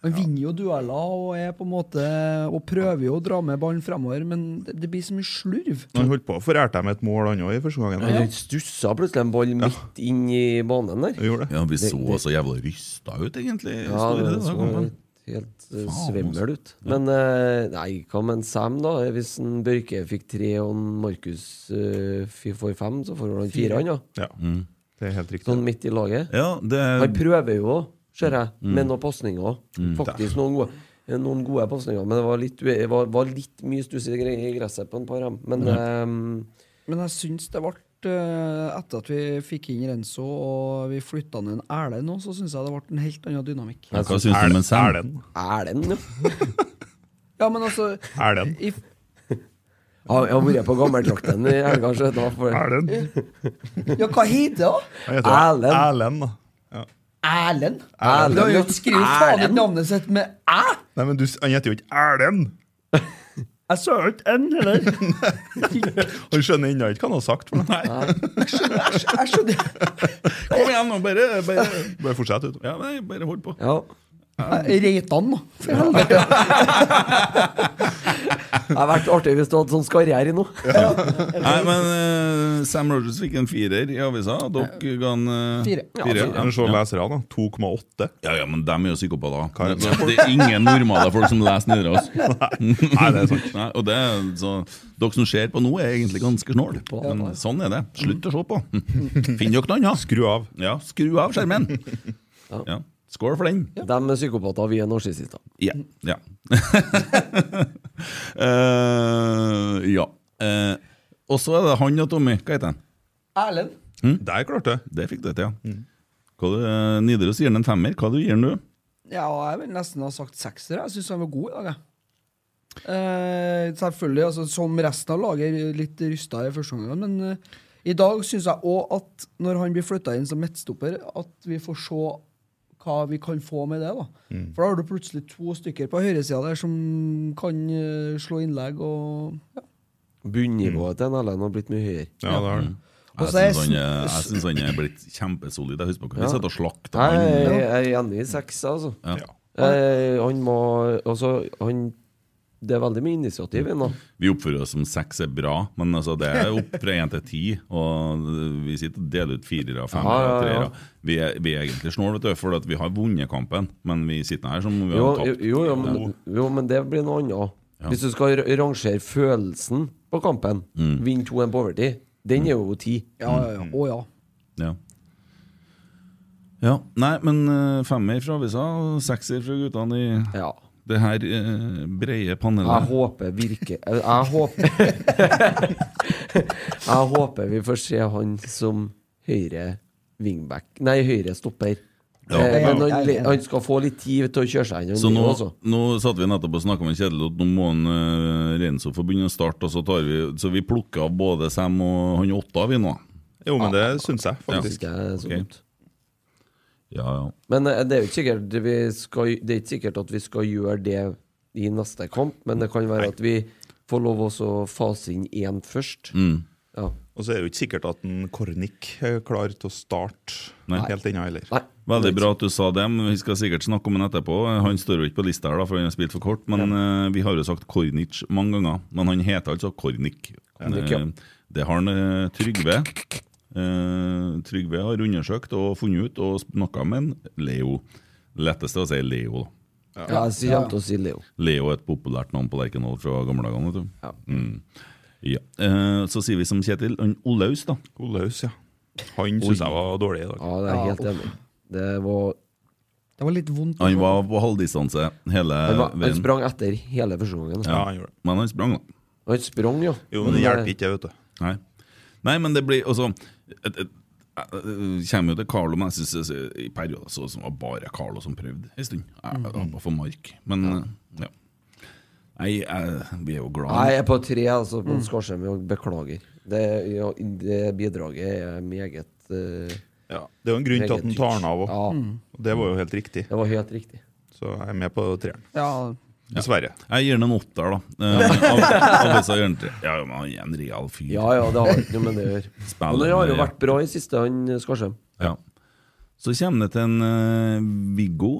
[SPEAKER 6] Han vinner jo dueller og er på en måte Og prøver jo å dra med ballen fremover, men det, det blir så mye slurv.
[SPEAKER 5] Han holdt på å forære dem et mål, han òg, i første gangen.
[SPEAKER 4] Han stussa plutselig en ball midt inn i banen der.
[SPEAKER 5] Han gjorde det.
[SPEAKER 3] Ja, vi så så jævla rysta ut, egentlig.
[SPEAKER 4] Ja,
[SPEAKER 3] Står i
[SPEAKER 4] det
[SPEAKER 3] det, da,
[SPEAKER 4] så
[SPEAKER 3] kampen.
[SPEAKER 4] helt eh, svimmel ut. Men eh, nei, hva med en Sam, da? Hvis en Børke fikk tre og en Markus eh, f- får fem, så får han fire, han, da.
[SPEAKER 5] Ja. Det er helt riktig.
[SPEAKER 4] Sånn midt i laget.
[SPEAKER 3] ja, det
[SPEAKER 4] Han prøver jo òg, ser jeg, med noen pasninger. Faktisk noen gode. eh, Noen gode pasninger, men det var litt, ue- var, var litt mye stuss i gre- i gresset på en par av dem. Men eh,
[SPEAKER 6] Men jeg syns det ble eh, Etter at vi fikk inn Renzo og vi flytta ned en Erlend nå, så syns jeg det ble en helt annen dynamikk.
[SPEAKER 3] Hva syns du om en Sam?
[SPEAKER 5] Erlend.
[SPEAKER 4] Erlend, ja.
[SPEAKER 6] Ja, men altså
[SPEAKER 5] Erlend.
[SPEAKER 6] i,
[SPEAKER 4] Ja, Jeg har vært på gammeldrakten i helga. så da får jeg-
[SPEAKER 5] Erlend.
[SPEAKER 6] Ja, hva heter det? da?
[SPEAKER 5] Han heter
[SPEAKER 4] Erlend.
[SPEAKER 5] Erlend, da. Ja.
[SPEAKER 6] Erlend?
[SPEAKER 4] Erlend,
[SPEAKER 6] Du har jo
[SPEAKER 4] ja.
[SPEAKER 6] skrevet faen ikke
[SPEAKER 4] Erlend.
[SPEAKER 6] navnet sitt med æ!
[SPEAKER 5] Nei, men du, han heter jo ikke Erlend!
[SPEAKER 6] Jeg sa jo ikke N, heller.
[SPEAKER 5] Han skjønner ennå ikke hva han har sagt. Men nei.
[SPEAKER 6] Jeg skjønner
[SPEAKER 3] Kom igjen, nå, bare, bare
[SPEAKER 5] Bare fortsett utover.
[SPEAKER 3] Ja, nei, bare hold på.
[SPEAKER 4] Ja.
[SPEAKER 6] Reitan, da. For helvete.
[SPEAKER 4] Det hadde vært artig hvis du hadde sånn skarriere i nå.
[SPEAKER 3] Nei, men eh, Sam Rogers fikk en firer i avisa. Dere ga en eh,
[SPEAKER 6] Fire.
[SPEAKER 4] Ja,
[SPEAKER 3] fire.
[SPEAKER 4] fire.
[SPEAKER 3] Ja,
[SPEAKER 5] Men se leserne, da. 2,8.
[SPEAKER 3] Ja, ja, men dem er jo psykopater.
[SPEAKER 5] Hva er det?
[SPEAKER 3] Det, det er ingen normale folk som leser nedre oss. Nei,
[SPEAKER 5] det er sant.
[SPEAKER 3] Nei, og det, er- så, dere som ser på nå, er egentlig ganske snåle. Men sånn er det. Slutt å se på. Finn dere noe annet.
[SPEAKER 5] Skru av.
[SPEAKER 3] Ja, skru av skjermen. Ja. Skål for den.
[SPEAKER 4] De er psykopater, vi er narsissister.
[SPEAKER 3] Ja. Ja. Eh, ja. Eh, og så er det han og Tommy. Hva heter han?
[SPEAKER 6] Erlend?
[SPEAKER 5] Der klarte jeg.
[SPEAKER 3] Det Mm. fikk du til, ja. Hva du, eh, Nidaros gir den en femmer. Hva du gir den, du?
[SPEAKER 6] Ja, og jeg vil nesten ha sagt sekser. Jeg syns han var god i dag, jeg. Eh, selvfølgelig, altså, som resten av laget, litt rysta i første omgang. Men eh, i dag syns jeg òg at når han blir flytta inn som midtstopper, at vi får se hva vi kan få med det. da.
[SPEAKER 3] Mm.
[SPEAKER 6] For da har du plutselig to stykker på høyresida der som kan eh, slå innlegg. og... Ja.
[SPEAKER 4] Bunnivået til en LN har blitt mye høyere.
[SPEAKER 5] Ja, det har du.
[SPEAKER 6] Og så
[SPEAKER 3] Jeg
[SPEAKER 6] er
[SPEAKER 3] syns
[SPEAKER 6] sn-
[SPEAKER 3] han, eh, er- jeg syns han er blitt kjempesolid. Jeg husker på hva
[SPEAKER 4] Ja.
[SPEAKER 3] vi satt og slakta
[SPEAKER 4] Nei, Jeg
[SPEAKER 3] han.
[SPEAKER 4] jeg er enig i seks, altså.
[SPEAKER 3] Ja.
[SPEAKER 4] Eh, han må Altså, han Det er veldig mye initiativ i nå.
[SPEAKER 3] Vi oppfører oss som seks er bra, men altså det er opp fra én til ti. Og vi sitter og deler ut firere, femmere,
[SPEAKER 4] Ja, ja, ja.
[SPEAKER 3] treere. Vi er, vi er egentlig snåle, vet du, for at vi har vunnet kampen. Men vi sitter her som om vi
[SPEAKER 4] Jo,
[SPEAKER 3] har
[SPEAKER 4] jo,
[SPEAKER 3] tapt.
[SPEAKER 4] jo, men, jo, men det blir noe annet. Hvis du skal ra- rangere følelsen på kampen, vinn 2-1 på overtid, den er jo 10.
[SPEAKER 6] Ja, ja, ja. Å ja.
[SPEAKER 3] Ja. ja. Nei, men eh, femmer fra avisa, og sekser fra guttene i
[SPEAKER 4] Ja.
[SPEAKER 3] det her eh, brede
[SPEAKER 4] Jeg
[SPEAKER 3] panelet.
[SPEAKER 4] håper virker Jeg, jeg håper Jeg håper vi får se han som høyre wingback Nei, høyre stopper. eh, men han, le- han skal få litt tid til å kjøre seg gjennom.
[SPEAKER 3] Så nå,
[SPEAKER 4] livet også.
[SPEAKER 3] nå satt vi nettopp og snakka med Kjetil at nå må han uh, Renzo få begynne å starte, og så tar vi Så vi plukker av både Sam og han Otta, vi nå.
[SPEAKER 5] Jo, men det syns jeg
[SPEAKER 4] Synes
[SPEAKER 5] faktisk.
[SPEAKER 4] ikke jeg er så
[SPEAKER 3] ok.
[SPEAKER 4] dumt.
[SPEAKER 3] Ja, ja.
[SPEAKER 4] Men eh, det er jo ikke sikkert vi skal, Det er ikke sikkert at vi skal gjøre det i neste kamp, men det kan være at vi får lov også å fase inn én først.
[SPEAKER 3] Mm.
[SPEAKER 4] Ja.
[SPEAKER 5] Og så er det jo ikke sikkert at en Kornik er klar til å starte
[SPEAKER 3] Nei.
[SPEAKER 5] helt ennå heller.
[SPEAKER 4] Nei.
[SPEAKER 3] Veldig bra at du sa det, men vi skal sikkert snakke om den etterpå. Han står jo ikke på lista her, da, for han har spilt for kort, men eh, vi har jo sagt Kornic mange ganger. Men han heter altså Kornic.
[SPEAKER 4] Kornic, ja.
[SPEAKER 3] Eh, Det har han eh, Trygve. Eh, Trygve har undersøkt og funnet ut og snakka med en Leo. Letteste å si Leo. da.
[SPEAKER 4] Ja, jeg sier- kommer til å si Leo.
[SPEAKER 3] Leo er et populært navn på Lerkendal fra gamle dager. vet du.
[SPEAKER 4] Ja.
[SPEAKER 3] Mm. Ja. Eh, Så sier vi som Kjetil, han Olaus, da.
[SPEAKER 5] Olaus, ja. Han syns jeg var dårlig i dag.
[SPEAKER 4] Ja, det er jeg helt
[SPEAKER 6] Ja,
[SPEAKER 4] enig. Det var
[SPEAKER 6] Det var litt vondt.
[SPEAKER 3] Han var på halvdistanse hele
[SPEAKER 4] Han, var, han
[SPEAKER 3] veien.
[SPEAKER 4] sprang etter hele første gangen.
[SPEAKER 5] Ja, han gjorde det.
[SPEAKER 3] Men han sprang, da.
[SPEAKER 4] Han sprang, ja.
[SPEAKER 5] Jo, men det
[SPEAKER 4] eh,
[SPEAKER 5] hjelper ikke, vet du.
[SPEAKER 3] Nei. Nei, men det blir altså et- et- jeg eh, kommer jo til Carlo, men jeg synes jeg- i perioder så som var bare Carlo som prøvde en stund. Jeg jeg
[SPEAKER 4] Mm.
[SPEAKER 3] håper for mark, men eh, ja. Nei, jeg, vi er jo
[SPEAKER 4] Nei,
[SPEAKER 3] glad
[SPEAKER 4] jeg er på tre, altså. På Skarsheim. og Beklager. Det, ja, det bidraget er meget eh,
[SPEAKER 5] Ja. Det er jo en grunn til at han tar den av òg.
[SPEAKER 4] Ja,
[SPEAKER 5] Det var jo helt riktig.
[SPEAKER 4] det var helt riktig.
[SPEAKER 5] Så jeg er med på treeren.
[SPEAKER 6] Ja,
[SPEAKER 5] Dessverre.
[SPEAKER 3] Jeg gir den en åtter, da. Eh, av- av disse gjør den tre. Ja, men han er en real fyr.
[SPEAKER 4] Ja ja, det har ikke noe med det å gjøre.
[SPEAKER 3] Spiller
[SPEAKER 4] Men han har
[SPEAKER 3] med
[SPEAKER 4] jo vært bra i siste, han eh, Skarsheim.
[SPEAKER 3] Ja. Så kommer det til en eh, Viggo.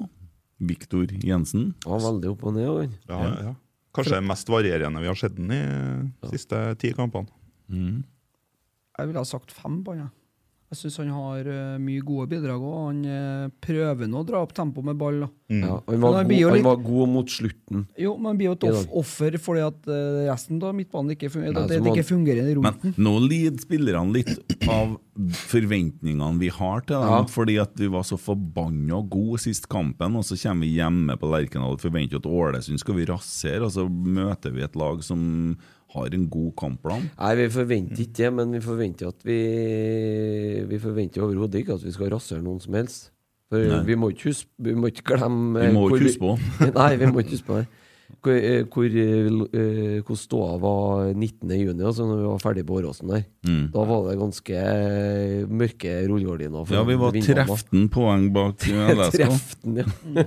[SPEAKER 3] Viktor Jensen.
[SPEAKER 4] Han var veldig opp og ned. og han.
[SPEAKER 5] Ja, ja. Kanskje det mest varierende vi har sett den i eh, siste ti kampene.
[SPEAKER 6] jeg ville ha sagt fem på han. jeg. Jeg syns han har eh, mye gode bidrag òg. Han eh, prøver nå å dra opp tempoet med ball. da.
[SPEAKER 5] Mm.
[SPEAKER 4] Ja, han,
[SPEAKER 6] Men
[SPEAKER 4] var
[SPEAKER 6] han
[SPEAKER 4] god,
[SPEAKER 6] blir jo litt-
[SPEAKER 4] han var god mot slutten.
[SPEAKER 6] Jo, man blir jo et
[SPEAKER 4] I
[SPEAKER 6] off
[SPEAKER 4] dag.
[SPEAKER 6] offer fordi at eh, resten av midtbanen ikke fungerer.
[SPEAKER 4] Nei,
[SPEAKER 6] at det
[SPEAKER 4] så må-
[SPEAKER 6] ikke fungerer i
[SPEAKER 3] Men
[SPEAKER 6] roten.
[SPEAKER 3] nå lider spillerne litt av forventningene vi har til dem.
[SPEAKER 4] Ja.
[SPEAKER 3] Fordi at vi var så forbanna gode sist kampen, og så kommer vi hjemme på Lerkendal og forventer at Ålesund skal vi rasere, og så møter vi et lag som har en god kampplan.
[SPEAKER 4] Nei, vi
[SPEAKER 5] Mm.
[SPEAKER 4] forventer ikke det, men vi forventer at vi Vi forventer overhodet ikke at vi skal rasere noen som helst. For vi må ikke huske Vi må ikke glemme eh,
[SPEAKER 3] Vi må
[SPEAKER 4] hvor
[SPEAKER 3] ikke huske på.
[SPEAKER 4] Nei, vi må ikke huske på det. Hvor, eh, hvor, eh, hvor ståa var 19. juni, altså når vi var ferdig på Åråsen der.
[SPEAKER 3] Mm.
[SPEAKER 4] Da var det ganske eh, mørke rullegardiner. for
[SPEAKER 3] Ja, vi var
[SPEAKER 4] vindene.
[SPEAKER 3] 13 poeng bak LSK.
[SPEAKER 4] Treften, ja.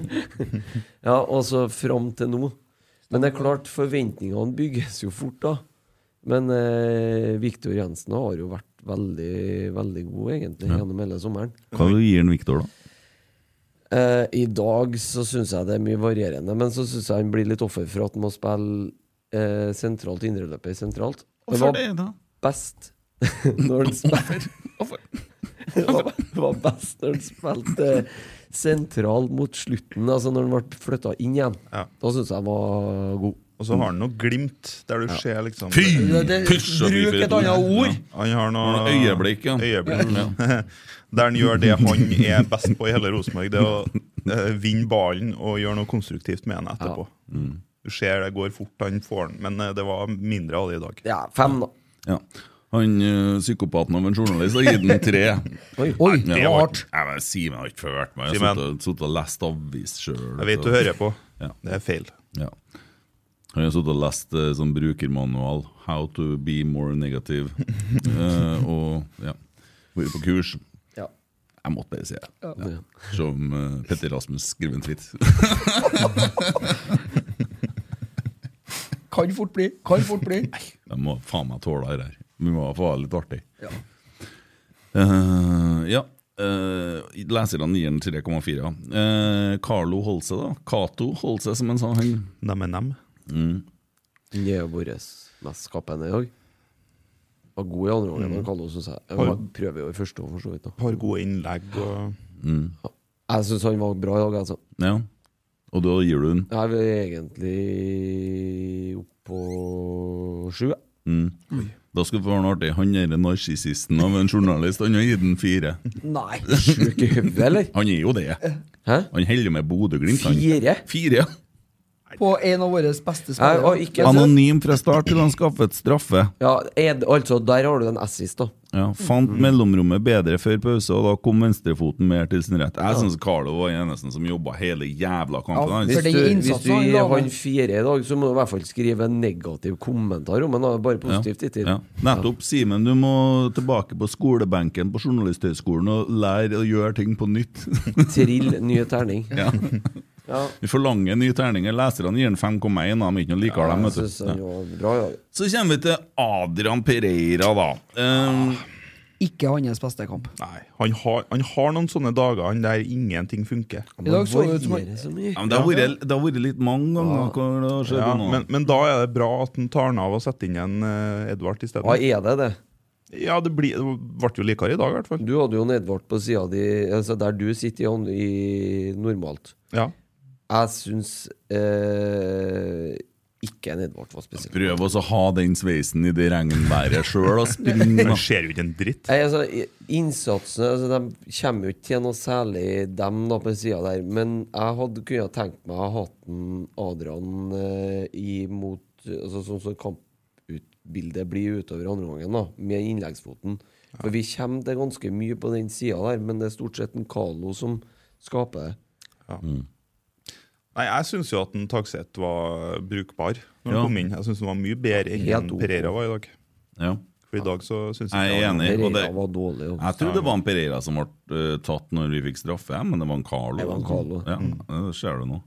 [SPEAKER 4] ja, og så fram til nå. Men det er klart, forventningene bygges jo fort, da. Men eh, Viktor Jensen har jo vært veldig, veldig god, egentlig, gjennom hele sommeren.
[SPEAKER 3] Hva du gir du Viktor, da?
[SPEAKER 4] Eh, I dag så syns jeg det er mye varierende, men så syns jeg han blir litt offer for at han må spille eh, sentralt til indreløpet sentralt. Det
[SPEAKER 3] Hvorfor
[SPEAKER 4] var
[SPEAKER 3] det, da?
[SPEAKER 4] best når den spilte det, var- det var best når den spilte eh, sentral mot slutten, altså når den ble flytta inn igjen.
[SPEAKER 5] Ja.
[SPEAKER 4] Da syns jeg han var god.
[SPEAKER 5] Og så har han noe glimt der du ser liksom
[SPEAKER 3] Fy!
[SPEAKER 6] Det- det-
[SPEAKER 3] Pysj Mm, og fy
[SPEAKER 6] bruk
[SPEAKER 3] for
[SPEAKER 6] et annet
[SPEAKER 3] ord.
[SPEAKER 6] ord!
[SPEAKER 5] Han har noe
[SPEAKER 3] Han har øyeblikk, ja.
[SPEAKER 5] Øyeblikk. Der han gjør det han er best på i hele Rosenborg, det å eh, vinne ballen og gjøre noe konstruktivt med den etterpå.
[SPEAKER 4] Mm.
[SPEAKER 5] Du ser det går fort, han får den, men eh, det var mindre av det i dag.
[SPEAKER 4] Ja, fem, da.
[SPEAKER 3] Ja. Han eh, psykopaten av en journalist har gitt den tre.
[SPEAKER 6] Oi,
[SPEAKER 3] Ja,
[SPEAKER 6] det var hardt.
[SPEAKER 3] Nei, men Simen har ikke ført meg. Jeg
[SPEAKER 5] Simen.
[SPEAKER 3] har sittet- sittet og lest avis sjøl.
[SPEAKER 5] Jeg vet du hører på.
[SPEAKER 3] Ja.
[SPEAKER 5] Det er feil.
[SPEAKER 3] Ja. Jeg har sittet og lest eh, sånn brukermanual, How to be more negative. Eh, og ja, vært på kurs.
[SPEAKER 4] Ja.
[SPEAKER 3] Jeg måtte bare si det. Ja. Som eh, Petter Rasmus skriver en tweet.
[SPEAKER 6] Kan fort bli. Kan fort bli.
[SPEAKER 3] Jeg må faen meg tåle det her. Vi må få ha det litt artig.
[SPEAKER 6] Ja.
[SPEAKER 3] Eh, ja. Uh, Leserne gir den 3,4. Eh, Carlo Holse, da. Cato Holse, som han sa. Han
[SPEAKER 5] Dem er dem.
[SPEAKER 4] Han er jo vår mest skapende i dag. Var god i andre omgang,
[SPEAKER 3] Mm.
[SPEAKER 4] men Kallo synes jeg. Han prøver jo i første år, for så vidt. da.
[SPEAKER 5] Har gode innlegg og
[SPEAKER 4] Jeg syns han var bra i dag, altså.
[SPEAKER 3] Ja. Og da gir du den.
[SPEAKER 4] Jeg vil egentlig opp på sju. jeg.
[SPEAKER 3] Da skal du få høre noe artig. Han er den narsissisten av en journalist. Han har gitt den fire.
[SPEAKER 6] Nei.
[SPEAKER 4] Sjuk i hodet, eller?
[SPEAKER 3] Han er jo det.
[SPEAKER 4] Hæ?
[SPEAKER 3] Han holder med Bodø-Glimt. han.
[SPEAKER 4] Fire?
[SPEAKER 3] Fire, ja.
[SPEAKER 6] På en av våre beste
[SPEAKER 4] Jeg,
[SPEAKER 6] spillere.
[SPEAKER 4] og ikke,
[SPEAKER 3] Anonym fra start til han skaffet straffe.
[SPEAKER 4] ja, Ed, altså, der har du en assist, da.
[SPEAKER 3] Ja, Fant mellomrommet bedre før pause, og da kom venstrefoten mer til sin rett. Jeg syns Carlo var den eneste som jobba hele jævla kampen.
[SPEAKER 6] Ja,
[SPEAKER 3] Han
[SPEAKER 6] for
[SPEAKER 4] Hvis
[SPEAKER 6] den
[SPEAKER 4] du, hvis
[SPEAKER 6] innsatsen
[SPEAKER 4] du
[SPEAKER 6] han la
[SPEAKER 4] gir han
[SPEAKER 6] ned.
[SPEAKER 4] fire i dag, så må du i hvert fall skrive en negativ kommentar om han. da. Bare positivt hittil.
[SPEAKER 3] Ja. Nettopp. Simen, du må tilbake på skolebenken på Journalisthøgskolen og lære å gjøre ting på nytt.
[SPEAKER 4] Trill ny terning.
[SPEAKER 3] ja.
[SPEAKER 4] Ja.
[SPEAKER 3] Vi forlanger nye terninger. Leserne gir den 5,1, da, men ikke noe liker dem.
[SPEAKER 4] Jeg
[SPEAKER 3] vet du.
[SPEAKER 4] syns han
[SPEAKER 3] Ja.
[SPEAKER 4] var bra i dag.
[SPEAKER 3] Så kommer vi til Adrian Pereira, da. Eh,
[SPEAKER 6] Ikke hans beste kamp.
[SPEAKER 5] Nei. Han har, han har noen sånne dager han der ingenting funker.
[SPEAKER 6] I dag så det ut som han
[SPEAKER 4] Varierer så mye.
[SPEAKER 3] ja, men det har vært- det har vært litt mange
[SPEAKER 4] Ah.
[SPEAKER 3] ganger. hvor det har skjedd
[SPEAKER 5] Ja,
[SPEAKER 3] noe.
[SPEAKER 5] men, men da er det bra at han tar den av og setter inn en eh, Edvard i stedet.
[SPEAKER 4] Hva er det, det?
[SPEAKER 5] Ja, det, blir, det ble jo likere i dag, i hvert fall.
[SPEAKER 4] Du hadde jo en Edvard på sida di, altså der du sitter i, han- i normalt.
[SPEAKER 5] Ja.
[SPEAKER 4] Jeg syns eh, ikke en Edvard var spesiell.
[SPEAKER 3] Prøv også å ha den sveisen i det regnværet sjøl og springe.
[SPEAKER 5] Han ser jo ikke en dritt.
[SPEAKER 4] Nei, altså, i- innsatsen altså, De kommer jo ikke til noe særlig, dem da på sida der. Men jeg hadde kunnet tenkt meg å ha hatt en Adrian eh, imot altså, Sånn som kamputbildet blir utover andre gangen, da, med innleggsfoten. For vi kommer til ganske mye på den sida der, men det er stort sett en Carlo som skaper det.
[SPEAKER 5] Nei, Jeg syns jo at en Takseth var brukbar når
[SPEAKER 3] Ja.
[SPEAKER 5] han kom inn. Jeg synes han var mye bedre enn
[SPEAKER 4] Helt
[SPEAKER 5] en
[SPEAKER 4] ok.
[SPEAKER 5] Pereira var i dag.
[SPEAKER 3] Ja.
[SPEAKER 5] For i dag så syns jeg
[SPEAKER 3] Jeg er
[SPEAKER 5] han var-
[SPEAKER 3] enig. og det,
[SPEAKER 4] Pereira var dårlig. Og.
[SPEAKER 3] jeg tror det var en Pereira som ble eh, tatt når vi fikk straffe, men det var en Carlo.
[SPEAKER 4] Det var en Carlo. Mm.
[SPEAKER 3] Ja, det ser du nå.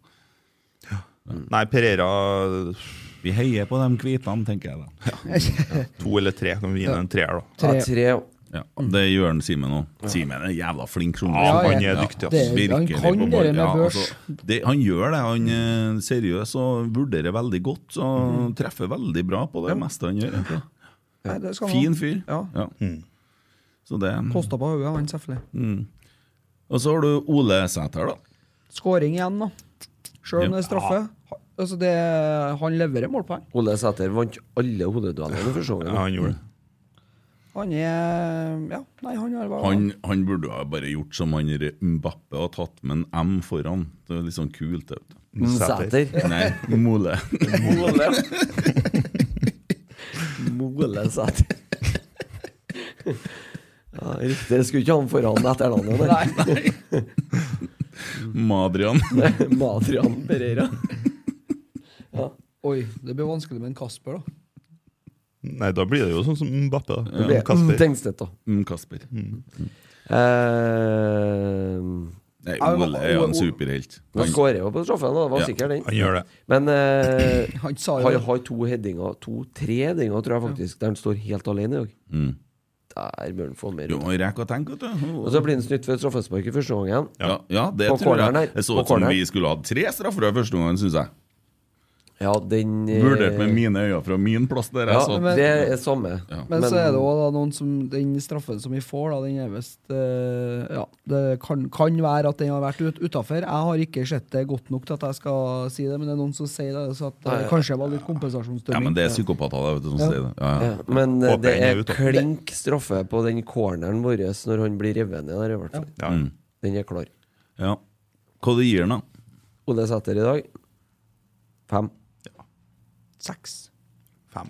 [SPEAKER 5] Nei, Pereira
[SPEAKER 3] Vi heier på de hvitene, tenker jeg da.
[SPEAKER 5] to eller tre. Kan vi gi ham en treer, da?
[SPEAKER 4] Ja, tre.
[SPEAKER 3] Ja, det gjør han Simen òg. Simen er en jævla flink
[SPEAKER 5] Ja,
[SPEAKER 3] journalist.
[SPEAKER 5] han
[SPEAKER 6] ja.
[SPEAKER 5] er dyktig, ass.
[SPEAKER 6] Det er- han
[SPEAKER 3] Virkelig
[SPEAKER 6] kan
[SPEAKER 3] på
[SPEAKER 6] det
[SPEAKER 3] ball.
[SPEAKER 6] med
[SPEAKER 3] Ja,
[SPEAKER 6] børs.
[SPEAKER 3] altså, det, han gjør det. Han er seriøs og vurderer veldig godt.
[SPEAKER 6] Mhm.
[SPEAKER 3] Og treffer veldig bra på det meste han gjør. egentlig.
[SPEAKER 6] Nei, det skal han
[SPEAKER 3] Fin
[SPEAKER 6] ha.
[SPEAKER 3] fyr.
[SPEAKER 6] Ja.
[SPEAKER 5] Mhm.
[SPEAKER 3] Så det.
[SPEAKER 6] Kosta på hodet, han selvfølgelig.
[SPEAKER 3] Og så har du Ole Sæter, da.
[SPEAKER 6] Skåring igjen, da. Sjøl om det er straffe. Ha- Altså, det, han leverer målpoeng.
[SPEAKER 4] Ole Sæter vant alle hodeduellene for så vidt.
[SPEAKER 5] Ja, han gjorde det.
[SPEAKER 6] Han er Ja, nei, han har bare
[SPEAKER 3] Han, han burde ha bare gjort som han der Mbappe og tatt med en M foran. Det er litt sånn kult. det, Vet du.
[SPEAKER 4] Mm. Sæter.
[SPEAKER 3] Nei, Mole.
[SPEAKER 4] Mole. Mole Sæter. Ja, Ah, riktig. Jeg skulle ikke ha han foran etternavnet. Nei.
[SPEAKER 3] Madrian.
[SPEAKER 4] Madrian Pereira. Ja.
[SPEAKER 6] Oi, det blir vanskelig med en Kasper, da.
[SPEAKER 5] Nei, da blir det jo sånn som Mbappe. da.
[SPEAKER 4] Det
[SPEAKER 5] Kasper.
[SPEAKER 4] ble Tengstedt, da.
[SPEAKER 3] Mm, Kasper.
[SPEAKER 4] Eh,
[SPEAKER 3] Nei, Mole er jo en superhelt.
[SPEAKER 4] han
[SPEAKER 3] Han,
[SPEAKER 4] skårer jo på straffen, da. Det var
[SPEAKER 3] Ja,
[SPEAKER 4] sikkert den.
[SPEAKER 5] Han gjør det.
[SPEAKER 4] Men eh,
[SPEAKER 6] Han sa jo
[SPEAKER 4] han har to headinger, to-tre headinger, tror jeg faktisk, der han står helt alene i dag.
[SPEAKER 3] Mm.
[SPEAKER 4] Der bør han få mer.
[SPEAKER 3] jo,
[SPEAKER 4] ut.
[SPEAKER 3] han rekker å tenke, vet du.
[SPEAKER 4] Og så blir han snytt ved straffespark i første omgangen.
[SPEAKER 3] ja, ja, det
[SPEAKER 4] På
[SPEAKER 3] tror
[SPEAKER 4] corneren her.
[SPEAKER 3] jeg. Det så
[SPEAKER 4] På
[SPEAKER 3] ut som
[SPEAKER 4] corneren.
[SPEAKER 3] vi skulle hatt tre straffer i første omgang, syns jeg.
[SPEAKER 4] Ja, den eh,
[SPEAKER 3] Vurdert med mine øyne fra min plass der jeg
[SPEAKER 4] Ja,
[SPEAKER 3] satt.
[SPEAKER 4] det er samme.
[SPEAKER 3] sånn. Ja.
[SPEAKER 6] Men, så er det også da noen som Den straffen som vi får, da, den er visst eh, Ja, det kan, kan være at den har vært ut, utafor. Jeg har ikke sett det godt nok til at jeg skal si det, men det er noen som sier det. Så at
[SPEAKER 4] Nei,
[SPEAKER 6] det
[SPEAKER 4] ja.
[SPEAKER 6] kanskje var litt
[SPEAKER 3] Ja,
[SPEAKER 6] kompensasjonsdømming.
[SPEAKER 3] men det er psykopater der, vet du, som
[SPEAKER 6] Ja.
[SPEAKER 3] sier det. Ja, ja.
[SPEAKER 4] Ja, men eh,
[SPEAKER 5] Håper
[SPEAKER 4] det
[SPEAKER 5] den er
[SPEAKER 4] er
[SPEAKER 5] ute.
[SPEAKER 4] klink straffe på den corneren vår når han blir revet ned der, i hvert fall.
[SPEAKER 5] Ja.
[SPEAKER 3] Mm.
[SPEAKER 4] Den er klar.
[SPEAKER 3] ja. Hva det gir den, da?
[SPEAKER 4] Ole Sæter i dag fem.
[SPEAKER 6] Seks.
[SPEAKER 5] Fem.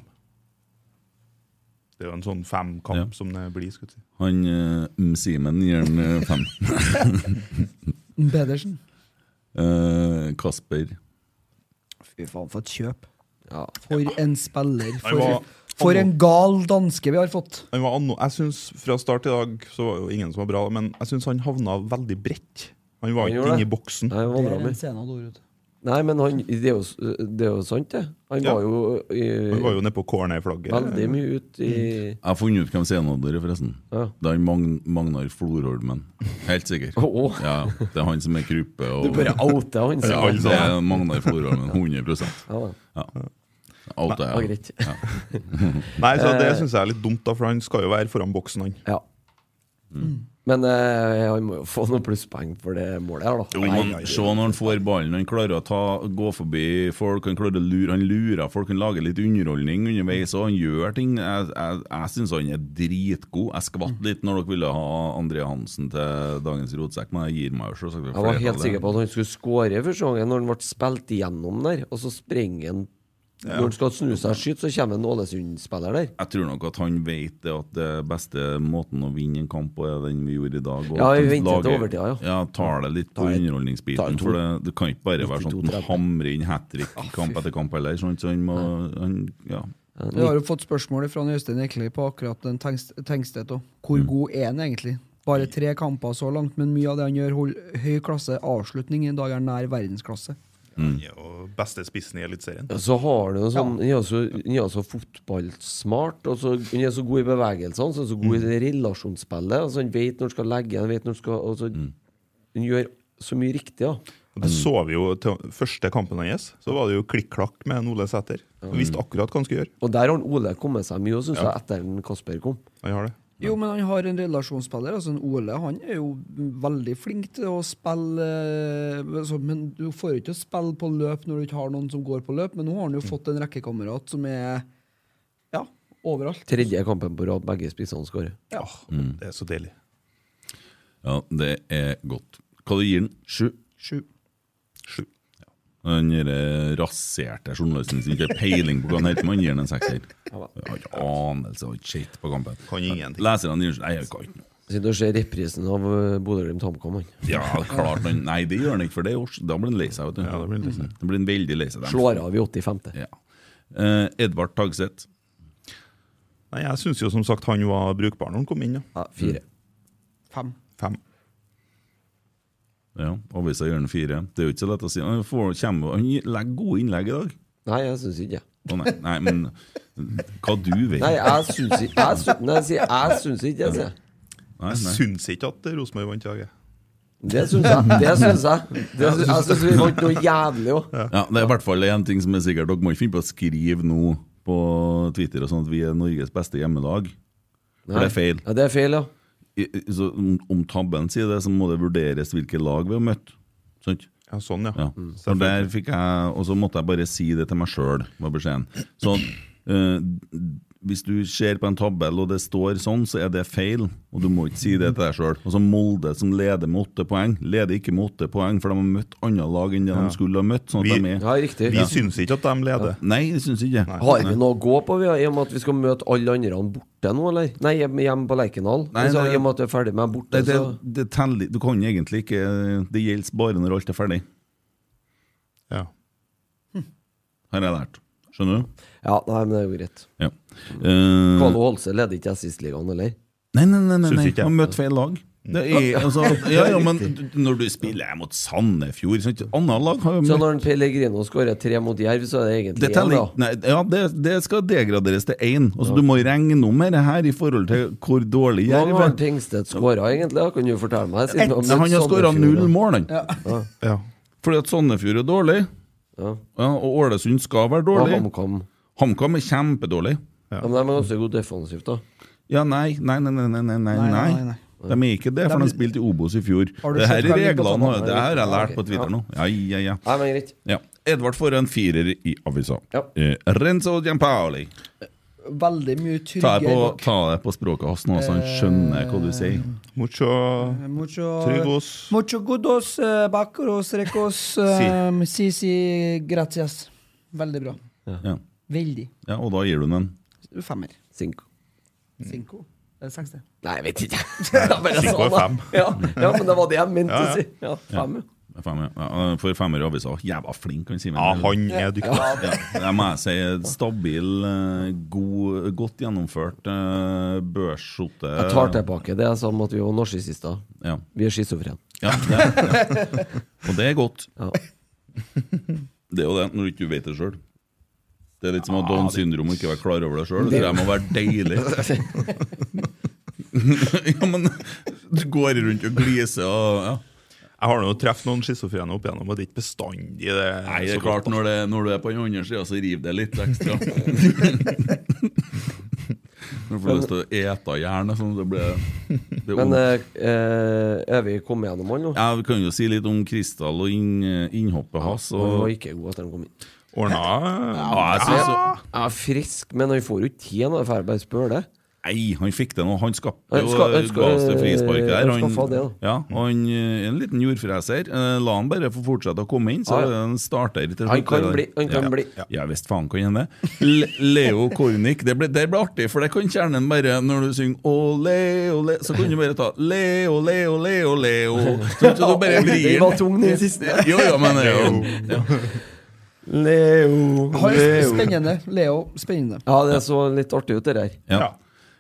[SPEAKER 5] Det er jo en sånn femkamp
[SPEAKER 3] Ja.
[SPEAKER 5] som det blir. Skal jeg si.
[SPEAKER 3] Han eh, M. Simen gir den eh, fem.
[SPEAKER 6] Pedersen.
[SPEAKER 3] Eh, Kasper
[SPEAKER 6] Fy faen, for et kjøp.
[SPEAKER 4] Ja.
[SPEAKER 6] For en spiller.
[SPEAKER 5] Han var-
[SPEAKER 6] For, for en gal danske vi har fått.
[SPEAKER 5] Han var anno, jeg synes Fra start i dag så var jo ingen som var bra, men jeg syns han havna veldig bredt. Han var
[SPEAKER 4] Han
[SPEAKER 5] ikke
[SPEAKER 4] gjorde
[SPEAKER 5] inne
[SPEAKER 4] det.
[SPEAKER 5] i boksen.
[SPEAKER 4] Nei,
[SPEAKER 6] Det er
[SPEAKER 4] Valrammer.
[SPEAKER 6] en scene av Dorud.
[SPEAKER 4] Nei, men han, det, er jo, s- det er jo sant, det. Han
[SPEAKER 5] Ja.
[SPEAKER 4] var jo, eh,
[SPEAKER 5] Han var jo nede på cornerflagget.
[SPEAKER 4] veldig mye ute i
[SPEAKER 3] Jeg har funnet ut hvem scenen av dere, forresten.
[SPEAKER 4] Ja.
[SPEAKER 3] Det er han Magn Magnar Florholmen. Helt sikker.
[SPEAKER 4] Å, å.
[SPEAKER 3] Ja, det er han som er kruppe. Og,
[SPEAKER 4] Du bare outa han,
[SPEAKER 3] ja,
[SPEAKER 4] sier
[SPEAKER 3] det er Magnar Florholmen. 100
[SPEAKER 4] Ja, da.
[SPEAKER 3] ja. Outa,
[SPEAKER 4] Ja,
[SPEAKER 3] ja.
[SPEAKER 4] greit.
[SPEAKER 5] Nei, så Det
[SPEAKER 4] Eh.
[SPEAKER 5] syns jeg er litt dumt, da, for han skal jo være foran boksen, han.
[SPEAKER 4] Ja. Men eh, han må jo få noen plusspoeng for det målet her, da.
[SPEAKER 3] Jo,
[SPEAKER 4] Nei,
[SPEAKER 3] men Se når han får ballen, han klarer å ta, gå forbi folk, han klarer å lure Han lurer folk, han lager litt underholdning underveis, og han gjør ting. Jeg, jeg, jeg syns han er dritgod. Jeg skvatt
[SPEAKER 4] Mm.
[SPEAKER 3] litt når dere ville ha André Hansen til dagens rotsekk, men jeg gir meg jo selvsagt.
[SPEAKER 4] Jeg var helt sikker på at han skulle skåre første gangen når han ble spilt igjennom der, og så sprenger han Når han skal snu seg og skyte, så kommer en Ålesund-spiller der.
[SPEAKER 3] Jeg tror nok at han vet det at det beste måten å vinne en kamp på, er den vi gjorde i dag. og
[SPEAKER 4] Ja,
[SPEAKER 3] at
[SPEAKER 4] vi
[SPEAKER 3] han
[SPEAKER 4] venter til
[SPEAKER 3] lager-
[SPEAKER 4] overtida, ja.
[SPEAKER 3] Ja, tar det litt på
[SPEAKER 4] Ta et- ta
[SPEAKER 3] underholdningsbiten.
[SPEAKER 4] et to.
[SPEAKER 3] For det, det kan ikke bare være sånn at
[SPEAKER 4] 92-30.
[SPEAKER 3] han hamrer inn hat trick kamp etter kamp heller. sånn, Så han må han, ja.
[SPEAKER 6] Vi har jo fått spørsmål fra Øystein Ekli på akkurat den Tengst- Tengstedt òg. Hvor god er han egentlig? Bare tre kamper så langt, men mye av det han gjør, holder høy klasse. Avslutning i dag er nær verdensklasse.
[SPEAKER 5] Han er jo beste spissen i Eliteserien.
[SPEAKER 4] Og så har du en sånn Han er så, han er så fotballsmart, og så, han er så god i bevegelsene, så, er han så god i det relasjonsspillet. Altså, han vet når han skal legge, han vet når han skal og så, Han gjør så mye riktig, da.
[SPEAKER 5] Og Det så vi jo til første kampen hans. Så var det jo klikk-klakk med en Ole Sæter. Han visste akkurat hva han skulle gjøre.
[SPEAKER 4] Og der har han Ole kommet seg mye, syns jeg, etter at Kasper kom.
[SPEAKER 5] Han har det.
[SPEAKER 6] Jo, men han har en relasjonsspiller. altså en Ole han er jo veldig flink til å spille eh, altså, Men du får jo ikke å spille på løp når du ikke har noen som går på løp, men nå har han jo fått en rekkekamerat som er ja, overalt.
[SPEAKER 4] Tredje kampen på rad, begge spissene skårer.
[SPEAKER 5] Åh, det er så deilig.
[SPEAKER 3] ja, det er godt. Hva du gir han? Sju.
[SPEAKER 6] Sju.
[SPEAKER 5] Sju.
[SPEAKER 3] Den der eh, raserte journalisten som ikke har peiling på hva han heter, men han gir han en sekser. Jeg har ikke anelse, jeg har ikke sett på kampen.
[SPEAKER 5] Kan ingenting.
[SPEAKER 3] Leserne gir han Nei, jeg kan ikke noe.
[SPEAKER 4] Sitter og ser reprisen av eh, Bodø-Glimt HamKam, han.
[SPEAKER 3] Ja, klart han Nei, det gjør han ikke, for det er års- da blir han lei seg. vet du.
[SPEAKER 5] Ja, da blir han lei seg.
[SPEAKER 3] Mhm. Da blir han veldig lei seg. dem.
[SPEAKER 4] Slår av i 85.
[SPEAKER 3] Ja. Eh, Edvard Tagseth.
[SPEAKER 5] Nei, Jeg syns jo som sagt han var brukbar når han kom inn. Ja.
[SPEAKER 4] Ja, fire.
[SPEAKER 6] Fem.
[SPEAKER 5] Fem.
[SPEAKER 3] Ja, Avisa gjør den fire. Det er jo ikke så lett å si. Han, får, kommer, han legger gode innlegg i dag.
[SPEAKER 4] Nei, jeg syns ikke det.
[SPEAKER 3] Å nei, nei, men hva du vet
[SPEAKER 4] Nei, jeg syns ikke Jeg syns, nei, jeg sier, jeg syns ikke det, sier jeg.
[SPEAKER 3] Nei,
[SPEAKER 5] Jeg
[SPEAKER 3] nei.
[SPEAKER 5] syns ikke at Rosenborg vant i dag. jeg.
[SPEAKER 4] Det syns jeg. Det syns jeg. Det syns, jeg syns vi vant noe jævlig òg.
[SPEAKER 3] Ja, det er i hvert fall én ting som er sikkert. Dere må ikke finne på å skrive nå på Twitter og sånn at vi er Norges beste hjemmelag. For det er feil.
[SPEAKER 4] Ja, det er feil, ja.
[SPEAKER 3] I- i- Så om, om tabben sier det, så må det vurderes hvilke lag vi har møtt. Sant?
[SPEAKER 5] Ja, sånn, ja.
[SPEAKER 3] Ja. Og der fikk jeg Og så måtte jeg bare si det til meg sjøl, var beskjeden. Sånn, eh, hvis du ser på en tabell og det står sånn, så er det feil, og du må ikke si det til deg sjøl. Og så Molde, som leder med åtte poeng, leder ikke med åtte poeng, for de har møtt andre lag enn det de skulle ha møtt. Sånn at
[SPEAKER 5] Vi-
[SPEAKER 3] de er
[SPEAKER 4] Ja, riktig.
[SPEAKER 5] Vi syns ikke at de leder.
[SPEAKER 3] Nei, det syns jeg ikke.
[SPEAKER 4] Har vi noe å gå på, vi, da, i og med at vi skal møte alle andre borte nå, eller? Nei, hjemme, hjemme på Lerkendal.
[SPEAKER 3] Nei,
[SPEAKER 4] Altså,
[SPEAKER 3] det-
[SPEAKER 4] I og med at vi er ferdig med borte,
[SPEAKER 3] Det, det,
[SPEAKER 4] så
[SPEAKER 3] det teller Du kan egentlig ikke Det gjelder bare når alt er ferdig,
[SPEAKER 5] Ja.
[SPEAKER 3] har jeg lært. Skjønner du?
[SPEAKER 4] Ja, nei, men det er jo greit.
[SPEAKER 3] Ja. Eh,
[SPEAKER 4] Kalo Holse leder ikke Assistligaen, eller?
[SPEAKER 3] Nei, nei, nei, nei,
[SPEAKER 5] Syns
[SPEAKER 3] nei.
[SPEAKER 5] ikke jeg.
[SPEAKER 3] han møtte feil lag. Det er, altså, ja, ja, men når du spiller mot Sandefjord sant? Annet lag har jo
[SPEAKER 4] Så
[SPEAKER 3] møtt
[SPEAKER 4] når en Pellegrino skårer tre mot Jerv, så er det egentlig
[SPEAKER 3] Mm. det, teller,
[SPEAKER 4] én,
[SPEAKER 3] ikke- nei, ja, det, det skal degraderes til én. Altså, Du må regne om dette her i forhold til hvor dårlig
[SPEAKER 4] da. Nå har
[SPEAKER 3] Jerv er.
[SPEAKER 4] Tingstedt skåra, egentlig? Da kan du fortelle meg. siden
[SPEAKER 3] Nei,
[SPEAKER 4] han møtte
[SPEAKER 3] Han har skåra
[SPEAKER 4] Sandefjord,
[SPEAKER 3] null
[SPEAKER 4] da.
[SPEAKER 3] mål, han.
[SPEAKER 5] ja.
[SPEAKER 3] Fordi at Sandefjord er dårlig.
[SPEAKER 4] Ja.
[SPEAKER 3] og Ålesund skal være
[SPEAKER 4] Og
[SPEAKER 3] dårlig.
[SPEAKER 4] HamKam.
[SPEAKER 3] HamKam er kjempedårlig.
[SPEAKER 4] Ja. Men de er ganske gode defensivt, da.
[SPEAKER 3] Ja, nei, nei, nei, nei, nei, nei, nei,
[SPEAKER 6] nei,
[SPEAKER 3] nei. De er ikke det, for
[SPEAKER 6] De-
[SPEAKER 3] de spilte i Obos i fjor.
[SPEAKER 6] Har du
[SPEAKER 3] Det her
[SPEAKER 6] sett
[SPEAKER 3] er
[SPEAKER 6] hva de
[SPEAKER 3] reglene,
[SPEAKER 6] på Ah,
[SPEAKER 3] og det her har jeg lært på
[SPEAKER 4] Ja.
[SPEAKER 3] Twitter nå. Ja, ja, ja.
[SPEAKER 4] Nei, men greit.
[SPEAKER 3] ja. Edvard får en firer i avisa.
[SPEAKER 4] Ja.
[SPEAKER 3] Eh, Renzo Giampaoli.
[SPEAKER 6] Veldig mye
[SPEAKER 3] Ta det
[SPEAKER 6] tryggere
[SPEAKER 3] på,
[SPEAKER 6] bak.
[SPEAKER 3] ta det på språket hans nå, så han skjønner
[SPEAKER 6] Eh,
[SPEAKER 3] hva du sier.
[SPEAKER 5] Mucho
[SPEAKER 6] Mucho,
[SPEAKER 5] trygos.
[SPEAKER 6] mucho gudos, eh, bacros, recos, eh, si, si, gracias. Veldig bra.
[SPEAKER 3] Ja.
[SPEAKER 6] Veldig.
[SPEAKER 3] ja, Og da gir du den en
[SPEAKER 6] Femmer.
[SPEAKER 4] Cinco.
[SPEAKER 6] Mm. Cinco. Eller seks, det.
[SPEAKER 4] Nei, jeg vet ikke. Jeg bare
[SPEAKER 5] Cinco
[SPEAKER 4] sa
[SPEAKER 5] er
[SPEAKER 4] det.
[SPEAKER 5] fem.
[SPEAKER 4] Ja, ja, men det var det jeg mente
[SPEAKER 5] Ja, ja.
[SPEAKER 4] å si. Ja, fem, ja.
[SPEAKER 3] fem, ja. Ja, han får femmer i avisa. Jævla flink, han Simen.
[SPEAKER 5] Ja, han er dyktig.
[SPEAKER 3] Ja, det må jeg si. Stabil, eh, god, godt gjennomført eh, børsskjorte.
[SPEAKER 4] Jeg tar tilbake det jeg sa om at vi var narsissister.
[SPEAKER 3] Ja.
[SPEAKER 4] Vi er schizofrene.
[SPEAKER 3] Ja, det er, ja. Og det er godt.
[SPEAKER 4] Ja.
[SPEAKER 3] Det er jo det, når du ikke vet det sjøl. Det er litt som å ha Downs syndrom og ikke være klar over det sjøl. Det må være deilig. ja, men du går rundt og gliser og ja.
[SPEAKER 5] Jeg har nå truffet noen schizofrene opp igjennom, og det er ikke bestandig det.
[SPEAKER 3] Nei, det er klart, når, det, når du er på den andre sida, så river det litt ekstra. Når du får lyst til å ete jernet, sånn, det blir det er
[SPEAKER 4] Men
[SPEAKER 3] ondt.
[SPEAKER 4] eh, eh, er vi kommet gjennom han nå?
[SPEAKER 3] Oh. Ja, Vi kan jo si litt om Kristall og inn, innhoppet hans.
[SPEAKER 4] Han var
[SPEAKER 3] Og,
[SPEAKER 4] ikke god etter han kom inn.
[SPEAKER 5] Ordna
[SPEAKER 3] ja, jeg synes, jo-
[SPEAKER 4] Jeg er frisk, men han får jo ikke tid nå. Jeg får bare spørre det.
[SPEAKER 3] nei, han fikk det nå. Han skapte
[SPEAKER 4] Han
[SPEAKER 3] jo eh,
[SPEAKER 4] ska- han ska-
[SPEAKER 3] ga oss det frisparket der.
[SPEAKER 4] han skaffa det,
[SPEAKER 3] ja, og han eh, er en liten jordfreser. Eh, La han bare få fortsette å komme inn,
[SPEAKER 4] Ja,
[SPEAKER 3] så er
[SPEAKER 4] ja.
[SPEAKER 3] det en starter. til
[SPEAKER 4] Han
[SPEAKER 3] slutt,
[SPEAKER 4] kan
[SPEAKER 3] det der.
[SPEAKER 4] bli, han kan
[SPEAKER 3] ja,
[SPEAKER 4] bli.
[SPEAKER 3] Ja, ja visst faen kan hende. Le Leo Kornik. Det ble, det ble artig, for det kan kjernen bare Når du synger ole, ole, så kan du bare ta Leo, Leo, Leo, Leo. Så, så du bare vrir
[SPEAKER 4] Den var tung, den siste.
[SPEAKER 3] Jo, jo, men eh, det er jo- ja.
[SPEAKER 4] Leo,
[SPEAKER 6] Han er
[SPEAKER 4] Leo.
[SPEAKER 6] spennende. Leo, spennende.
[SPEAKER 4] Ja, det så litt artig ut, det der.
[SPEAKER 3] Ja.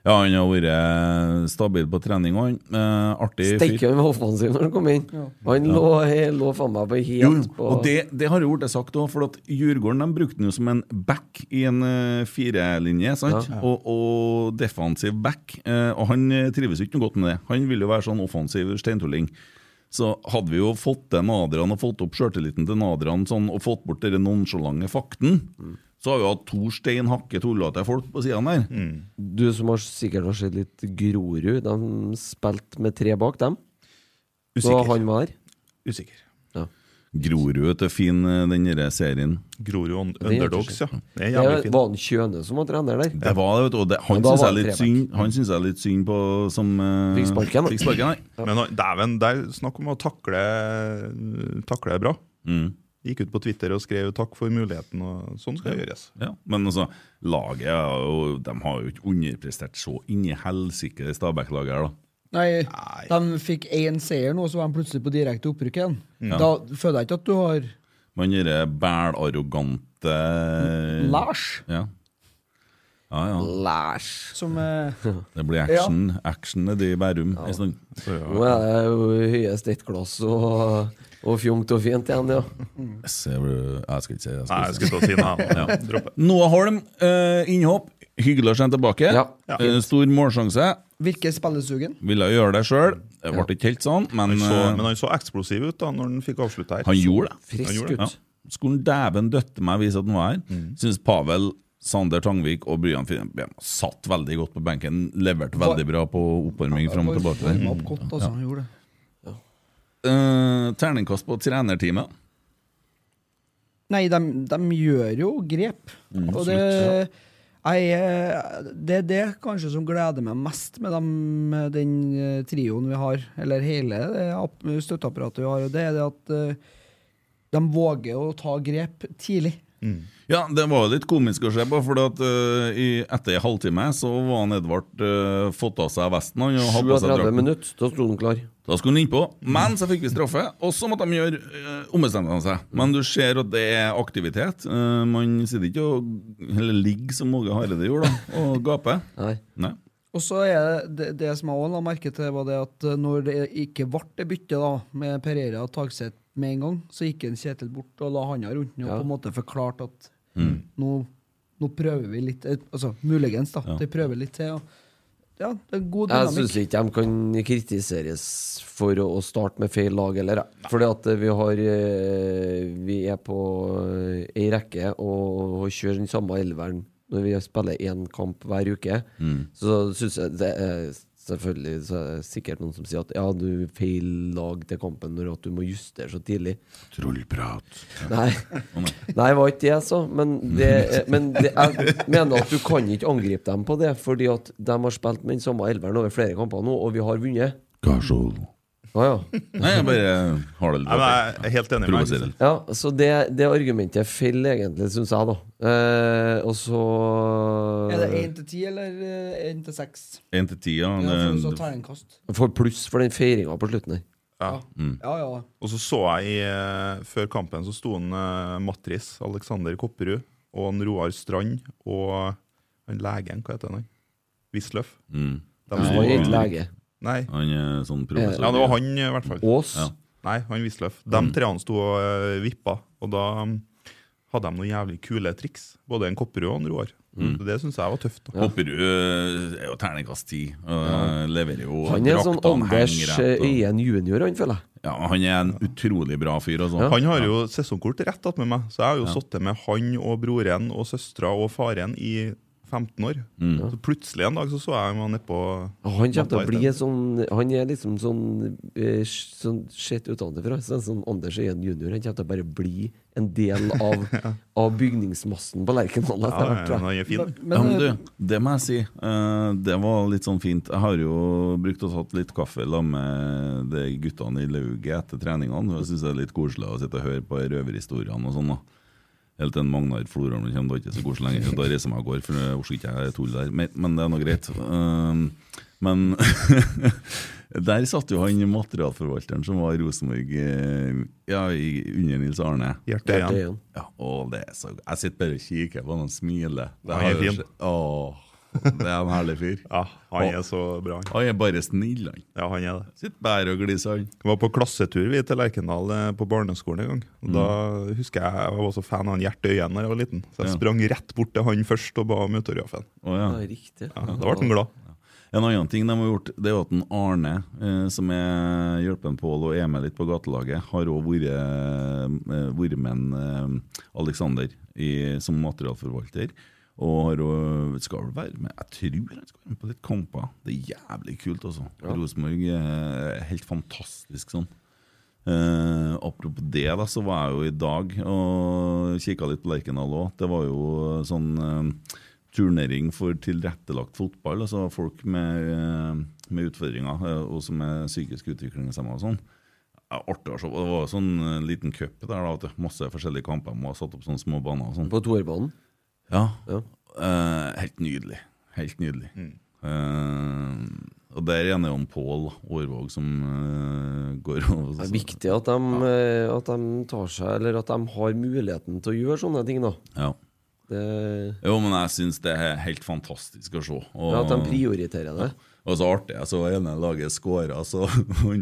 [SPEAKER 3] ja, han har vært eh, stabil på trening òg. Eh, artig fyr.
[SPEAKER 4] Steike, han var offensiv når han kom inn. Han lå, he- lå faen meg på
[SPEAKER 3] Jo,
[SPEAKER 4] helt på
[SPEAKER 3] og det, det har jo blitt sagt òg, for at Djurgården de brukte den jo som en back i en eh, firelinje. sant? Og, og defensiv back. eh, og han eh, trives jo ikke noe godt med det. Han vil jo være sånn offensiv steintulling. Så hadde vi jo fått til Nadran og fått opp sjøltilliten til Nadran sånn, og fått bort den nonsjalante fakten,
[SPEAKER 4] Mm.
[SPEAKER 3] så har vi hatt to stein hakke tullete folk på sida der.
[SPEAKER 4] Du som har sikkert har sett litt Grorud, de spilte med tre bak dem. Så
[SPEAKER 5] Usikker.
[SPEAKER 4] han var der.
[SPEAKER 5] Usikker.
[SPEAKER 3] Grorud til fin eh, den der serien.
[SPEAKER 5] Grorud un-
[SPEAKER 4] er helt
[SPEAKER 5] Underdogs,
[SPEAKER 3] Mm.
[SPEAKER 5] ja. Det er
[SPEAKER 4] Det
[SPEAKER 5] jævlig fint.
[SPEAKER 4] var han Kjøne som var trener der?
[SPEAKER 3] Det var det, vet du. Og det, han
[SPEAKER 4] Men da var
[SPEAKER 3] syns jeg
[SPEAKER 4] det
[SPEAKER 3] er litt
[SPEAKER 4] trebekk.
[SPEAKER 3] synd Han synes jeg er litt synd på som eh,
[SPEAKER 4] Fikk sparken, da.
[SPEAKER 3] Fikk sparken, nei.
[SPEAKER 5] Men han- dæven, der snakk om å takle, takle bra.
[SPEAKER 3] Mm.
[SPEAKER 5] Gikk ut på Twitter og skrev 'takk for muligheten', og sånn skal det gjøres.
[SPEAKER 3] Ja. Men altså, laget er jo- De har jo ikke underprestert så inni helsike, det Stabæk-laget her, da.
[SPEAKER 6] Nei,
[SPEAKER 5] Nei.
[SPEAKER 6] de fikk én seier nå, så var de plutselig på direkte opprykk igjen. Da føler jeg ikke at du har
[SPEAKER 3] Men den derre bælarrogante
[SPEAKER 6] Lars
[SPEAKER 3] Ja. ja, ja.
[SPEAKER 4] Læsj!
[SPEAKER 6] som eh,
[SPEAKER 3] Det blir action. Action er det i Bærum en stund.
[SPEAKER 4] Nå er det jo høyest ett glass og, og fjongt og fint igjen, ja.
[SPEAKER 3] Så Jeg blir- jeg skal ikke si det. jeg skal
[SPEAKER 5] Nei,
[SPEAKER 3] ikke
[SPEAKER 5] jeg
[SPEAKER 3] si
[SPEAKER 5] skulle til å si nei.
[SPEAKER 3] Ja.
[SPEAKER 5] Droppe.
[SPEAKER 3] det. Noah Holm, eh, innhopp. Hyggelig å se ham tilbake.
[SPEAKER 4] Ja.
[SPEAKER 3] Eh, stor målsjanse.
[SPEAKER 6] virker spillesugen.
[SPEAKER 3] Ville gjøre det sjøl. Det ble ikke helt sånn, men,
[SPEAKER 5] Han
[SPEAKER 3] eh,
[SPEAKER 5] så, men han så eksplosiv ut da når han fikk avslutta her.
[SPEAKER 3] han gjorde det.
[SPEAKER 5] Han
[SPEAKER 4] Frisk
[SPEAKER 5] gjorde det,
[SPEAKER 4] ut.
[SPEAKER 3] Ja. Skolen dæven døtte meg vise at den var her. Synes Pavel, Sander Tangvik og Bryan Finnebjørn satt veldig godt på benken. Leverte veldig bra på oppvarming fram og tilbake.
[SPEAKER 6] Varma
[SPEAKER 3] der
[SPEAKER 6] opp godt, altså. Han gjorde det.
[SPEAKER 3] Eh, Terningkast på trenerteamet.
[SPEAKER 6] Nei, de, de gjør jo grep. og det, jeg, eh, det er det kanskje som gleder meg mest med dem, eh, den eh, trioen vi har, eller hele det app- støtteapparatet vi har, og det er det at eh, de våger å ta grep tidlig.
[SPEAKER 3] Ja, det var jo litt komisk å se på, for at, eh, i- etter en halvtime så var han Edvard eh, fått av seg vesten han, og hadde på seg
[SPEAKER 4] 37
[SPEAKER 3] drakten.
[SPEAKER 4] minutter, da sto han klar.
[SPEAKER 3] Da skulle han innpå, men så fikk vi straffe, og så måtte de gjøre øh, ombestemme seg. Men du ser at det er aktivitet. Eh, man sitter ikke og eller ligger som Åge Hareide gjorde, da, og gaper.
[SPEAKER 4] Nei.
[SPEAKER 3] Nei.
[SPEAKER 6] Og så er det, det, det som jeg også la merke til, var det at eh, når det ikke ble det byttet da, med Pereira og Tagseth med en gang, så gikk en Kjetil bort og la handa rundt den og på en måte forklarte at
[SPEAKER 3] Mm.
[SPEAKER 6] nå, nå prøver vi litt eh, Altså muligens, da. De prøver litt til. Og ja, det er en god
[SPEAKER 4] Jeg
[SPEAKER 6] dynamikk.
[SPEAKER 4] syns ikke de kan kritiseres for å å starte med feil lag heller. For vi, har, eh, vi er på eh, ei rekke og kjører den samme elveren når vi spiller én kamp hver uke.
[SPEAKER 3] Mm.
[SPEAKER 4] Så syns jeg det er Selvfølgelig så er det sikkert noen som sier at ja, du er feil lag til kampen når at du må justere så tidlig.
[SPEAKER 3] Trollprat.
[SPEAKER 4] Nei, Nei det var ikke det jeg sa. Men, det, er- men det, jeg mener at du kan ikke angripe dem på det, fordi at de har spilt med den samme elveren over flere kamper nå, og vi har vunnet.
[SPEAKER 3] Hva så?
[SPEAKER 4] Å ja.
[SPEAKER 3] Nei, jeg bare har det litt
[SPEAKER 5] Nei, men jeg er helt enig med
[SPEAKER 3] Provoserer.
[SPEAKER 5] deg.
[SPEAKER 4] ja. Så det, det argumentet er feil, egentlig, syns jeg, da. Eh, og så
[SPEAKER 6] Er det 1 til 10 eller 1 til 6?
[SPEAKER 3] Én til ti, ja.
[SPEAKER 6] Ja,
[SPEAKER 3] det-
[SPEAKER 6] for så terningkast.
[SPEAKER 4] Får pluss for den feiringa på slutten her.
[SPEAKER 5] Ja.
[SPEAKER 3] Mm.
[SPEAKER 6] Ja, ja.
[SPEAKER 5] Og så så jeg i, eh, før kampen så sto en eh, Matris, Alexander Kopperud, og en Roar Strand og han legen, hva heter han? Wisløff.
[SPEAKER 3] Mm.
[SPEAKER 5] De
[SPEAKER 4] Han
[SPEAKER 5] sto-
[SPEAKER 4] var ikke lege.
[SPEAKER 5] Nei.
[SPEAKER 3] Han er sånn professor.
[SPEAKER 5] Ja, det var han, eh, i hvert fall.
[SPEAKER 4] Ås.
[SPEAKER 3] Ja.
[SPEAKER 5] Nei, han Wisløff. De
[SPEAKER 3] Mm.
[SPEAKER 5] treene sto og eh, vippa, og da mm, hadde de noen jævlig kule triks. Både en Kopperud og en Roar.
[SPEAKER 3] Mm.
[SPEAKER 5] Det syns jeg var tøft. da.
[SPEAKER 3] Hopperud eh, er jo terningkast ti. og, eh, Leverer jo
[SPEAKER 4] Han er en sånn
[SPEAKER 3] draktene
[SPEAKER 4] Anders eh,
[SPEAKER 3] henger rett, og-
[SPEAKER 4] Øyen junior, han, føler jeg.
[SPEAKER 3] Ja, han er en utrolig bra fyr, altså.
[SPEAKER 5] Han har jo sesongkort rett attmed meg, så jeg har jo sittet med han og broren og søstera og faren i 15 år. Så plutselig en dag så, så jeg han nedpå
[SPEAKER 4] Han kommer til å bli en sånn Han er liksom sånn, eh, sånn Sett utenfra. Sånn, sånn Anders Øyen junior. Han kommer til å bare bli en del av, av bygningsmassen på Lerkendal
[SPEAKER 5] ja,
[SPEAKER 4] etter hvert,
[SPEAKER 5] men
[SPEAKER 4] tror jeg.
[SPEAKER 5] han er fin.
[SPEAKER 3] Ja,
[SPEAKER 6] eh,
[SPEAKER 3] men du, det må jeg si. eh, det var litt sånn fint. Jeg har jo brukt og tatt litt kaffe la med de guttene i lauget etter treningene. og Jeg syns det er litt koselig å sitte og høre på røverhistoriene og sånn. da. Helt til en Magnar Florholm kommer, da er det ikke så koselig lenger. Da reiser jeg meg og går, for jeg orker ikke jeg tull der. Men, men det er nå greit. Eh, men der satt jo han materialforvalteren som var i Rosenborg eh, ja, i- under Nils Arne.
[SPEAKER 5] Hjertet
[SPEAKER 4] Det er
[SPEAKER 5] igjen.
[SPEAKER 4] han.
[SPEAKER 3] Ja, å, det er så Jeg sitter bare og kikker på han og smiler. Det
[SPEAKER 5] Han er
[SPEAKER 3] har jo
[SPEAKER 5] fin.
[SPEAKER 3] skjedd- Åh, det er en herlig fyr.
[SPEAKER 5] Ja, han er så bra. han.
[SPEAKER 3] Han er bare snill, han.
[SPEAKER 5] Ja, han er det.
[SPEAKER 3] Sitter bare og gliser, han.
[SPEAKER 5] Vi var på klassetur vi til Lerkendal eh, på barneskolen en gang. Og Da husker jeg jeg var også fan av han Gjert Øyen da jeg var liten. Så jeg
[SPEAKER 3] Ja.
[SPEAKER 5] sprang rett bort til han først og ba om autografen.
[SPEAKER 3] Å, ja.
[SPEAKER 4] Ja, riktig.
[SPEAKER 5] Ja, da ble han glad.
[SPEAKER 3] En annen ting de har gjort, det er jo at en Arne, eh, som er hjelpen Pål og er med litt på gatelaget, har òg vært eh, vært med en, eh, Alexander i, som materialforvalter. Og har òg Skal vel være med Jeg tror han skal være med på litt kamper. Det er jævlig kult, altså. Rosenborg eh, er helt fantastisk sånn. Eh, apropos det, da, så var jeg jo i dag og kikka litt på Lerkendal òg. Det var jo sånn eh, turnering for tilrettelagt fotball. Altså folk med, eh, med utfordringer eh, og som er psykisk utviklingshemma og sånn. Ja, artig å se på. Det var sånn eh, liten cup der, da. vet du. Masse forskjellige kamper. Må ha satt opp sånne små baner og sånn.
[SPEAKER 4] På toerbanen.
[SPEAKER 3] Ja.
[SPEAKER 4] Ja.
[SPEAKER 3] Eh, helt nydelig. Helt nydelig. Eh, og der igjen er jo en Pål Aarvåg som eh, går og
[SPEAKER 4] Det er viktig at de, eh, at de tar seg Eller at de har muligheten til å gjøre sånne ting, da.
[SPEAKER 3] Ja.
[SPEAKER 4] Det,
[SPEAKER 3] Jo, men jeg syns det er helt fantastisk å se. Og,
[SPEAKER 4] ja, at de prioriterer det.
[SPEAKER 3] og så artig. Jeg så ene laget skåra, så han,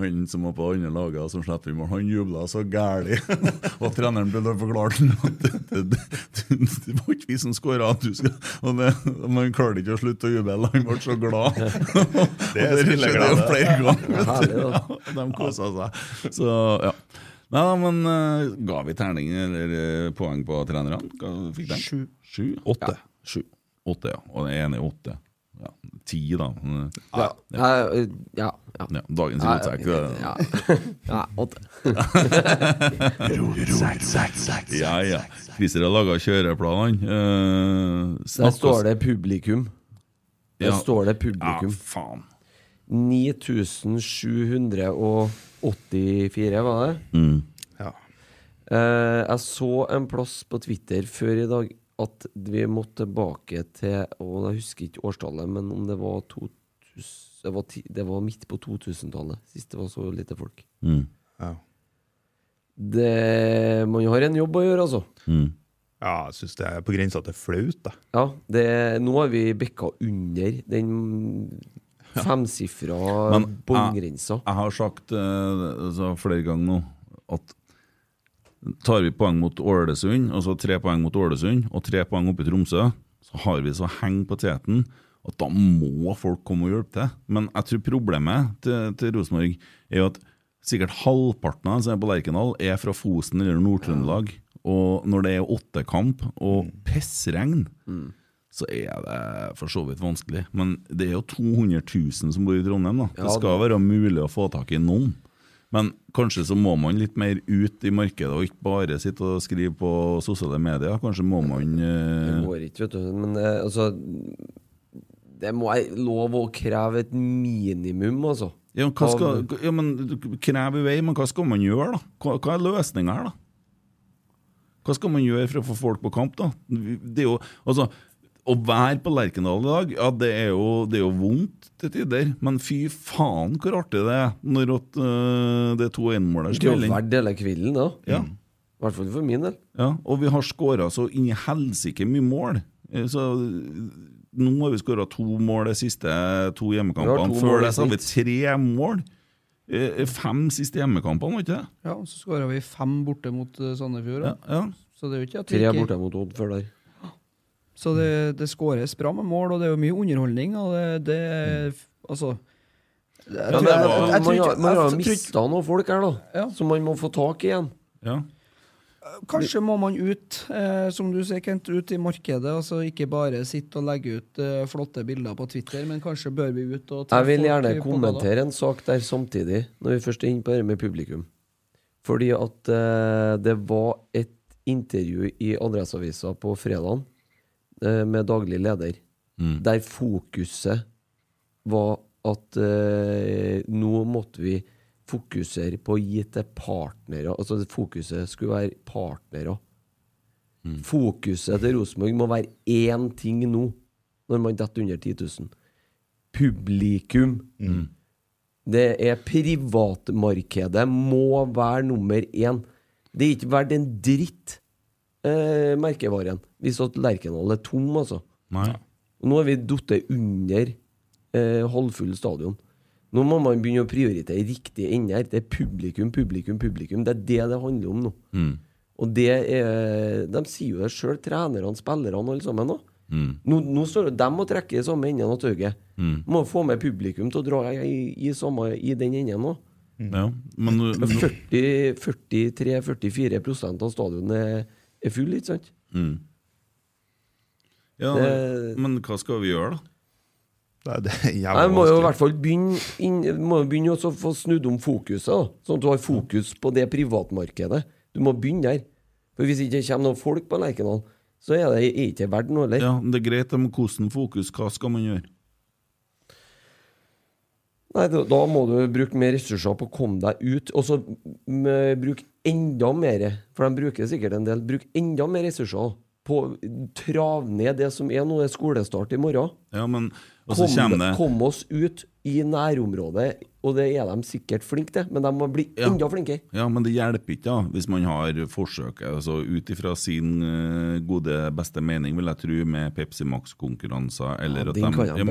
[SPEAKER 3] han som var på andre laget som slapp inn mål, han jubla så gæli. og treneren prøvde å forklare ham at det, det, det, det var ikke vi som skåra. Og det, man klarte ikke å slutte å juble. Han ble så glad.
[SPEAKER 5] Det
[SPEAKER 3] Og
[SPEAKER 5] er
[SPEAKER 3] det skjedde jo
[SPEAKER 5] spilleglede.
[SPEAKER 3] flere ganger.
[SPEAKER 4] Ja,
[SPEAKER 3] vet du.
[SPEAKER 4] herlig, da.
[SPEAKER 3] Ja, de kosa seg. Så, ja. Nei, da, men eh, ga vi terning eller eh, poeng på trenerne? Ga- Fikk de? Sju. Åtte. Sju. Åtte, ja. Og den ene er åtte. Ja, ti, da. Men,
[SPEAKER 4] Ja. Eh, Ja. ja.
[SPEAKER 3] Ja, dagens
[SPEAKER 4] Nei,
[SPEAKER 3] rotsekk.
[SPEAKER 4] ja.
[SPEAKER 3] det-
[SPEAKER 4] ja, åtte.
[SPEAKER 3] Ja, ja. Christer har laga kjøreplan, han.
[SPEAKER 4] Der står det publikum. Der
[SPEAKER 3] Ja.
[SPEAKER 4] står det
[SPEAKER 3] Ja,
[SPEAKER 4] publikum.
[SPEAKER 3] faen.
[SPEAKER 4] 9784, var det?
[SPEAKER 3] Mm,
[SPEAKER 5] Ja.
[SPEAKER 4] Eh, jeg så en plass på Twitter før i dag at vi måtte tilbake til Og jeg husker ikke årstallet, men om det var 2000, det, var ti, det var midt på 2000-tallet, sist det var så lite folk.
[SPEAKER 3] Mm.
[SPEAKER 5] Ja,
[SPEAKER 4] Det, man har en jobb å gjøre, altså.
[SPEAKER 3] Mm.
[SPEAKER 5] ja jeg syns det er på grensa til flaut, da.
[SPEAKER 4] Ja, det, nå har vi bikka under den femsifra
[SPEAKER 3] Men,
[SPEAKER 4] båndgrensa.
[SPEAKER 3] Jeg har sagt eh, altså, flere ganger nå at tar vi poeng mot Ålesund, og så tre poeng mot Ålesund, og tre poeng oppe i Tromsø, så har vi så heng på teten. at da må folk komme og hjelpe til. Men jeg tror problemet til, til Rosenborg er jo at sikkert halvparten av dem som er på Lerkendal, er fra Fosen eller Nord-Trøndelag. Og når det er åttekamp og pissregn, så er det for så vidt vanskelig. Men det er jo 200 000 som bor i Trondheim, da.
[SPEAKER 4] Ja,
[SPEAKER 3] det skal være mulig å få tak i noen. Men kanskje så må man litt mer ut i markedet, og ikke bare sitte og skrive på sosiale medier. Kanskje må man
[SPEAKER 4] Det
[SPEAKER 3] eh,
[SPEAKER 4] går ikke, vet du. Men eh, altså Det må jeg lov å kreve et minimum, altså.
[SPEAKER 3] ja, hva skal,
[SPEAKER 4] Av-
[SPEAKER 3] ja, men Krev i vei, men hva skal man gjøre, da? Hva, hva er løsninga her, da? Hva skal man gjøre for å få folk på kamp, da? Det er jo, altså, å være på Lerkendal i dag, ja, det er jo, det er jo vondt til tider. Men fy faen hvor artig det er når at, eh, det er to
[SPEAKER 4] Det
[SPEAKER 3] enmålere
[SPEAKER 4] er jo verdt hele kvelden, da.
[SPEAKER 3] Ja.
[SPEAKER 4] I hvert fall for min del.
[SPEAKER 3] Ja, og vi har skåra så inn i helsike mye mål. Eh, Så nå har vi skåra to mål de siste to
[SPEAKER 4] Vi har
[SPEAKER 3] hjemmekampene.
[SPEAKER 4] to mål
[SPEAKER 3] Før
[SPEAKER 4] i
[SPEAKER 3] det så har vi
[SPEAKER 4] snitt.
[SPEAKER 3] tre mål. Eh, Fem siste hjemmekampene, var ikke det?
[SPEAKER 6] Ja, og så skåra vi fem borte mot eh, Sandefjord.
[SPEAKER 3] Ja,
[SPEAKER 6] da.
[SPEAKER 3] ja.
[SPEAKER 6] Så det er jo ikke at vi
[SPEAKER 4] Tre
[SPEAKER 6] ikke
[SPEAKER 4] borte mot Odd før der.
[SPEAKER 6] Så det, det skåres bra med mål, og det er jo mye underholdning. Og det, det er f- Altså jeg
[SPEAKER 4] Ja,
[SPEAKER 6] tror-
[SPEAKER 4] men,
[SPEAKER 6] jeg- jeg- jeg
[SPEAKER 4] man, har-
[SPEAKER 6] tror ikke-
[SPEAKER 4] man
[SPEAKER 6] jeg
[SPEAKER 4] har
[SPEAKER 6] tror ikke-
[SPEAKER 4] mista noen folk her, da.
[SPEAKER 6] Ja.
[SPEAKER 4] Som man må få tak i igjen.
[SPEAKER 3] ja.
[SPEAKER 6] Kanskje må man ut, eh, som du sier, Kent, ut i markedet. altså Ikke bare sitte og legge ut eh, flotte bilder på Twitter, men kanskje bør vi ut og
[SPEAKER 4] Jeg vil
[SPEAKER 6] folk
[SPEAKER 4] gjerne
[SPEAKER 6] i- på
[SPEAKER 4] kommentere en sak der samtidig, når vi først er inne på det med publikum. Fordi at eh, det var et intervju i Adresseavisa på fredag med daglig leder,
[SPEAKER 6] Mm.
[SPEAKER 4] der fokuset var at eh, nå måtte vi fokusere på å gi til partnere. Altså det fokuset skulle være partnere.
[SPEAKER 6] Mm.
[SPEAKER 4] Fokuset til Rosenborg må være én ting nå, når man detter under 10 000 publikum. Det er privatmarkedet må være nummer én. Det er ikke verdt en dritt, eh, merkevaren, hvis at Lerkendal er tom, altså.
[SPEAKER 3] Nei.
[SPEAKER 4] Og nå har vi falt under eh, halvfull stadion. Nå må man begynne å prioritere i riktige ender. Det er publikum, publikum, publikum. Det er det det handler om nå.
[SPEAKER 3] Mm.
[SPEAKER 4] Og det er De sier jo det sjøl, trenerne, spillerne, alle sammen. Nå,
[SPEAKER 3] Mm.
[SPEAKER 4] nå, nå står jo dem og trekker i samme enden av tauet. Må få med publikum til å dra i, i, samme, i den enden òg.
[SPEAKER 3] Ja. Men nå- nå-
[SPEAKER 4] 43-44 av stadionet er, er full, ikke sant?
[SPEAKER 3] mm. ja,
[SPEAKER 4] det-
[SPEAKER 3] Men hva skal vi gjøre, da?
[SPEAKER 5] Nei, det er jævla
[SPEAKER 4] Jeg må jo i
[SPEAKER 5] vanskelig.
[SPEAKER 4] hvert fall begynne, inn, må jo begynne også å få snudd om fokuset, da. sånn at du har fokus på det privatmarkedet. Du må begynne der. For Hvis ikke det kommer noen folk på Lerkendal, så er det er ikke verdt noe heller.
[SPEAKER 3] Ja, Det er greit, men hvordan fokus? Hva skal man gjøre?
[SPEAKER 4] Nei, da, da må du bruke mer ressurser på å komme deg ut. Og så mm, bruk enda mer, for de bruker sikkert en del, bruk enda mer ressurser på å trave ned det som er nå, det er skolestart i morgen.
[SPEAKER 3] Ja, men og så
[SPEAKER 4] Kom,
[SPEAKER 3] kommer det
[SPEAKER 4] kom oss ut i nærområdet, og det er de sikkert flinke til, men de må bli
[SPEAKER 3] Ja.
[SPEAKER 4] enda flinkere.
[SPEAKER 3] Ja, men det hjelper ikke da, hvis man har forsøk altså, ut ifra sin eh, gode, beste mening, vil jeg tro, med Pepsi Max-konkurranser eller
[SPEAKER 4] Ja,
[SPEAKER 3] at
[SPEAKER 4] den
[SPEAKER 3] de
[SPEAKER 4] kan jeg
[SPEAKER 3] ja, men-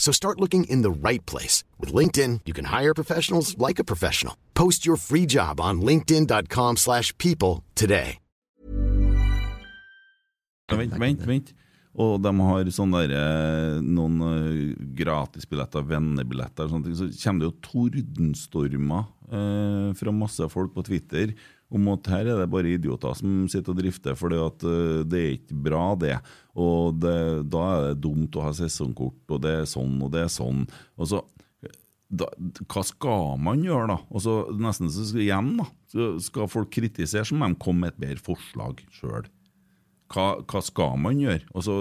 [SPEAKER 9] So start looking in the right place. With LinkedIn, you can hire professionals like a professional. Post your free job on linkedin.com/people slash people today.
[SPEAKER 3] Vent, vent, vent. Og de har sånne der, eh, noen eh, gratisbilletter, vennebilletter og sånne ting. Så kommer det jo tordenstormer eh, fra masse folk på Twitter om at her er det bare idioter som sitter og drifter, for eh, det er ikke bra, det. Og det, da er det dumt å ha sesongkort, og det er sånn, og det er sånn. Og så da, hva skal man gjøre, da? Og så nesten så skal, igjen, da. Så skal folk kritisere, så må de komme med et bedre forslag sjøl. Hva, hva skal man gjøre? Og så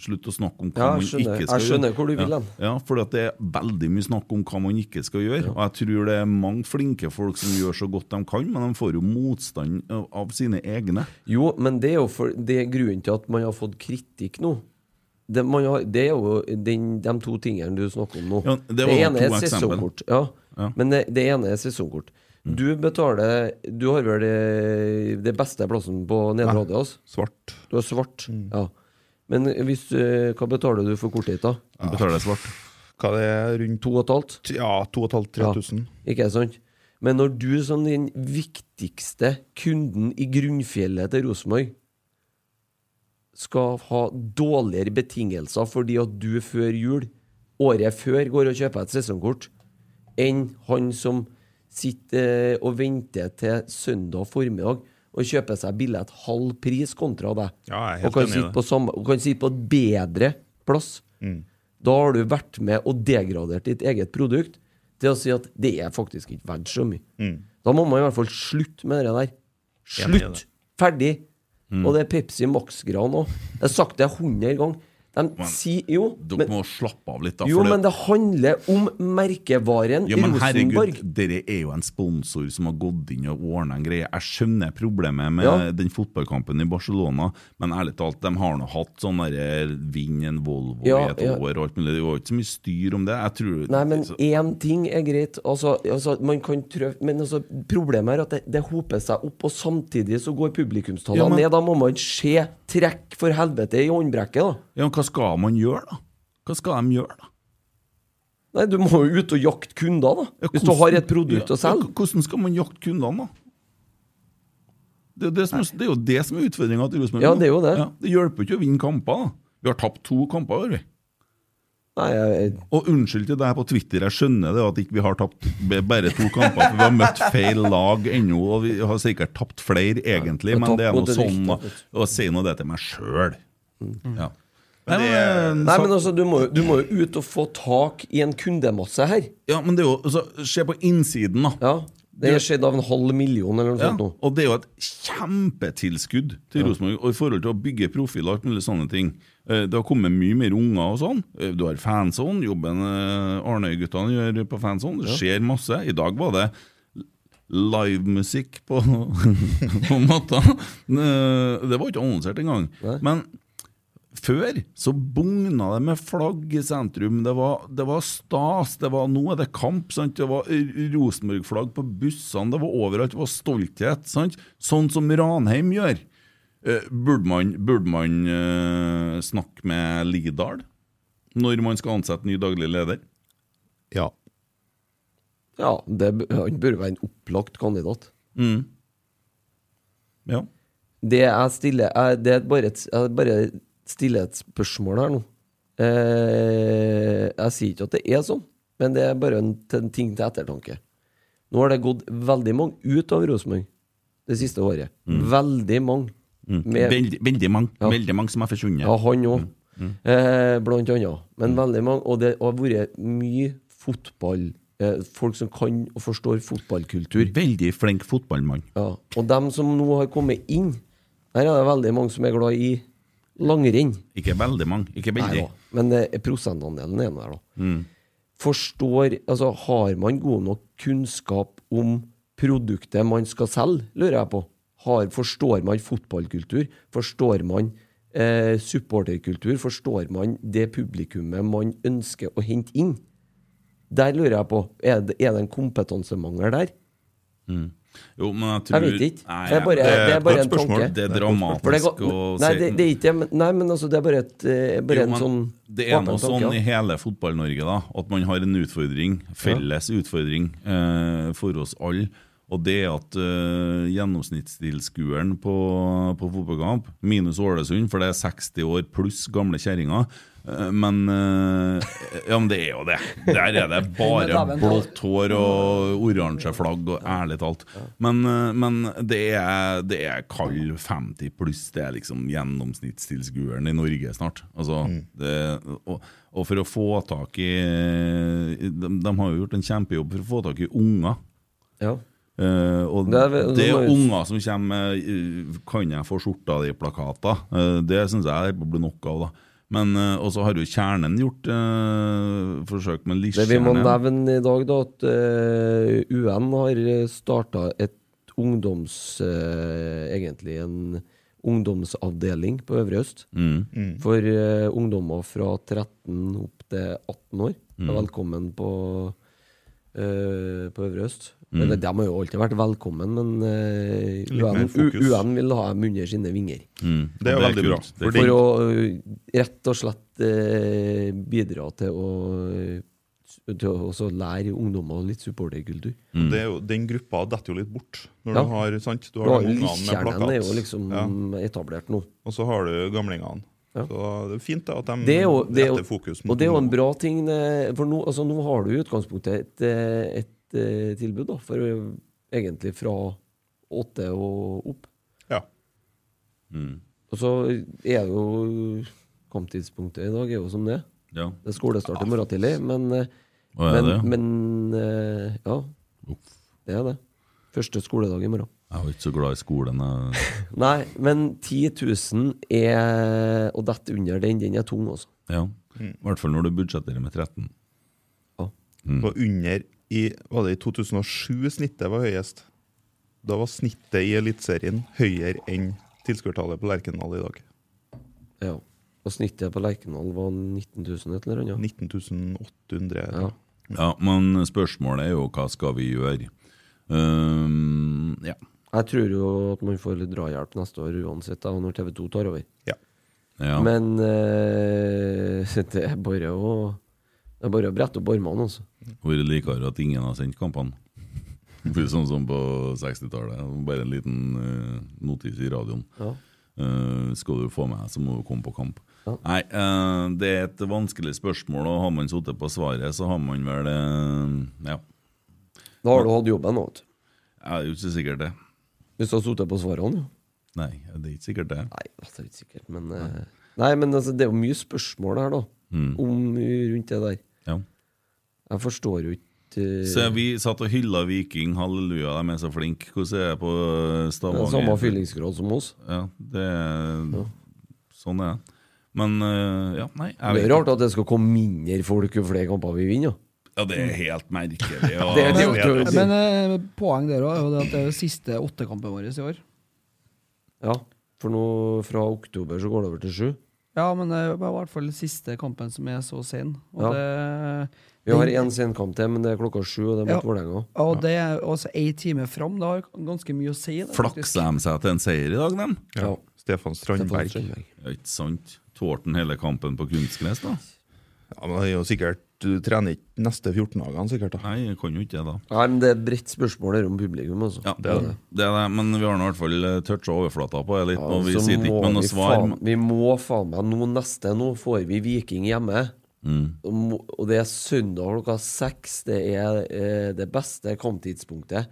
[SPEAKER 3] Slutt å snakke om hva
[SPEAKER 4] Ja, jeg
[SPEAKER 3] man
[SPEAKER 4] skjønner.
[SPEAKER 3] ikke
[SPEAKER 4] Jeg
[SPEAKER 3] skal
[SPEAKER 4] skjønner hvor du vil
[SPEAKER 3] ja.
[SPEAKER 4] hen.
[SPEAKER 3] Ja, for det er veldig mye snakk om hva man ikke skal gjøre. Og jeg tror det er mange flinke folk som gjør så godt de kan, men de får jo motstand av- av sine egne.
[SPEAKER 4] Jo, men det er jo for, det er grunnen til at man har fått kritikk nå. Det, man har, det er jo den, de to tingene du snakker om nå.
[SPEAKER 3] Ja, det var
[SPEAKER 4] ene
[SPEAKER 3] to
[SPEAKER 4] er
[SPEAKER 3] eksempel.
[SPEAKER 4] sesongkort. Ja.
[SPEAKER 3] Ja. Mm.
[SPEAKER 4] Men det, det ene er sesongkort. Du betaler Du har vel eh, det, det beste plassen på Nedre
[SPEAKER 5] Nei,
[SPEAKER 4] Adias?
[SPEAKER 5] Svart.
[SPEAKER 4] Du har svart, ja. Men hvis, eh, hva betaler du for kortet ditt, da?
[SPEAKER 5] Jeg betaler svart. Hva det er rundt
[SPEAKER 4] To og et halvt?
[SPEAKER 5] Ja, to og et halvt, tre
[SPEAKER 4] Ja,
[SPEAKER 5] tusen.
[SPEAKER 4] Ikke sant? Men når du som den viktigste kunden i grunnfjellet til Rosenborg skal ha dårligere betingelser fordi at du før jul, året før, går og kjøper et sesongkort, enn han som sitter eh, og venter til søndag formiddag og kjøper seg billett halv pris kontra deg,
[SPEAKER 5] Ja, jeg er helt
[SPEAKER 4] og, kan
[SPEAKER 5] enig i
[SPEAKER 4] sitte
[SPEAKER 5] det.
[SPEAKER 4] på samme, og kan sitte på et bedre plass,
[SPEAKER 5] Mm.
[SPEAKER 4] da har du vært med og degradert ditt eget produkt til å si at det er faktisk ikke verdt så mye.
[SPEAKER 5] Mm.
[SPEAKER 4] Da må man i hvert fall slutte med det der.
[SPEAKER 5] Enig i det.
[SPEAKER 4] Slutt! Ferdig!
[SPEAKER 3] Mm.
[SPEAKER 4] Og det er Pepsi Max-gran òg. Jeg har sagt det 100 ganger. De sier jo
[SPEAKER 3] Dere
[SPEAKER 4] men-
[SPEAKER 3] må slappe av litt, da.
[SPEAKER 4] jo,
[SPEAKER 3] for det-
[SPEAKER 4] men det handler om merkevaren
[SPEAKER 3] Ja, men
[SPEAKER 4] Rosenborg.
[SPEAKER 3] herregud, dere er jo en sponsor som har gått inn og ordna en greie. Jeg skjønner problemet med
[SPEAKER 4] Ja.
[SPEAKER 3] den fotballkampen i Barcelona, men ærlig talt, de har nå hatt sånn derre vinn en Volvo
[SPEAKER 4] Ja,
[SPEAKER 3] i et
[SPEAKER 4] ja.
[SPEAKER 3] år og alt mulig. Det var jo ikke så mye styr om det. Jeg tror
[SPEAKER 4] Nei, men én ting er greit. Altså, altså, man kan trø men altså, problemet er at det, det hoper seg opp, og samtidig så går publikumstallene
[SPEAKER 3] Ja, men-
[SPEAKER 4] ned. Da må man se trekk for helvete i håndbrekket, da.
[SPEAKER 3] Ja, hva skal man gjøre, da? Hva skal de gjøre, da?
[SPEAKER 4] Nei, du må jo ut og jakte kunder, da. Hvis du har et produkt å selge.
[SPEAKER 3] Hvordan skal man jakte kundene, da? Det, er det, som, er- det er jo det som er utfordringa til Rosenborg.
[SPEAKER 4] Ja,
[SPEAKER 3] nå.
[SPEAKER 4] det er jo det.
[SPEAKER 3] Ja, det hjelper jo ikke å vinne kamper, da. Vi har tapt to kamper, har vi.
[SPEAKER 4] Nei,
[SPEAKER 3] Og unnskyld til deg på Twitter, jeg skjønner det at ikke vi har tapt b- bare to kamper. For vi har møtt feil lag ennå, og vi har sikkert tapt flere egentlig,
[SPEAKER 4] Ja,
[SPEAKER 3] men det
[SPEAKER 4] tapt
[SPEAKER 3] er nå
[SPEAKER 4] mot det riktige,
[SPEAKER 3] sånn. da. Og si nå det til meg sjøl. Ja.
[SPEAKER 4] Nei, men, altså, du må, jo- du må jo ut og få tak i en kundemasse her.
[SPEAKER 3] Ja, men det er jo altså, Se på innsiden, da.
[SPEAKER 4] Ja, Det er skjedd av en halv million eller noe
[SPEAKER 3] Ja,
[SPEAKER 4] sånt nå.
[SPEAKER 3] og det er jo et kjempetilskudd til
[SPEAKER 4] Ja.
[SPEAKER 3] Rosenborg og i forhold til å bygge profiler og alt mulig sånne ting. Eh, Det har kommet mye mer unger og sånn. Eh, Du har fanzone, jobben eh, Arnøy-guttene gjør på fanzone. Det skjer masse. I dag var det livemusikk på, på matta. Eh, Det var ikke annonsert engang. Men før så bugna det med flagg i sentrum. Det var, det var stas. det var Nå er det kamp. sant? Det var R- Rosenborg-flagg på bussene. Det var overalt. Det var stolthet. sant? Sånn som Ranheim gjør. Eh, burde man, burde man eh, snakke med Lidahl når man skal ansette ny daglig leder?
[SPEAKER 5] Ja.
[SPEAKER 4] Ja, det, b- Han burde være en opplagt kandidat.
[SPEAKER 3] Mm. Ja.
[SPEAKER 4] Det jeg stiller jeg, Det er bare et, jeg bare stiller et spørsmål her nå. Eh, jeg sier ikke at det er sånn, men det er bare en, en ting til ettertanke. Nå har det gått veldig mange ut av Rosenborg det siste året. Veldig mange.
[SPEAKER 3] Mm.
[SPEAKER 4] Med-
[SPEAKER 3] Veldig, veldig mange
[SPEAKER 4] Ja.
[SPEAKER 3] veldig mange som har forsvunnet.
[SPEAKER 4] Ja, han òg.
[SPEAKER 3] Mm.
[SPEAKER 4] Eh, blant annet. Men veldig mange. Og det har vært mye fotball. Eh, folk som kan og forstår fotballkultur.
[SPEAKER 3] Veldig flink fotballmann.
[SPEAKER 4] Ja. Og dem som nå har kommet inn Der er det veldig mange som er glad i langrenn.
[SPEAKER 3] Ikke veldig mange. Ikke
[SPEAKER 4] Nei
[SPEAKER 3] veldig.
[SPEAKER 4] da, Men det er prosentandelen er nå der, da.
[SPEAKER 3] Mm.
[SPEAKER 4] Forstår Altså, har man god nok kunnskap om produktet man skal selge, lurer jeg på? Har, forstår man fotballkultur? Forstår man eh, supporterkultur? Forstår man det publikummet man ønsker å hente inn? Der lurer jeg på. Er det, er det en kompetansemangel der?
[SPEAKER 3] Mm. Jo, men jeg
[SPEAKER 4] Jeg
[SPEAKER 3] tror
[SPEAKER 4] vet ikke.
[SPEAKER 3] Nei,
[SPEAKER 4] det er bare,
[SPEAKER 3] det er
[SPEAKER 4] det er
[SPEAKER 3] et
[SPEAKER 4] bare
[SPEAKER 3] godt
[SPEAKER 4] en
[SPEAKER 3] spørsmål.
[SPEAKER 4] tanke.
[SPEAKER 3] Det er dramatisk
[SPEAKER 4] For det er godt-
[SPEAKER 3] å
[SPEAKER 4] Nei,
[SPEAKER 3] si-
[SPEAKER 4] det, det er ikke det. men- Nei, men altså, det er bare, et, eh, bare
[SPEAKER 3] Jo,
[SPEAKER 4] en
[SPEAKER 3] men
[SPEAKER 4] sånn
[SPEAKER 3] Det er
[SPEAKER 4] åpen
[SPEAKER 3] noe
[SPEAKER 4] tanke,
[SPEAKER 3] sånn
[SPEAKER 4] ja.
[SPEAKER 3] i hele Fotball-Norge, da. At man har en utfordring, felles utfordring, eh, for oss alle. Og det er at eh, gjennomsnittstilskueren på, på fotballkamp, minus Ålesund, for det er 60 år pluss gamle kjerringer eh, Men eh, Ja, men det er jo det. Der er det
[SPEAKER 5] Men
[SPEAKER 3] bare
[SPEAKER 5] daven-
[SPEAKER 3] blått hår og oransje flagg, og ærlig talt. Men, eh, men det, er, det er kald 50 pluss, det er liksom gjennomsnittstilskueren i Norge snart. Altså,
[SPEAKER 4] Mm.
[SPEAKER 3] det, og, og for å få tak i de, de har jo gjort en kjempejobb for å få tak i unger. Eh, og det
[SPEAKER 4] Det er
[SPEAKER 3] er,
[SPEAKER 4] vel-
[SPEAKER 3] unger som kommer med eh, 'Kan jeg få skjorta di?'-plakater. Eh, det syns jeg det blir nok av. da men eh, Og så har jo kjernen gjort eh, forsøk med
[SPEAKER 4] Det vi må
[SPEAKER 3] Liskjernen.
[SPEAKER 4] nevne i dag, da, at eh, UN har starta et ungdoms... eh, egentlig en ungdomsavdeling på Øvre Øst.
[SPEAKER 3] Mm. Mm.
[SPEAKER 4] For eh, ungdommer fra 13 opp til 18 år
[SPEAKER 3] Mm.
[SPEAKER 4] er velkommen på, eh, på Øvre Øst.
[SPEAKER 3] Mm.
[SPEAKER 4] Eller, de har jo alltid vært velkommen, men eh,
[SPEAKER 5] Litt mer
[SPEAKER 4] UN, U-
[SPEAKER 5] fokus.
[SPEAKER 4] UN vil ha dem under sine vinger.
[SPEAKER 3] Mm.
[SPEAKER 5] Det er jo veldig bra.
[SPEAKER 4] For,
[SPEAKER 5] Fordi-
[SPEAKER 4] å ø, rett og slett eh, bidra til å, ø, til å også lære ungdommer litt supporterkultur.
[SPEAKER 5] Og Det er jo, den gruppa detter jo litt bort. Når
[SPEAKER 4] Mm. Ja.
[SPEAKER 5] du har, sant? Du
[SPEAKER 4] Du
[SPEAKER 5] har
[SPEAKER 4] har
[SPEAKER 5] de
[SPEAKER 4] jo
[SPEAKER 5] ungene med
[SPEAKER 4] Liskjernen
[SPEAKER 5] plakat.
[SPEAKER 4] er jo liksom etablert nå.
[SPEAKER 5] Og så har du gamlingene. Så det er fint da, at de
[SPEAKER 4] Det er jo, det er jo,
[SPEAKER 5] retter fokus
[SPEAKER 4] og det er jo en bra ting, eh, for nå, altså, nå har du i utgangspunktet et, eh, et eh, tilbud da, for ø, egentlig fra åtte og opp.
[SPEAKER 5] Ja.
[SPEAKER 3] Mm.
[SPEAKER 4] Og så er jo eh, kamptidspunktet i dag er jo som det.
[SPEAKER 3] Ja.
[SPEAKER 4] Det er skolestart i morgen tidlig, men, eh,
[SPEAKER 3] Å, er
[SPEAKER 4] men,
[SPEAKER 3] det?
[SPEAKER 4] men eh, ja. Det er det. Første skoledag i morgen.
[SPEAKER 3] Jeg er jo ikke så glad i skolen. Jeg.
[SPEAKER 4] Nei, men 10 000 er Å dette under den, den er tung, altså.
[SPEAKER 3] Ja.
[SPEAKER 5] Mm.
[SPEAKER 3] I hvert fall når du budsjetterer med 13. Mm.
[SPEAKER 5] Var under i, var det i 2007 snittet var høyest. Da var snittet i Eliteserien høyere enn tilskuertallet på Lerkendal i dag.
[SPEAKER 4] Ja. Og snittet på Lerkendal var 19 000 et eller annet.
[SPEAKER 5] 19.800
[SPEAKER 4] ja.
[SPEAKER 3] Ja, men spørsmålet er jo hva skal vi gjøre? Ehm, ja.
[SPEAKER 4] Jeg tror jo at man får litt drahjelp neste år uansett, da, når TV 2 tar over.
[SPEAKER 3] Ja.
[SPEAKER 4] Men eh, det er bare å Det er bare å brette opp armene, altså.
[SPEAKER 3] Vært likere at ingen har sendt kampene. Det blir sånn som på 60-tallet. Bare en liten eh, notis i radioen.
[SPEAKER 4] Ja.
[SPEAKER 3] Eh, skal du få med deg, så må du komme på kamp. Nei, eh, det er et vanskelig spørsmål, og har man sittet på svaret, så har man vel eh, Ja.
[SPEAKER 4] Da har du hatt jobben òg, vet du.
[SPEAKER 3] Jeg er jo ikke sikkert det.
[SPEAKER 4] Hvis du har sittet på svarene, jo.
[SPEAKER 3] Nei, det er ikke sikkert det.
[SPEAKER 4] Nei, altså, det er ikke sikkert, men eh, Nei, men altså, det er jo mye spørsmål her, da.
[SPEAKER 3] Mm.
[SPEAKER 4] Om eh, rundt det der.
[SPEAKER 3] Ja.
[SPEAKER 4] Jeg forstår jo ikke eh,
[SPEAKER 3] Så vi satt og hylla Viking, halleluja, de er så flinke. Hvordan er det på eh, Stavanger?
[SPEAKER 4] Det er samme fyllingsgrad som oss.
[SPEAKER 3] Ja, det er Sånn er det. Men eh, ja, nei.
[SPEAKER 4] Det er rart at det skal komme mindre folk jo flere kamper vi vinner.
[SPEAKER 3] Ja, det er helt merkelig. og-
[SPEAKER 4] Det er det jo ikke-
[SPEAKER 6] Men eh, poeng der òg er jo det at det er jo siste åttekampen vår i år.
[SPEAKER 4] Ja, for nå fra oktober så går det over til sju.
[SPEAKER 6] Ja, men eh, det er jo bare i hvert fall siste kampen som er så sen. Og
[SPEAKER 4] Ja.
[SPEAKER 6] det,
[SPEAKER 4] Vi har
[SPEAKER 6] den-
[SPEAKER 4] én senkamp til, men det er klokka sju, og det er mot
[SPEAKER 6] Ja.
[SPEAKER 4] Vålerenga.
[SPEAKER 6] Og det er også ei time fram. Det har ganske mye å si. Det, faktisk.
[SPEAKER 3] Flaksa de seg til en seier i dag, dem?
[SPEAKER 4] Ja.
[SPEAKER 5] Stefan Strandberg.
[SPEAKER 3] Ja, ikke sant? Tålte han hele kampen på kunstgress, da?
[SPEAKER 5] Ja, men det er jo sikkert, Du trener ikke neste 14 dagene, sikkert. da.
[SPEAKER 3] Nei, jeg kan jo ikke det, da.
[SPEAKER 4] Nei, men det er et bredt spørsmål her om publikum, altså.
[SPEAKER 3] Ja, det er det. men vi har nå i hvert fall toucha overflata på det litt,
[SPEAKER 4] Ja,
[SPEAKER 3] og vi
[SPEAKER 4] så
[SPEAKER 3] sitter ikke
[SPEAKER 4] må
[SPEAKER 3] med noe
[SPEAKER 4] vi
[SPEAKER 3] svar.
[SPEAKER 4] Faen, vi må faen meg nå neste Nå får vi Viking hjemme.
[SPEAKER 3] Mm.
[SPEAKER 4] Og må- Og det er søndag klokka seks. Det er eh, det beste kamptidspunktet.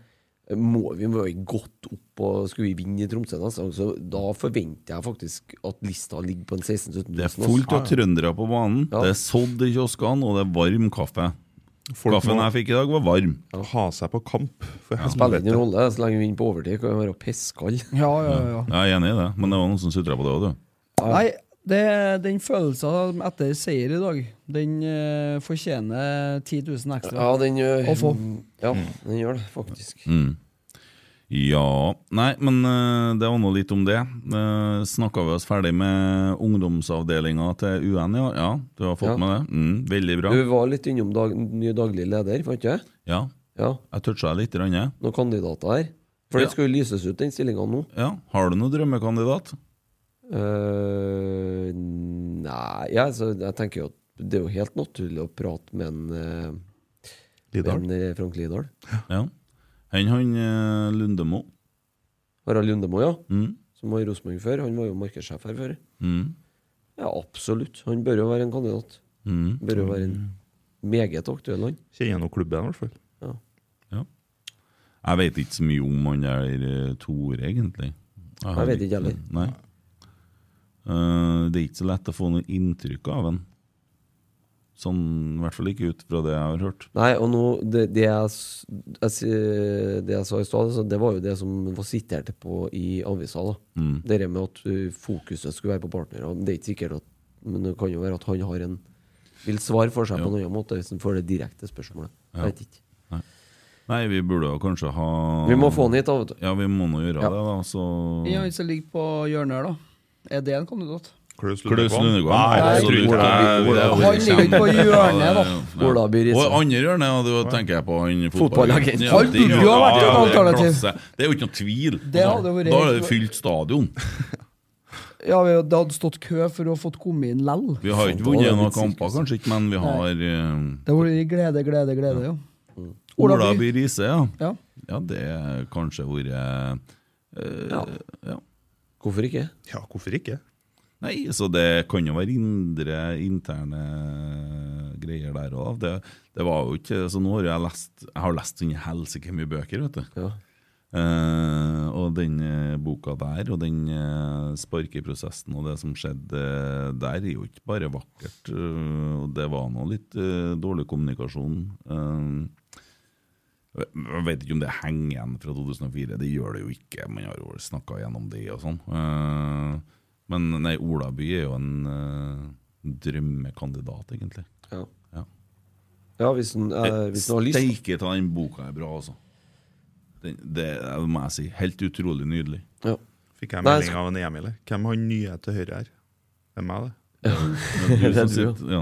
[SPEAKER 4] Må vi må være godt opp og skulle vi vinne i Tromsø neste gang, så da forventer jeg faktisk at lista ligger på en altså. 16 000-17 000.
[SPEAKER 3] Det er fullt av trøndere på banen.
[SPEAKER 4] Ja.
[SPEAKER 3] Det er sådd i kioskene, og det er varm kaffe.
[SPEAKER 5] Folk
[SPEAKER 3] Kaffen
[SPEAKER 5] må-
[SPEAKER 3] jeg fikk i dag, var varm.
[SPEAKER 5] Ha seg på kamp. For
[SPEAKER 4] Det spiller ingen rolle så lenge vi vinner på overtid. Kan jo være piskall.
[SPEAKER 6] Ja, ja, ja.
[SPEAKER 3] Jeg er enig i det, men det var noen som sutra på det òg, du.
[SPEAKER 6] Nei, det, den følelsen etter seier i dag, den eh, fortjener 10 000 ekstra
[SPEAKER 4] Ja, den eh, gjør
[SPEAKER 6] å få.
[SPEAKER 4] Ja, den gjør det, faktisk.
[SPEAKER 3] Mm. Ja Nei, men eh, det var nå litt om det. Uh, Snakka vi oss ferdig med ungdomsavdelinga til UN, ja? ja du har fått
[SPEAKER 4] Ja.
[SPEAKER 3] med det? Mm, veldig bra.
[SPEAKER 4] Du var litt innom dag, ny daglig leder, fant jeg?
[SPEAKER 3] Ja.
[SPEAKER 4] Ja.
[SPEAKER 3] Jeg toucha litt. Ranne.
[SPEAKER 4] Noen kandidater her. For
[SPEAKER 3] Ja.
[SPEAKER 4] det skal jo lyses ut, den stillinga nå.
[SPEAKER 3] Ja, Har du noen drømmekandidat?
[SPEAKER 4] Eh, nei ja, altså, Jeg tenker jo at det er jo helt naturlig å prate med en eh,
[SPEAKER 3] Lidahl.
[SPEAKER 4] med en, eh, Frank Lidahl.
[SPEAKER 3] Ja. Han, han eh, Lundemo.
[SPEAKER 4] Harald Lundemo, ja.
[SPEAKER 3] Mm.
[SPEAKER 4] Som var i Rosenborg før. Han var jo markedssjef her før.
[SPEAKER 3] Mm.
[SPEAKER 4] Ja, absolutt. Han bør jo være en kandidat.
[SPEAKER 3] Mm.
[SPEAKER 4] Bør jo være en meget aktuell han.
[SPEAKER 5] Kjenner noe klubben, i hvert fall.
[SPEAKER 4] Ja.
[SPEAKER 3] Jeg vet ikke så mye om han der eh, Tore, egentlig.
[SPEAKER 4] Jeg
[SPEAKER 3] har
[SPEAKER 4] vet ikke heller.
[SPEAKER 3] Nei. Eh, det er ikke så lett å få noe inntrykk av han. Sånn, I hvert fall ikke ut fra det jeg har hørt.
[SPEAKER 4] Nei, og nå, det, det, jeg, s- jeg, s- det jeg sa i stad, altså, det var jo det som var sitert på i avisa. da.
[SPEAKER 3] Mm.
[SPEAKER 4] Det der med at ø, fokuset skulle være på partnere. og Det er ikke sikkert at, men det kan jo være at han har en vil svare for seg på en annen måte hvis han får det direkte spørsmålet.
[SPEAKER 3] Ja.
[SPEAKER 4] Jeg vet ikke.
[SPEAKER 3] Nei. Nei, vi burde jo kanskje ha
[SPEAKER 4] Vi må få han hit, da. vet du.
[SPEAKER 3] Ja, vi må nå gjøre
[SPEAKER 4] Ja.
[SPEAKER 3] det, da. Så
[SPEAKER 6] Ja, han som ligger på hjørnet her, da. Er det en kandidat?
[SPEAKER 5] Klaus
[SPEAKER 3] Klaus Lundegård?
[SPEAKER 5] Nei,
[SPEAKER 3] Nei,
[SPEAKER 5] jeg tror ikke
[SPEAKER 3] Ola-
[SPEAKER 5] det.
[SPEAKER 3] Ola-
[SPEAKER 5] Det er-
[SPEAKER 6] Han ligger ikke på hjørnet, da.
[SPEAKER 3] Ja.
[SPEAKER 4] Ola By Riise.
[SPEAKER 3] Og andre hjørnet, ja, da tenker jeg på han
[SPEAKER 4] Fotballagent.
[SPEAKER 3] Ja,
[SPEAKER 4] Han
[SPEAKER 3] det-
[SPEAKER 4] burde jo ha vært et
[SPEAKER 3] ja, det er
[SPEAKER 6] alternativ.
[SPEAKER 3] klasse. Det er jo ikke noe tvil.
[SPEAKER 6] Det hadde vært-
[SPEAKER 3] da er det fylt stadion.
[SPEAKER 6] Ja, vi- Det hadde stått kø for å få komme inn lell.
[SPEAKER 3] Vi har ikke vunnet noen kamper, kanskje ikke, men vi har eh,
[SPEAKER 6] Det var i glede, glede, glede, ja. Ola
[SPEAKER 3] Mm. Ola
[SPEAKER 6] By-
[SPEAKER 3] By Riise, ja.
[SPEAKER 6] Ja.
[SPEAKER 3] Ja, det er kanskje vært eh, ja.
[SPEAKER 4] Hvorfor ikke?
[SPEAKER 5] Ja, hvorfor ikke?
[SPEAKER 3] Nei, så det kan jo være indre, interne greier der òg. Det, det var jo ikke Så nå har jeg lest Jeg har lest sånne helsike mye bøker, vet du. Eh, og den eh, boka der, og den eh, sparkeprosessen og det som skjedde eh, der, er jo ikke bare vakkert. eh, og det var nå litt eh, dårlig kommunikasjon. Eh, jeg vet ikke om det henger igjen fra 2004. Det gjør det jo ikke. Man har jo snakka gjennom det og sånn. Eh, men nei, Olaby er jo en eh, drømmekandidat, egentlig.
[SPEAKER 4] Ja. Ja, hvis han, eh, hvis han har lyst.
[SPEAKER 3] Steike ta den boka er bra, altså. Den, det eh, må jeg si. Helt utrolig nydelig.
[SPEAKER 5] Fikk jeg
[SPEAKER 3] Nei,
[SPEAKER 5] melding av en Emil her. Hvem har nye til høyre her? Det er meg, det.
[SPEAKER 4] Det
[SPEAKER 3] Du som
[SPEAKER 4] tror jeg.
[SPEAKER 3] sitter, ja,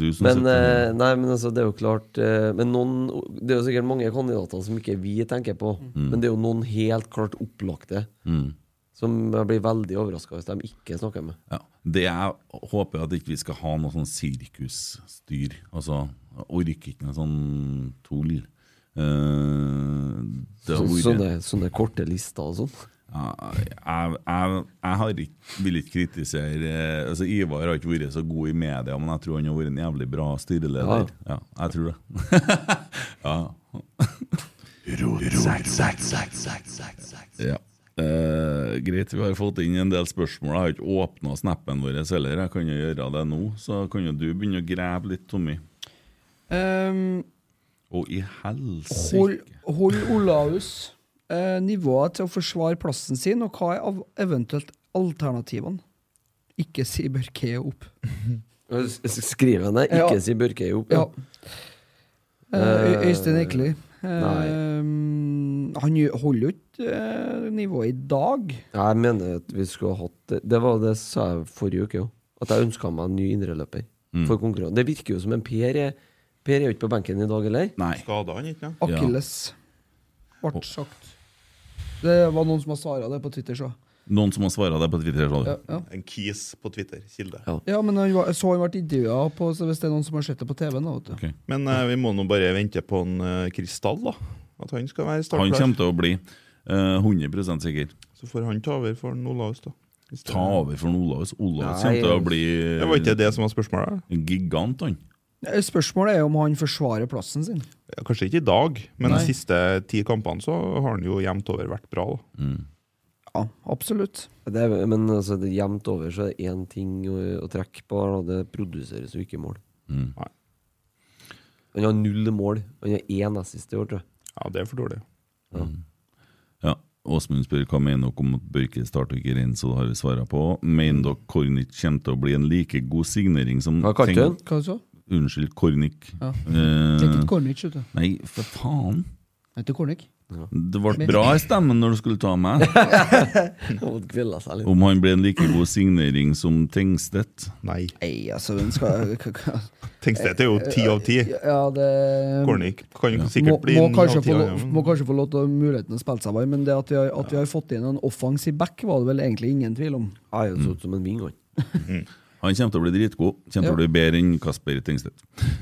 [SPEAKER 3] du som
[SPEAKER 4] Men,
[SPEAKER 3] sitter
[SPEAKER 4] eh, nei, men altså, det er jo klart eh, Men noen, Det er jo sikkert mange kandidater som ikke vi tenker på,
[SPEAKER 3] Mm.
[SPEAKER 4] men det er jo noen helt klart opplagte
[SPEAKER 3] Mm.
[SPEAKER 4] som jeg blir veldig overraska hvis de ikke snakker med.
[SPEAKER 3] ja. Det jeg håper at ikke vi skal ha noe sånn sirkusstyr. Altså, jeg orker ikke noe sånn tull. Eh, det har
[SPEAKER 4] Så,
[SPEAKER 3] vært-
[SPEAKER 4] Sånn- sånne, sånne korte lister og sånn.
[SPEAKER 3] Ah, Ja, jeg, jeg, jeg har ikke, vil ikke kritisere eh, altså Ivar har ikke vært så god i media, men jeg tror han har vært en jævlig bra styreleder. Ja, jeg tror det. ja. ja. Eh, greit, vi har fått inn en del spørsmål. Jeg har ikke åpna snappen vår heller. Jeg kan jo gjøre det nå, så kan jo du begynne å grave litt, Tommy.
[SPEAKER 6] Ehm,
[SPEAKER 3] Og i helsike
[SPEAKER 6] hold, hold Olaus eh, nivået til å forsvare plassen sin, og hva er av eventuelt alternativene? Ikke si Børke opp.
[SPEAKER 4] S- s- Skriv henne. Ikke
[SPEAKER 6] Ja.
[SPEAKER 4] si Børkøy opp.
[SPEAKER 6] Ja. Eh, Øy-
[SPEAKER 4] Eh,
[SPEAKER 6] Øystein Ekeli.
[SPEAKER 4] nei.
[SPEAKER 6] Ehm, han gjø- holder jo ikke eh, nivået i dag.
[SPEAKER 4] Jeg mener at vi skulle ha hatt Det var det jeg sa jeg forrige uke òg. At jeg ønska meg en ny indreløper.
[SPEAKER 3] Mm.
[SPEAKER 4] For konkurran- Det virker jo som en Per er Per er jo ikke på benken i dag heller.
[SPEAKER 3] Nei.
[SPEAKER 5] Skada han ikke? ja?
[SPEAKER 6] Akilles. Ble sagt. Det var noen som har svara det på Twitter, så.
[SPEAKER 3] Noen som har svara deg på Twitter? sa du?
[SPEAKER 6] Ja, ja.
[SPEAKER 5] En kis på Twitter. Kilde.
[SPEAKER 6] ja men han var, så han ble intervjua på så Hvis det er noen som har sett det på TV-en, da, vet du.
[SPEAKER 3] Ok.
[SPEAKER 5] Men eh, vi må nå bare vente på en eh, Kristall, da. At han skal være
[SPEAKER 3] Han
[SPEAKER 5] startklar.
[SPEAKER 3] kommer til å bli eh, 100 sikker.
[SPEAKER 5] Så får han ta over for Olaus, da. Hvis det-
[SPEAKER 3] Ta over for Olaus. Olaus
[SPEAKER 5] Nei,
[SPEAKER 3] kommer til å bli
[SPEAKER 5] Det var ikke det som var spørsmålet.
[SPEAKER 3] en gigant, han.
[SPEAKER 6] Eh, Spørsmålet er om han forsvarer plassen sin.
[SPEAKER 5] Ja, Kanskje ikke i dag, men
[SPEAKER 6] Nei.
[SPEAKER 5] de siste ti kampene så har han jo jevnt over vært bra. Da.
[SPEAKER 6] Ja, absolutt.
[SPEAKER 4] Det er, men altså, det, er jevnt over så er det én ting å, å trekke på. her, Da, det produseres jo ikke mål.
[SPEAKER 3] Mm.
[SPEAKER 5] Nei.
[SPEAKER 4] Han har null mål. Han har én assist i år, tror jeg.
[SPEAKER 5] Ja, det er for dårlig.
[SPEAKER 3] Ja. Åsmund spør hva mener dere om at Børke starter ikke Renzo, det har vi svaret på. Mener dere Kornic kommer til å bli en like god signering som
[SPEAKER 4] Hva kalte du den?
[SPEAKER 6] Hva så?
[SPEAKER 3] Unnskyld, Kornic.
[SPEAKER 6] Ja.
[SPEAKER 3] Eh,
[SPEAKER 6] Det er ikke Kornic, vet du.
[SPEAKER 3] nei, for faen!
[SPEAKER 6] Det er ikke Kornic.
[SPEAKER 3] Det ble bra i stemmen når du skulle ta meg.
[SPEAKER 4] Måtte kvile seg litt.
[SPEAKER 3] Om han ble en like god signering som Tengstedt?
[SPEAKER 5] Nei.
[SPEAKER 6] altså, hun skal k- k-
[SPEAKER 5] Tengstedt er jo 10 av 10.
[SPEAKER 6] Ja, det
[SPEAKER 5] Går den ikke? Kan jo sikkert
[SPEAKER 6] må,
[SPEAKER 5] bli
[SPEAKER 6] må,
[SPEAKER 5] ni av
[SPEAKER 6] kanskje
[SPEAKER 5] ti, ja,
[SPEAKER 6] få, lov-
[SPEAKER 5] men-
[SPEAKER 6] må kanskje få lov til å muligheten å spille seg varm, men det at vi, har, at vi har fått inn en offensiv back, var det vel egentlig ingen tvil om.
[SPEAKER 4] Jeg så ut som en ving,
[SPEAKER 3] Han kommer til å bli dritgod. Kommer til
[SPEAKER 6] Ja.
[SPEAKER 3] å bli bedre enn Kasper Tengstedt.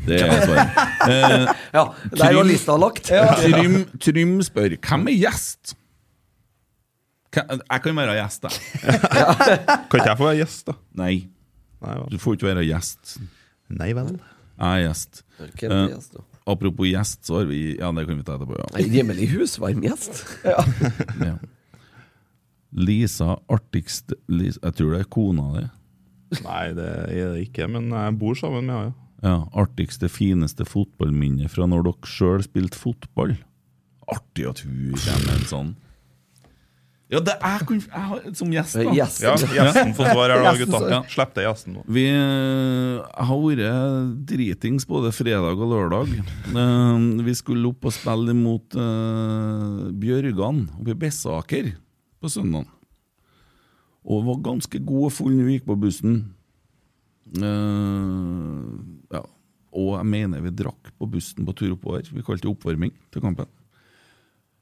[SPEAKER 3] Det er svaret.
[SPEAKER 4] Ja, der var lista lagt.
[SPEAKER 3] Ja. Trym, Trym spør hvem er gjest? Hvem- Jeg kan være gjest, da.
[SPEAKER 5] Kan ikke jeg få være gjest, da?
[SPEAKER 3] Nei. Du får ikke være gjest.
[SPEAKER 5] Nei vel.
[SPEAKER 3] Jeg er gjest.
[SPEAKER 4] Hvem er
[SPEAKER 3] Eh,
[SPEAKER 4] gjest, da?
[SPEAKER 3] apropos gjest, så har vi Ja, det kan vi ta etterpå. Ja.
[SPEAKER 4] En rimelig husvarm gjest.
[SPEAKER 3] Ja. Lisa artigst Lis- Jeg tror det er kona di.
[SPEAKER 5] Nei, det er det ikke, men jeg bor sammen med henne. ja.
[SPEAKER 3] Ja, artigste, fineste fotballminne fra når dere sjøl spilte fotball. Artig at hun kommer med en sånn. Ja, det er kun, jeg har, som gjest, da.
[SPEAKER 5] Ja, gjesten får svar her, da, gutta.
[SPEAKER 3] Ja.
[SPEAKER 5] Slipp deg gjesten nå.
[SPEAKER 3] Vi eh, har vært dritings både fredag og lørdag. Eh, Vi skulle opp og spille mot eh, Bjørgan oppe i Bessaker på søndag. Og var ganske god og full når vi gikk på bussen. Eh, ja. Og jeg mener vi drakk på bussen på tur oppover. Vi kalte det oppvarming til kampen.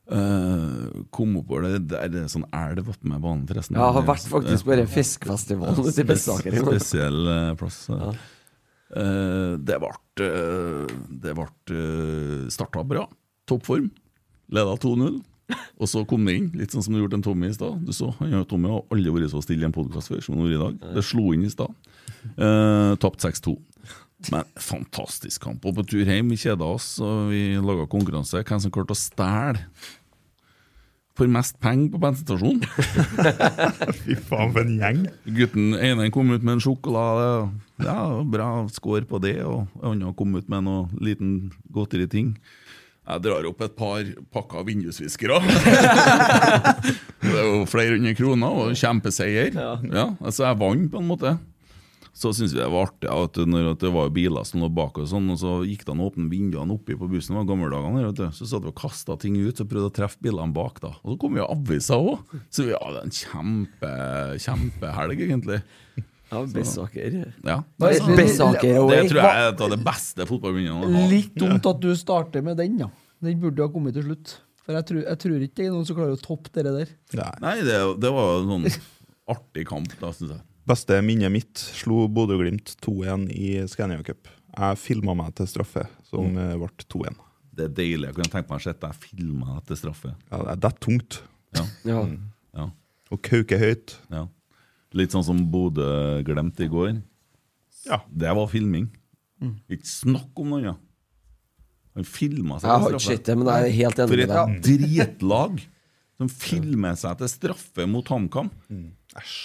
[SPEAKER 3] Eh, kom oppover det, det er en sånn elv oppe med banen, forresten.
[SPEAKER 4] Ja, jeg har vært faktisk på den fiskefestivalen ute i
[SPEAKER 3] Spes-
[SPEAKER 4] Bessaker i går.
[SPEAKER 3] Spesiell eh, plass. eh. Eh, det ble uh, Det ble eh, starta bra. Toppform. Leda 2-0. Og så kom det inn, litt sånn som du gjorde en Tommy i stad. Du så, han og Tommy har aldri vært så stille i en podkast før som han gjorde i dag. Det slo inn i stad. Uh, Tapt 6-2. Men fantastisk kamp. Og på tur hjem, vi kjeda oss, og vi laga konkurranse. Hvem som klarte å stjele for mest penger på bensinstasjonen?
[SPEAKER 5] Fy faen, for en gjeng.
[SPEAKER 3] Gutten ene kom ut med en sjokolade. og Ja, bra score på det. Og andre kom ut med noe liten godteri ting. Jeg drar opp et par pakker vindusviskere. det er jo flere hundre kroner og kjempeseier. Ja. altså jeg vant på en måte. Så syntes vi det var artig ja, at når at det var jo biler som lå bak og sånn, og så gikk det an å åpne vinduene oppi på bussen. Det var gammeldagene her, vet du. Så satt vi og kasta ting ut og prøvde å treffe bilene bak. da. Og så kom jo avisa òg! Så vi hadde en kjempe, kjempehelg, egentlig.
[SPEAKER 4] Ja, Bessaker.
[SPEAKER 3] Ja.
[SPEAKER 6] Nei,
[SPEAKER 3] Så-
[SPEAKER 6] Bessaker away.
[SPEAKER 3] Det tror jeg er et av de beste fotballminnene jeg har.
[SPEAKER 6] Litt dumt at du starter med den, ja. Den burde jo ha kommet til slutt. For jeg tror, jeg tror ikke det er noen som klarer å toppe det der.
[SPEAKER 3] Nei, det, det var en sånn artig kamp, da, syns jeg.
[SPEAKER 5] Beste minnet mitt slo Bodø-Glimt 2-1 i Scania Cup. Jeg filma meg til straffe, som eh, ble 2-1.
[SPEAKER 3] Det er deilig. Jeg kunne tenkt meg å sette deg filma etter straffe.
[SPEAKER 5] Ja, det er- det er tungt.
[SPEAKER 3] Ja.
[SPEAKER 4] Ja.
[SPEAKER 3] Ja.
[SPEAKER 5] Og kauke høyt.
[SPEAKER 3] Ja. Litt sånn som Bodø glemte i går.
[SPEAKER 5] Ja.
[SPEAKER 3] Det var filming. Ikke snakk om noe annet. Han filma seg
[SPEAKER 4] Jeg har ikke sett det, men jeg er helt enig
[SPEAKER 3] For
[SPEAKER 4] med
[SPEAKER 3] et
[SPEAKER 4] deg.
[SPEAKER 3] dritlag som filmer seg til straffe mot HamKam. Æsj.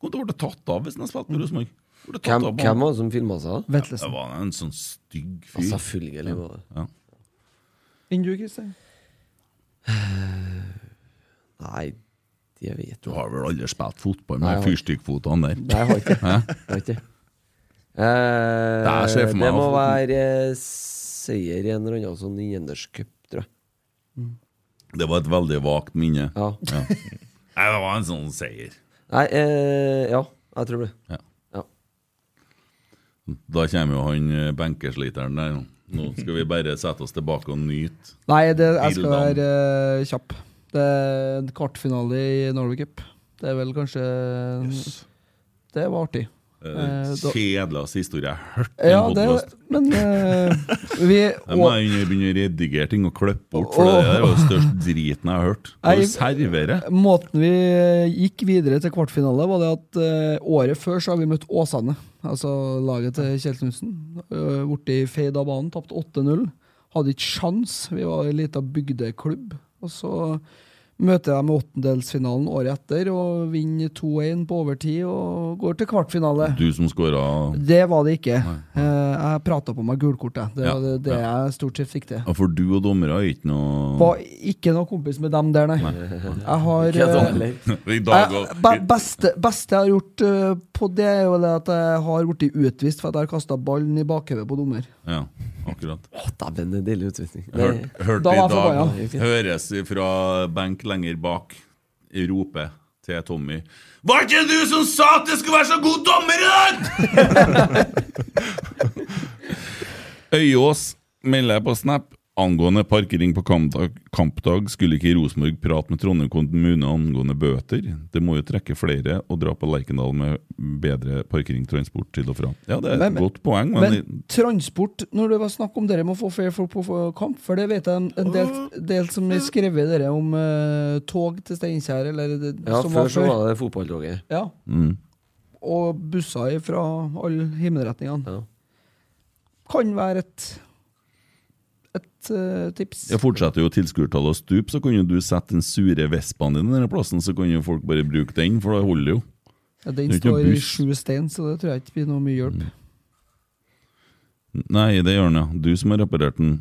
[SPEAKER 3] Kom til å bli tatt av hvis han hadde spilt med Rosenborg. Ble tatt
[SPEAKER 4] Hvem,
[SPEAKER 3] av på
[SPEAKER 4] hvem Altså,
[SPEAKER 3] han.
[SPEAKER 4] var det som filma seg? da?
[SPEAKER 3] Det
[SPEAKER 6] Ventlesen.
[SPEAKER 3] var en sånn stygg
[SPEAKER 4] Ja,
[SPEAKER 3] fyr.
[SPEAKER 4] Selvfølgelig var det
[SPEAKER 3] Ja.
[SPEAKER 6] Enn du, Kristian?
[SPEAKER 4] Nei, det vet
[SPEAKER 3] Du
[SPEAKER 4] du
[SPEAKER 3] har vel aldri spilt fotball
[SPEAKER 4] Nei, jeg
[SPEAKER 3] med
[SPEAKER 4] har-
[SPEAKER 3] fyrstikkfotene der?
[SPEAKER 4] Nei, jeg har ikke det. Jeg har ikke det. Eh,
[SPEAKER 3] Det er sjef for meg
[SPEAKER 4] det må
[SPEAKER 3] å få-
[SPEAKER 4] være eh, seier i en eller annen sånn Gjenderscup, tror jeg.
[SPEAKER 3] Det var et veldig vagt minne.
[SPEAKER 4] Ja.
[SPEAKER 3] Ja. Nei, det var en sånn seier.
[SPEAKER 4] Nei, eh, ja, jeg tror det.
[SPEAKER 3] Ja.
[SPEAKER 4] Ja.
[SPEAKER 3] Da kommer jo han eh, benkesliteren der. Nå skal vi bare sette oss tilbake og nyte.
[SPEAKER 6] Nei, det, jeg skal
[SPEAKER 3] Bildan.
[SPEAKER 6] være eh, kjapp. Det er en kvartfinale i Norway Cup. Det er vel kanskje Det var artig. Eh, da-
[SPEAKER 3] Kjedeligste historie jeg har hørt. i en
[SPEAKER 6] Ja, det
[SPEAKER 3] podcast.
[SPEAKER 6] Men eh, vi
[SPEAKER 3] Jeg må inn- begynne å redigere ting og klippe bort, for
[SPEAKER 6] Åh.
[SPEAKER 3] det der var den største driten jeg har hørt. Når
[SPEAKER 6] Jeg-
[SPEAKER 3] du serverer
[SPEAKER 6] Måten vi gikk videre til kvartfinale, var det at eh, året før så har vi møtt Åsane. Altså laget til Kjell Knutsen. Uh, borti feid av banen, tapte 8-0. Hadde ikke sjans. Vi var en liten bygdeklubb. Og så møter jeg med åttendelsfinalen året etter og vinner 2-1 på overtid og går til kvartfinale.
[SPEAKER 3] Du som skåra
[SPEAKER 6] Det var det ikke. Eh, jeg prata på meg gulkortet. Det
[SPEAKER 3] Ja,
[SPEAKER 6] var det, det jeg stort sett fikk til.
[SPEAKER 3] Ja, for du og dommere er ikke noe
[SPEAKER 6] Var ikke noe kompis med dem der, nei. Jeg har
[SPEAKER 3] Ikke jeg
[SPEAKER 6] eh,
[SPEAKER 3] heller. I dag
[SPEAKER 6] jeg-
[SPEAKER 3] også.
[SPEAKER 6] be- beste, beste jeg har gjort eh, på det, er jo det at jeg har blitt utvist for at jeg har kasta ballen i bakhodet på dommer.
[SPEAKER 3] Ja, akkurat.
[SPEAKER 4] Å, dæven, det er deilig utvisning.
[SPEAKER 3] Hørt, hørte
[SPEAKER 6] Da
[SPEAKER 3] i
[SPEAKER 6] var jeg
[SPEAKER 3] dag
[SPEAKER 6] forbanna.
[SPEAKER 3] Høres fra benk lenger bak rope til Tommy Var ikke det du som sa at det skulle være så god dommer i dag?! Øyås melder på Snap angående parkering på kampdag, kampdag skulle ikke Rosenborg prate med Trondheim kommune angående bøter. Det må jo trekke flere og dra på Lerkendal med bedre parkeringstransport til og fra. Ja, det er et
[SPEAKER 6] Men-
[SPEAKER 3] godt poeng, men,
[SPEAKER 6] Men transport, når det var snakk om dere må få fair folk på på kamp, for det vet jeg en, en del, del som har skrevet dere om eh, tog til Steinkjer, eller det,
[SPEAKER 4] Ja,
[SPEAKER 6] som
[SPEAKER 4] før
[SPEAKER 6] var
[SPEAKER 4] så
[SPEAKER 6] før.
[SPEAKER 4] var det fotballtoget.
[SPEAKER 6] Ja.
[SPEAKER 3] Mm.
[SPEAKER 6] Og busser fra alle himmelretningene. Kan være et et eh, tips.
[SPEAKER 3] Jeg fortsetter jo tilskuertallet å stupe, så kan jo du sette den sure vespaen din i denne plassen, så kan jo folk bare bruke den, for det holder jo.
[SPEAKER 6] Ja,
[SPEAKER 3] Det
[SPEAKER 6] den
[SPEAKER 3] er ikke noe
[SPEAKER 6] står i
[SPEAKER 3] buss.
[SPEAKER 6] sju stein, så det tror jeg ikke blir noe mye hjelp.
[SPEAKER 3] Nei, det gjør den, ja. Du som har reparert den.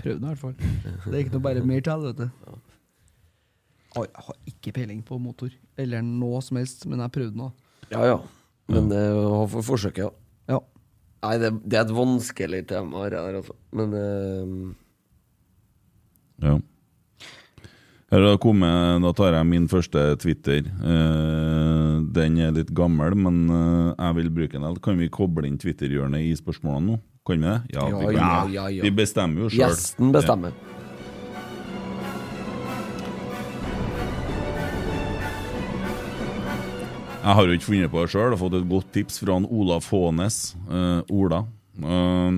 [SPEAKER 6] Prøv det i hvert fall. Det er ikke noe bare mer til, vet du. Oi, Jeg har ikke peiling på motor, eller noe som helst, men jeg prøvde nå.
[SPEAKER 4] Ja, ja. Men det var for forsøket, ja. Nei, det, det er et vanskelig tema, det der, altså. Men eh,
[SPEAKER 3] Ja. Her har det kommet, Da tar jeg min første Twitter. Eh, den er litt gammel, men eh, jeg vil bruke den. Eller Kan vi koble inn Twitter-hjørnet i spørsmålene nå? Kan vi det?
[SPEAKER 4] Ja,
[SPEAKER 3] vi, kan
[SPEAKER 4] ja,
[SPEAKER 3] det.
[SPEAKER 4] ja, ja.
[SPEAKER 3] vi bestemmer jo sjøl.
[SPEAKER 4] Gjesten bestemmer.
[SPEAKER 3] Jeg har jo ikke funnet på det sjøl. Har fått et godt tips fra han Olaf Hånes. Eh, Ola. Eh,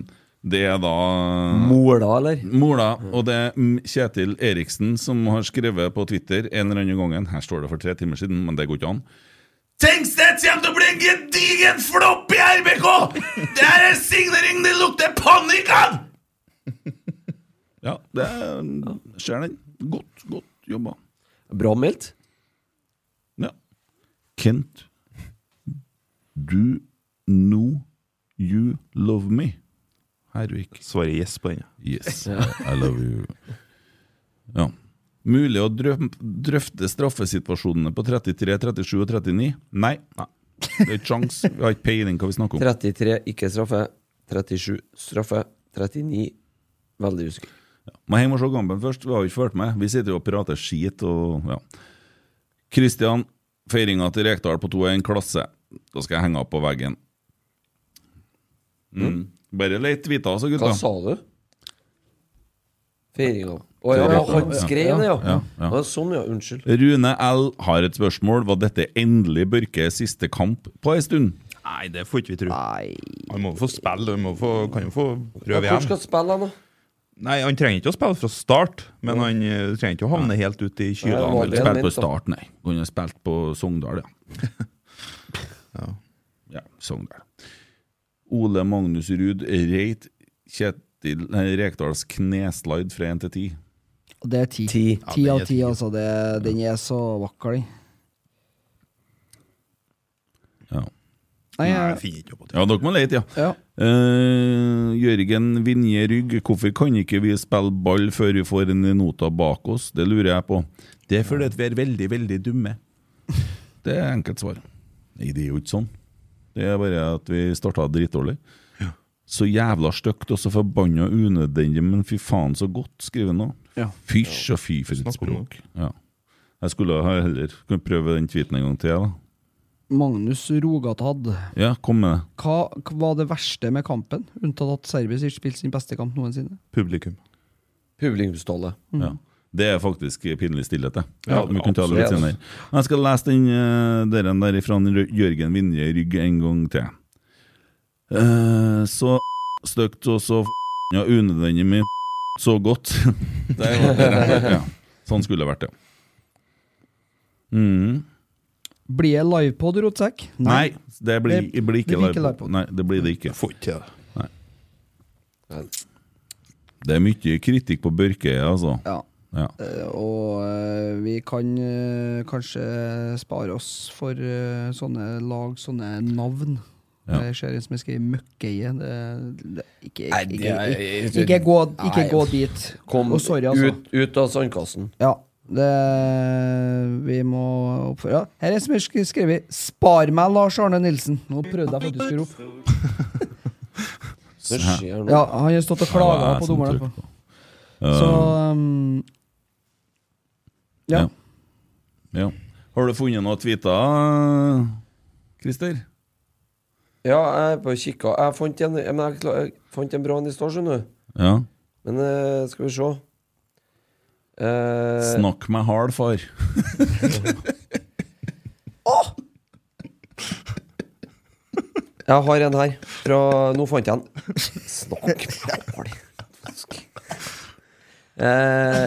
[SPEAKER 3] det er da eh,
[SPEAKER 4] Mola, eller?
[SPEAKER 3] Mola. Og det er mm, Kjetil Eriksen som har skrevet på Twitter en eller annen gangen Her står det for tre timer siden, men det går ikke an. Tengstedt kommer til å bli en gedigen flopp i RBK! Det her er signering det lukter panikk av! Ja, det er- ser den. Godt, godt jobba.
[SPEAKER 4] Bra meldt.
[SPEAKER 3] Ja. Kent, do know you love me? Hervik.
[SPEAKER 5] Svarer yes på den.
[SPEAKER 3] Yes, I love you. Ja. Mulig å drøm- drøfte straffesituasjonene på 33, 37 og 39? Nei. Nei. Det er ikke sjans. Vi har ikke peiling hva vi snakker om.
[SPEAKER 4] 33 ikke straffe. 37 straffe. 39 veldig usikker.
[SPEAKER 3] Men jeg må se kampen først. Vi har jo ikke fulgt med. Vi sitter jo og prater skit og ja. Kristian, feiringa til Rekdal på 2 er en klasse. Da skal jeg henge opp på veggen. Mm. Bare leit vita, altså, gutta.
[SPEAKER 4] Hva sa du? Feiringa. Å ja,
[SPEAKER 3] Feiringa.
[SPEAKER 4] han skrev det, ja.
[SPEAKER 3] Ja, ja.
[SPEAKER 4] Å, Sånn, ja. Unnskyld.
[SPEAKER 3] Rune L. har et spørsmål. Var dette endelig Børke siste kamp på ei stund?
[SPEAKER 5] Nei, det får ikke vi tro. Han må jo få spille, han må få, kan jo få prøve
[SPEAKER 4] Ja, hvor
[SPEAKER 5] igjen.
[SPEAKER 4] skal spille han, da?
[SPEAKER 5] Nei, Han trenger ikke å spille fra start, men han eh, trenger ikke å havne helt ut i kyla.
[SPEAKER 3] Han ville spilt på start, nei. Han har spilt på Sogndal, ja. ja. Sogndal. Ole Magnus Ruud reit Kjetil nei, Rekdals kneslide fra 1 til 10.
[SPEAKER 6] Og det er ti. Ti, av ti, altså. Det, den er så vakker, den.
[SPEAKER 3] Ja.
[SPEAKER 6] Nei, jeg-
[SPEAKER 3] Ja, dere må lete, ja.
[SPEAKER 6] Ja.
[SPEAKER 3] Eh, Jørgen Vinje Rygg, hvorfor kan ikke vi spille ball før vi får en nota bak oss? Det lurer jeg på. Det er fordi at vi er veldig, veldig dumme. Det er enkelt svar. Nei, det er jo ikke sånn. Det er bare at vi starta dritdårlig. Så jævla stygt og så forbanna unødvendig, men fy faen så godt, skriver han nå.
[SPEAKER 6] Ja.
[SPEAKER 3] Fysj og fy for et språk. Ja. Jeg skulle ha heller kunne prøve den tweeten en gang til, jeg, da.
[SPEAKER 6] Magnus Rogatad.
[SPEAKER 3] Ja, kom med det.
[SPEAKER 6] Hva hva var det verste med kampen, unntatt at Serbia ikke spilte sin beste kamp noensinne?
[SPEAKER 5] Publikum.
[SPEAKER 4] Publikumstallet.
[SPEAKER 3] Ja. Det er faktisk pinlig stillhet, det.
[SPEAKER 4] Ja,
[SPEAKER 3] Ja, vi kan ta det litt
[SPEAKER 4] absolutt.
[SPEAKER 3] senere. Jeg skal lese den eh, deren der fra Jørgen Vinje Rygg en gang til. Eh, så stygt og så ja, unødvendig mye så godt. Der var det rett. ja. Sånn skulle det vært, ja. Mm.
[SPEAKER 6] Blir det livepod, Rotsekk?
[SPEAKER 3] Nei, det blir, det blir ikke
[SPEAKER 6] blir
[SPEAKER 3] live. Nei, det blir det ikke.
[SPEAKER 5] Får ikke det.
[SPEAKER 3] Nei. Det er mye kritikk på Børke, altså.
[SPEAKER 6] Ja.
[SPEAKER 3] ja.
[SPEAKER 6] Eh, Og eh, vi kan eh, kanskje spare oss for eh, sånne lag, sånne navn.
[SPEAKER 3] Ja.
[SPEAKER 6] Det ser ut som jeg skal i møkkeie. Det- det- Ikke,
[SPEAKER 4] Nei,
[SPEAKER 6] ikke,
[SPEAKER 4] det er-
[SPEAKER 6] ikke, ikke, ikke, gå, ikke
[SPEAKER 4] Nei.
[SPEAKER 6] gå dit.
[SPEAKER 4] Kom
[SPEAKER 6] Og sorry, altså.
[SPEAKER 4] ut, ut av sandkassen.
[SPEAKER 6] Ja. Det, vi må oppføre ja. Her er som jeg skrevet 'Spar meg, Lars Arne Nilsen'. Nå prøvde jeg faktisk å rope.
[SPEAKER 4] Det skjer noe.
[SPEAKER 6] Ja, han har stått og klaga
[SPEAKER 3] Ja, det er
[SPEAKER 6] på
[SPEAKER 3] som
[SPEAKER 4] sånn
[SPEAKER 6] dommeren
[SPEAKER 3] trykk
[SPEAKER 6] etterpå.
[SPEAKER 3] Eh,
[SPEAKER 6] Så um, Ja.
[SPEAKER 3] Eh, ja. Har du funnet noen tweeter, Christer?
[SPEAKER 4] Ja, jeg er på og kikka. Jeg fant en, men jeg, kla- jeg fant en bra en i stad, skjønner du.
[SPEAKER 3] Ja.
[SPEAKER 4] Men eh, skal vi se Eh,
[SPEAKER 3] Snakk meg hard, far.
[SPEAKER 4] Jeg har en her. Fra, nå fant jeg den. Snakk meg hard. Eh,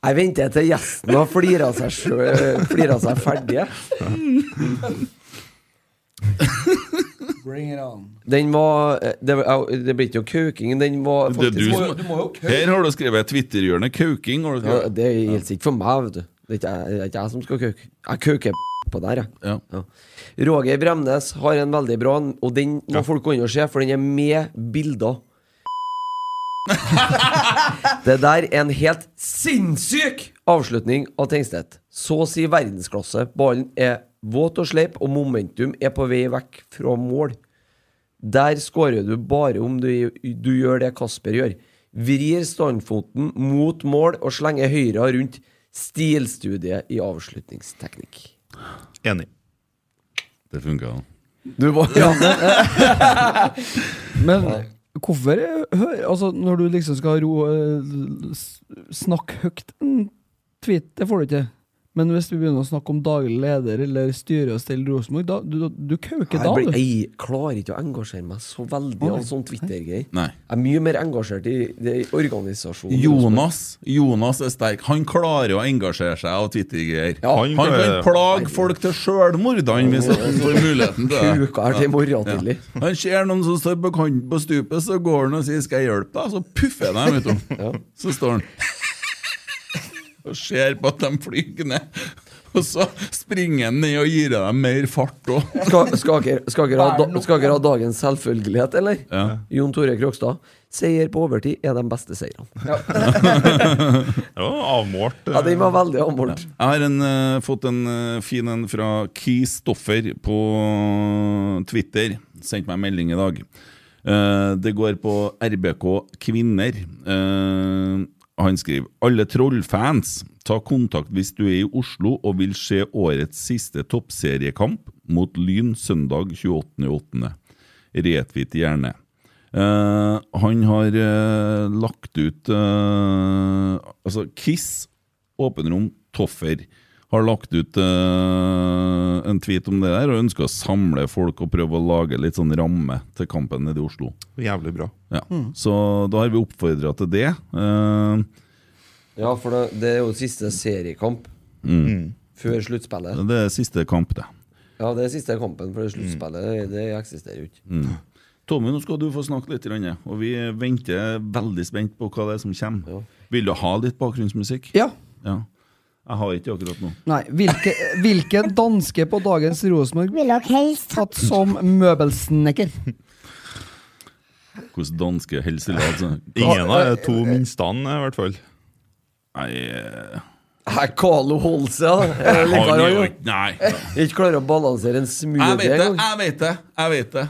[SPEAKER 4] jeg venter til gjesten har flira seg, sjø- flira seg ferdig.
[SPEAKER 6] Bring it on.
[SPEAKER 4] Den var eh, Det, var- au, det ble ikke noe kauking. Den var
[SPEAKER 3] Det er
[SPEAKER 4] faktisk
[SPEAKER 3] du som- Her har du skrevet Twitterhjørnet Kauking. har du
[SPEAKER 4] ja,
[SPEAKER 3] skrevet.
[SPEAKER 4] Det gjelder ikke for meg, vet du. Det er ikke jeg, det er ikke jeg som skal kauke. Jeg kauker p- på der, jeg. Ja. Roger Bremnes har en veldig bra en, og den må folk gå inn og se, for den er med bilder. det der er en helt sinnssyk avslutning av Tengstedt. Så å si verdensklasse. Ballen er våt og sleip, og momentum er på vei vekk fra mål. Der skårer du bare om du, du gjør det Kasper gjør. Vrir standfoten mot mål og slenger høyre rundt. Stilstudiet i avslutningsteknikk.
[SPEAKER 5] Enig.
[SPEAKER 3] Det funka, da.
[SPEAKER 4] Du var
[SPEAKER 6] Men hvorfor eh, hø- Altså, når du liksom skal ro eh, s- Snakke høyt en tweet, det får du ikke. Men hvis vi begynner å snakke om daglig leder eller styre og stelle Rosenborg, da Du, du kauker da,
[SPEAKER 4] jeg, blir,
[SPEAKER 6] du.
[SPEAKER 4] jeg klarer ikke å engasjere meg så veldig av sånn Twitter-greier.
[SPEAKER 3] Nei.
[SPEAKER 4] Jeg er mye mer engasjert i, det, i organisasjonen.
[SPEAKER 3] Jonas Jonas er sterk. Han klarer å engasjere seg av Twitter-greier.
[SPEAKER 5] Han
[SPEAKER 3] Han kan
[SPEAKER 5] klarer-
[SPEAKER 3] plage folk til sjølmord, han, hvis han får muligheten til det.
[SPEAKER 4] Kuka her til i morgen tidlig.
[SPEAKER 3] Han ser noen som står på kanten på stupet, så går han og sier 'skal jeg hjelpe deg?' Så puffer han dem, vet du. Så står han og ser på at de flyr ned. Og så springer han ned og gir dem mer fart òg.
[SPEAKER 4] Skal, skal, dere- skal, dere ha, da- skal dere ha dagens selvfølgelighet, eller?
[SPEAKER 3] Ja.
[SPEAKER 4] Jon Tore Krogstad. Seier på overtid er de beste seirene.
[SPEAKER 5] Det var avmålt. eh,
[SPEAKER 4] Ja, den var veldig avmålt.
[SPEAKER 3] Jeg har en, eh, fått en eh, fin en fra Key Stoffer på Twitter. Sendte meg en melding i dag. Eh, det går på RBK Kvinner. Eh, han skriver Alle trollfans, ta kontakt hvis du er i Oslo og vil se årets siste toppseriekamp mot Lyn søndag 28.8. Retweet gjerne. Eh, han har eh, lagt ut eh, Altså, Kiss Åpenrom Toffer har lagt ut eh, en tweet om det der og ønsker å samle folk og prøve å lage litt sånn ramme til kampen nede i Oslo.
[SPEAKER 5] Jævlig bra.
[SPEAKER 3] Ja. Så da har vi oppfordra til det. Eh,
[SPEAKER 4] Ja, for det, det er jo siste seriekamp
[SPEAKER 3] Mm.
[SPEAKER 4] før sluttspillet.
[SPEAKER 3] det er siste kamp, det.
[SPEAKER 4] Ja, det er siste kampen
[SPEAKER 3] Mm.
[SPEAKER 4] før sluttspillet. Det, det eksisterer jo ikke.
[SPEAKER 3] Tommy, nå skal du få snakke litt, grann, og vi venter veldig spent på hva det er som kommer. Vil du ha litt bakgrunnsmusikk?
[SPEAKER 6] Ja.
[SPEAKER 3] Ja. Jeg har ikke akkurat nå.
[SPEAKER 6] Nei. Hvilke, hvilken danske på dagens Rosenborg ville dere helst hatt som møbelsnekker?
[SPEAKER 3] Hvordan danske helselag så-
[SPEAKER 5] Ingen av de to minstene, i hvert fall.
[SPEAKER 3] Nei, eh,
[SPEAKER 4] Hei, Carlo Holse, ja. Jeg
[SPEAKER 3] han
[SPEAKER 4] liker
[SPEAKER 3] er
[SPEAKER 4] han
[SPEAKER 3] jo
[SPEAKER 4] jo.
[SPEAKER 3] ikke Nei.
[SPEAKER 4] Ikke klarer å balansere en
[SPEAKER 3] Jeg
[SPEAKER 4] smoothie
[SPEAKER 3] vet det,
[SPEAKER 4] engang.
[SPEAKER 3] jeg vet det, jeg vet det.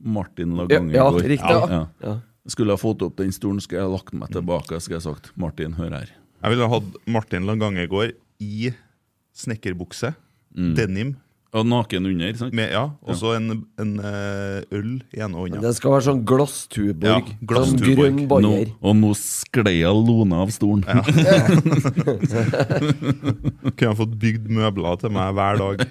[SPEAKER 3] Martin Lagange
[SPEAKER 4] Ja, ja,
[SPEAKER 3] går.
[SPEAKER 4] riktig, ja. Ja.
[SPEAKER 3] Skulle jeg fått opp den stolen, skulle jeg lagt meg tilbake. Skulle jeg sagt Martin, hør her.
[SPEAKER 5] Jeg ville hatt Martin Langangegård i snekkerbukse, denim,
[SPEAKER 3] Og naken under, sant?
[SPEAKER 5] med, ja, og så en, en eh, øl i ene hånda.
[SPEAKER 4] Det skal være sånn glasstuborg.
[SPEAKER 5] Ja,
[SPEAKER 4] sånn
[SPEAKER 5] glasstuborg.
[SPEAKER 4] grønn
[SPEAKER 3] Nå,
[SPEAKER 4] bayer.
[SPEAKER 3] og nå sklei jeg Lone av stolen.
[SPEAKER 5] Kunne jeg fått bygd møbler til meg hver dag.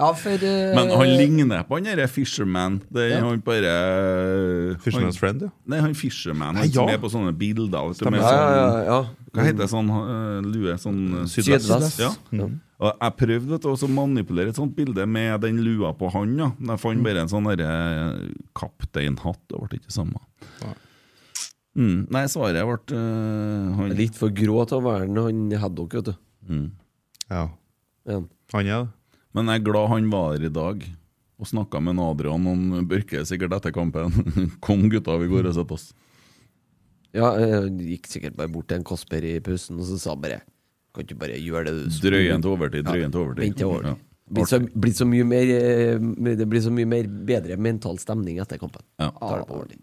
[SPEAKER 6] Ja, for eh,
[SPEAKER 3] Men han ligner på han derre Fisherman. Det er han bare eh,
[SPEAKER 5] Fisherman's
[SPEAKER 3] han,
[SPEAKER 5] Friend, ja.
[SPEAKER 3] Nei, han Fisherman.
[SPEAKER 5] Nei,
[SPEAKER 3] Han som
[SPEAKER 5] ja.
[SPEAKER 3] er på sånne bilder. Vet du,
[SPEAKER 5] Stemmer.
[SPEAKER 3] med
[SPEAKER 4] Ja,
[SPEAKER 3] sånn,
[SPEAKER 4] ja, ja.
[SPEAKER 3] Hva heter det sånn øh, lue? Sånn øh,
[SPEAKER 4] Sydvest. Sydvest.
[SPEAKER 3] Ja.
[SPEAKER 5] Mm.
[SPEAKER 3] Og jeg prøvde vet du, også å manipulere et sånt bilde med den lua på han. Ja. Men
[SPEAKER 4] Mm.
[SPEAKER 3] Jeg fant bare en sånn derre, øh, kapteinhatt. Det ble ikke samme. Mm. Nei, svaret ble øh, han.
[SPEAKER 4] Litt for grå til å være han haddock, vet du.
[SPEAKER 5] Ja. Han er
[SPEAKER 3] det. Men jeg er glad han var her i dag og snakka med en Adrian om Børke sikkert etter kampen. Kom, gutta, vi går og setter oss.
[SPEAKER 4] Ja, jeg gikk sikkert bare bort til en Kasper i pausen, og så sa han bare Kan ikke bare gjøre det du
[SPEAKER 3] Drøyen til overtid, drøyen til overtid.
[SPEAKER 4] vent til overtid.
[SPEAKER 3] Ja.
[SPEAKER 4] Blir så, blir så mye mer, eh, det blir så mye mer bedre mental stemning etter kampen.
[SPEAKER 3] Ja.
[SPEAKER 4] Tar det på overtid.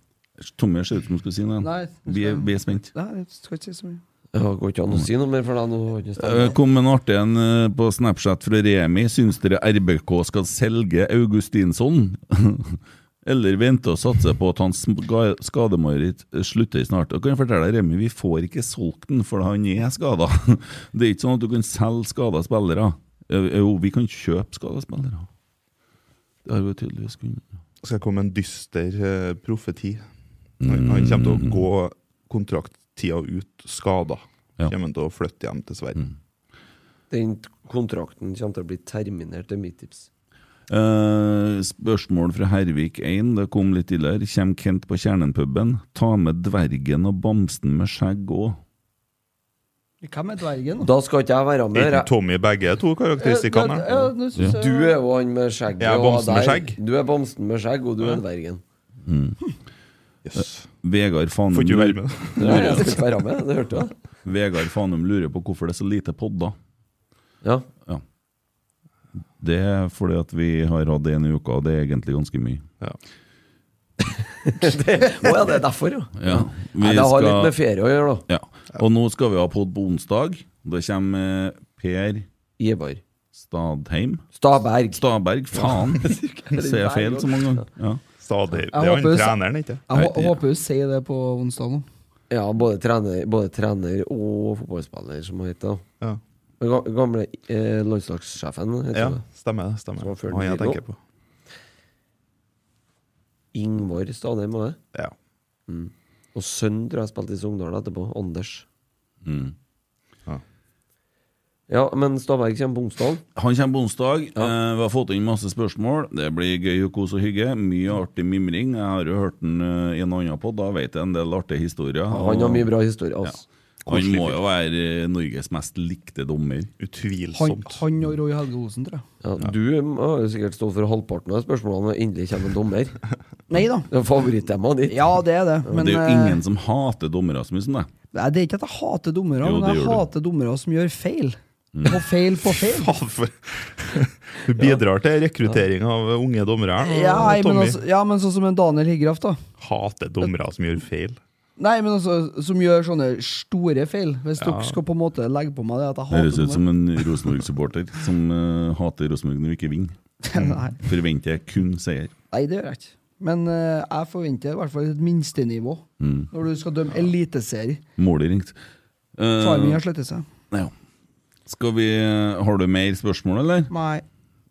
[SPEAKER 3] Tommy ser ut som han skulle si noe.
[SPEAKER 6] Nei,
[SPEAKER 3] vi, er, vi er spent.
[SPEAKER 6] Nei, jeg skal ikke si så mye.
[SPEAKER 4] Det går ikke an å si noe mer for deg nå.
[SPEAKER 3] Eh, Kom en artig en eh, på Snapchat fra Remi. Syns dere RBK skal selge Augustinsson? Eller vente og satse på at hans ga- skademaritt slutter snart? Og kan jeg fortelle deg, Remi, vi får ikke solgt den, for han er skada. Det er ikke sånn at du kan selge skada spillere. Eh, Jo, vi kan kjøpe skada spillere. Det har vi tydeligvis kunnet.
[SPEAKER 5] Skal jeg komme med en dyster eh, profeti? Han,
[SPEAKER 3] Mm.
[SPEAKER 5] han kommer til å gå kontrakttida ut skada.
[SPEAKER 3] Ja. Mm.
[SPEAKER 5] Kommer han til å flytte hjem til Sverige.
[SPEAKER 4] Den kontrakten kommer til å bli terminert, det er mitt tips.
[SPEAKER 3] Eh, spørsmål fra Hervik 1, det kom litt tidligere. Kjem Kent på Kjernen-puben? Ta med dvergen og bamsen med skjegg òg.
[SPEAKER 6] Hvem er dvergen?
[SPEAKER 4] Da skal ikke jeg være med.
[SPEAKER 5] Ikke
[SPEAKER 4] jeg-
[SPEAKER 5] Tommy begge to karakteristikkene.
[SPEAKER 6] Eh, Ja, ja, nå synes jeg-
[SPEAKER 4] Du er jo han med skjegget.
[SPEAKER 5] Jeg er
[SPEAKER 4] og
[SPEAKER 5] bamsen med
[SPEAKER 4] der-
[SPEAKER 5] skjegg.
[SPEAKER 4] Du er bamsen med skjegg, og du er dvergen.
[SPEAKER 3] Vegard Fanum
[SPEAKER 5] Får ikke være
[SPEAKER 3] lurer-
[SPEAKER 5] med.
[SPEAKER 4] Nei, jeg skal ikke være med, det hørte jeg.
[SPEAKER 3] Vegard Fanum lurer på hvorfor det er så lite podder.
[SPEAKER 4] Ja.
[SPEAKER 3] Det er fordi at vi har hatt en i uka, og det er egentlig ganske mye.
[SPEAKER 5] Ja.
[SPEAKER 4] Å ja, det er derfor, ja.
[SPEAKER 3] Ja, vi
[SPEAKER 4] Nei, det har
[SPEAKER 3] skal-
[SPEAKER 4] litt med ferie å gjøre, da.
[SPEAKER 3] Ja. Og nå skal vi ha pod på onsdag. Da kommer eh, Per
[SPEAKER 4] Ivar.
[SPEAKER 3] Stadheim.
[SPEAKER 4] Staberg.
[SPEAKER 3] Staberg, faen! Ser jeg feil så mange ganger? Ja.
[SPEAKER 5] Stadig. Det
[SPEAKER 6] Jeg
[SPEAKER 5] er han
[SPEAKER 6] håper hun-
[SPEAKER 5] treneren, ikke
[SPEAKER 6] Jeg hå-
[SPEAKER 3] Nei, det-
[SPEAKER 6] håper hun sier det på onsdag nå.
[SPEAKER 4] Ja, både trener, både trener og fotballspiller, som han heter. da.
[SPEAKER 5] Ja,
[SPEAKER 4] Den ga- gamle eh, landslagssjefen, heter
[SPEAKER 5] ja
[SPEAKER 4] det.
[SPEAKER 5] stemmer det. stemmer
[SPEAKER 4] Som var før
[SPEAKER 5] Han jeg
[SPEAKER 4] Nilo.
[SPEAKER 5] tenker på.
[SPEAKER 4] Ingvar Stadheim var det.
[SPEAKER 5] Ja.
[SPEAKER 4] Og sønnen tror jeg spilte i Sogndal etterpå. Anders.
[SPEAKER 3] Mm.
[SPEAKER 4] Ja, men Staberg kommer på onsdag.
[SPEAKER 3] Han kommer på onsdag. Eh, vi har fått inn masse spørsmål. Det blir gøy og kos og hygge. Mye artig mimring. Jeg har jo hørt den eh, i en annen podd, da vet jeg en del artige historier.
[SPEAKER 4] Han har mye bra historie. Altså.
[SPEAKER 3] Han må jo være eh, Norges mest likte dommer.
[SPEAKER 6] Han,
[SPEAKER 5] Utvilsomt.
[SPEAKER 6] han og Roy Helge Osen, tror jeg.
[SPEAKER 4] Ja. Du mm, har jo sikkert stått for halvparten av spørsmålene, og endelig kommer en dommer.
[SPEAKER 6] Nei da.
[SPEAKER 4] Det er Favorittemaet ditt.
[SPEAKER 6] Ja, det er det. Men
[SPEAKER 3] det er jo
[SPEAKER 6] eh,
[SPEAKER 3] ingen som hater dommere så mye som deg.
[SPEAKER 6] Nei, det er ikke at jeg hater dommere,
[SPEAKER 3] Jo, det
[SPEAKER 6] men jeg
[SPEAKER 3] gjør du. Mm.
[SPEAKER 6] hater dommere som gjør feil. Og feil på feil.
[SPEAKER 5] Faen, for- Du bidrar til rekruttering av unge dommere. her nå,
[SPEAKER 6] Ja, nei, men
[SPEAKER 5] Tommy
[SPEAKER 6] altså, ja, men sånn som en Daniel Higgraff, da.
[SPEAKER 5] hater dommere som gjør feil.
[SPEAKER 6] Nei, men altså, som gjør sånne store feil. Hvis
[SPEAKER 5] Ja.
[SPEAKER 6] dere skal på en måte legge på meg det at jeg hater
[SPEAKER 3] Høres ut som en Rosenborg-supporter som eh, hater Rosenborg når vi ikke vinner.
[SPEAKER 6] Nei.
[SPEAKER 3] Forventer kun seier.
[SPEAKER 6] nei, det gjør jeg ikke. Men eh, jeg forventer i hvert fall et minstenivå
[SPEAKER 3] Mm.
[SPEAKER 6] når du skal dømme eliteserie.
[SPEAKER 3] Målet ringt. Eh,
[SPEAKER 6] Timing har slettet seg.
[SPEAKER 3] ja. Skal vi eh, Har du mer spørsmål, eller?
[SPEAKER 6] Nei.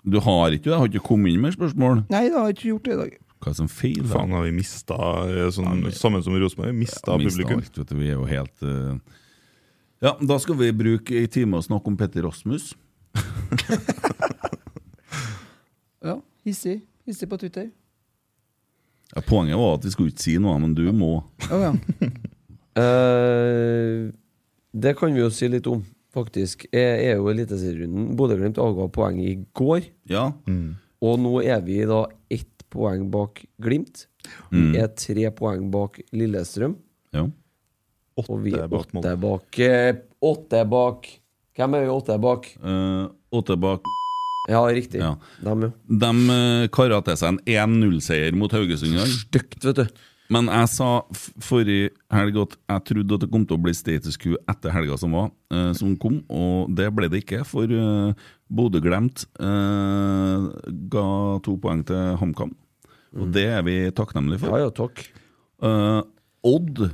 [SPEAKER 3] Du har ikke det? Har ikke kommet inn mer spørsmål?
[SPEAKER 6] Nei, det har jeg ikke gjort det i dag.
[SPEAKER 3] Hva er det som feiler?
[SPEAKER 5] Faen, har vi mista eh, sånn, Sammen som Rosenborg, mista
[SPEAKER 3] Ja, mistet
[SPEAKER 5] publikum.
[SPEAKER 3] alt, vet du. Vi er jo helt eh, Ja, da skal vi bruke ei time og snakke om Petter Rasmus.
[SPEAKER 6] Ja, Hissig. Hissig på Twitter.
[SPEAKER 3] Ja, poenget var at vi skulle ikke si noe, men du må.
[SPEAKER 6] Å ja.
[SPEAKER 4] Eh, det kan vi jo si litt om, faktisk. Jeg er jo i Eliteserierunden. Bodø-Glimt avga poeng i går.
[SPEAKER 3] Ja.
[SPEAKER 4] Og nå er vi da ett poeng bak Glimt. Vi
[SPEAKER 3] Mm.
[SPEAKER 4] er tre poeng bak Lillestrøm.
[SPEAKER 3] ja.
[SPEAKER 4] Og vi er
[SPEAKER 5] Åtte bak
[SPEAKER 4] åtte
[SPEAKER 5] Molde.
[SPEAKER 4] bak eh, Åtte bak Hvem er vi åtte bak?
[SPEAKER 3] Eh, og tilbake
[SPEAKER 4] Ja, riktig.
[SPEAKER 3] Ja.
[SPEAKER 4] Dem, jo.
[SPEAKER 3] De eh, kara til seg en 1-0-seier mot Haugesund i dag.
[SPEAKER 4] Stygt, vet du.
[SPEAKER 3] Men jeg sa f- forrige helg at jeg trodde at det kom til å bli status quo etter helga som var, eh, som kom, og det ble det ikke. For eh, Bodø glemt eh, ga to poeng til HamKam, og det er vi takknemlige for.
[SPEAKER 4] Ja ja, takk.
[SPEAKER 3] Eh, Odd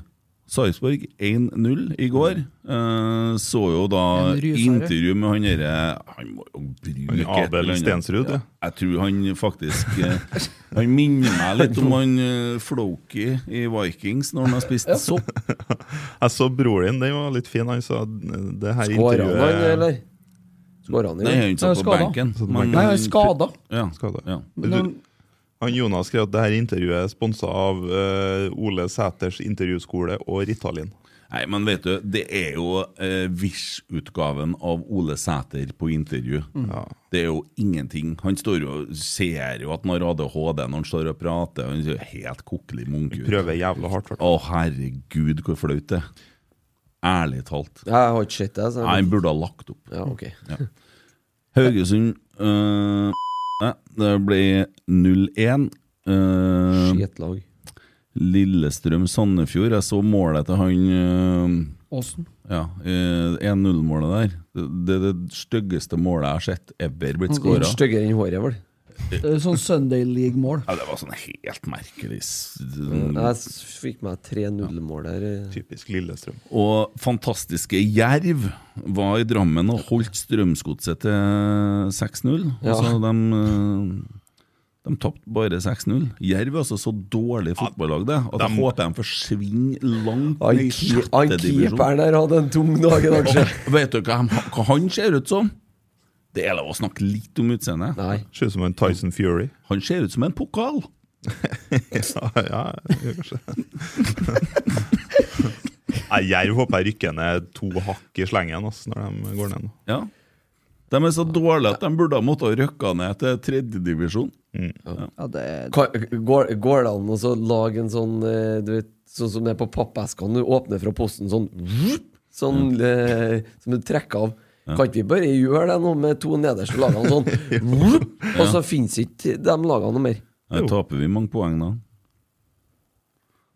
[SPEAKER 3] Sarpsborg 1-0 i går. Eh, så jo da
[SPEAKER 6] En rysere.
[SPEAKER 3] intervju med han derre Han må jo bruke
[SPEAKER 5] Han
[SPEAKER 3] et eller
[SPEAKER 5] Abel
[SPEAKER 3] annet.
[SPEAKER 5] Stensrud, ja.
[SPEAKER 3] Jeg tror han faktisk eh, Han minner meg litt om han uh, Floki i Vikings når han har spist sopp.
[SPEAKER 5] Jeg så broren din, den var litt fin. Han sa det her
[SPEAKER 4] Skåra han,
[SPEAKER 5] intervjuet
[SPEAKER 4] eller? Skåra han,
[SPEAKER 3] Nei,
[SPEAKER 4] eller?
[SPEAKER 3] han satt på
[SPEAKER 6] Skada.
[SPEAKER 3] benken.
[SPEAKER 5] på
[SPEAKER 3] men-
[SPEAKER 5] benken.
[SPEAKER 6] Nei, jeg er skada.
[SPEAKER 3] Ja,
[SPEAKER 5] Skada.
[SPEAKER 3] ja.
[SPEAKER 6] Men
[SPEAKER 5] Du- Han Jonas skrev at det her intervjuet er sponsa av eh, Ole Sæters intervjuskole og Ritalin.
[SPEAKER 3] Nei, men vet du, det er jo eh, Vish-utgaven av Ole Sæter på intervju.
[SPEAKER 5] Mm. Ja.
[SPEAKER 3] Det er jo ingenting. Han står jo, ser jo at han har ADHD når han står og prater. Han ser jo helt kokkelig munk ut.
[SPEAKER 5] Prøver jævla hardt.
[SPEAKER 3] Å, herregud, hvor flaut det er. Ærlig talt.
[SPEAKER 4] Jeg har ikke sett det. så jeg-
[SPEAKER 3] Nei, han burde ha lagt opp.
[SPEAKER 4] Ja, ok.
[SPEAKER 3] Ja. Haugesund øh, nei, Det ble 0-1. Uh,
[SPEAKER 4] Skitlag.
[SPEAKER 3] Lillestrøm-Sandefjord. Jeg så målet til han øh,
[SPEAKER 6] Åsen.
[SPEAKER 3] Ja, øh, 1-0-målet der. Det er det, styggeste målet jeg har sett ever blitt skåra.
[SPEAKER 4] Styggere enn håret, vel?
[SPEAKER 6] Det er jo sånn Sunday League-mål.
[SPEAKER 3] Ja, det var sånn helt merkelig s- Mm.
[SPEAKER 4] Jeg s- fikk meg 3-0-mål der.
[SPEAKER 5] Typisk Lillestrøm.
[SPEAKER 3] Og fantastiske Jerv var i Drammen og holdt Strømsgodset til 6-0.
[SPEAKER 4] Ja.
[SPEAKER 3] Altså, de, eh, de tapte bare 6-0. Jerv er altså så dårlig fotballag det, at jeg
[SPEAKER 5] de-
[SPEAKER 3] håper de forsvinner langt
[SPEAKER 4] Han
[SPEAKER 3] ned i
[SPEAKER 4] ki- han
[SPEAKER 3] sjette divisjon.
[SPEAKER 4] keeperen der hadde en tung dag i dag, sjø.
[SPEAKER 3] Og Vet dere hva, han- hva han ser ut som? Det er lov å snakke litt om utseendet.
[SPEAKER 5] Ser ut som en Tyson Fury.
[SPEAKER 3] Han ser ut som en pokal.
[SPEAKER 5] ja, ja, kanskje. Nei, Jerv håper jeg rykker ned to hakk i slengen ass, når de går ned nå.
[SPEAKER 3] Ja. De er så dårlige at de burde ha måttet røkke ned til tredjedivisjon.
[SPEAKER 5] Mm.
[SPEAKER 3] Ja.
[SPEAKER 6] Ja, det
[SPEAKER 4] Kan- Går, går det an å så lage en sånn eh, Du vet, sånn som det er på pappeskene du åpner fra posten, sånn vup, Sånn eh, som du trekker av. Kan ikke vi bare gjøre det nå med to nederste lagene sånn? vup, Og så fins ikke de lagene noe mer.
[SPEAKER 3] Her taper vi mange poeng da.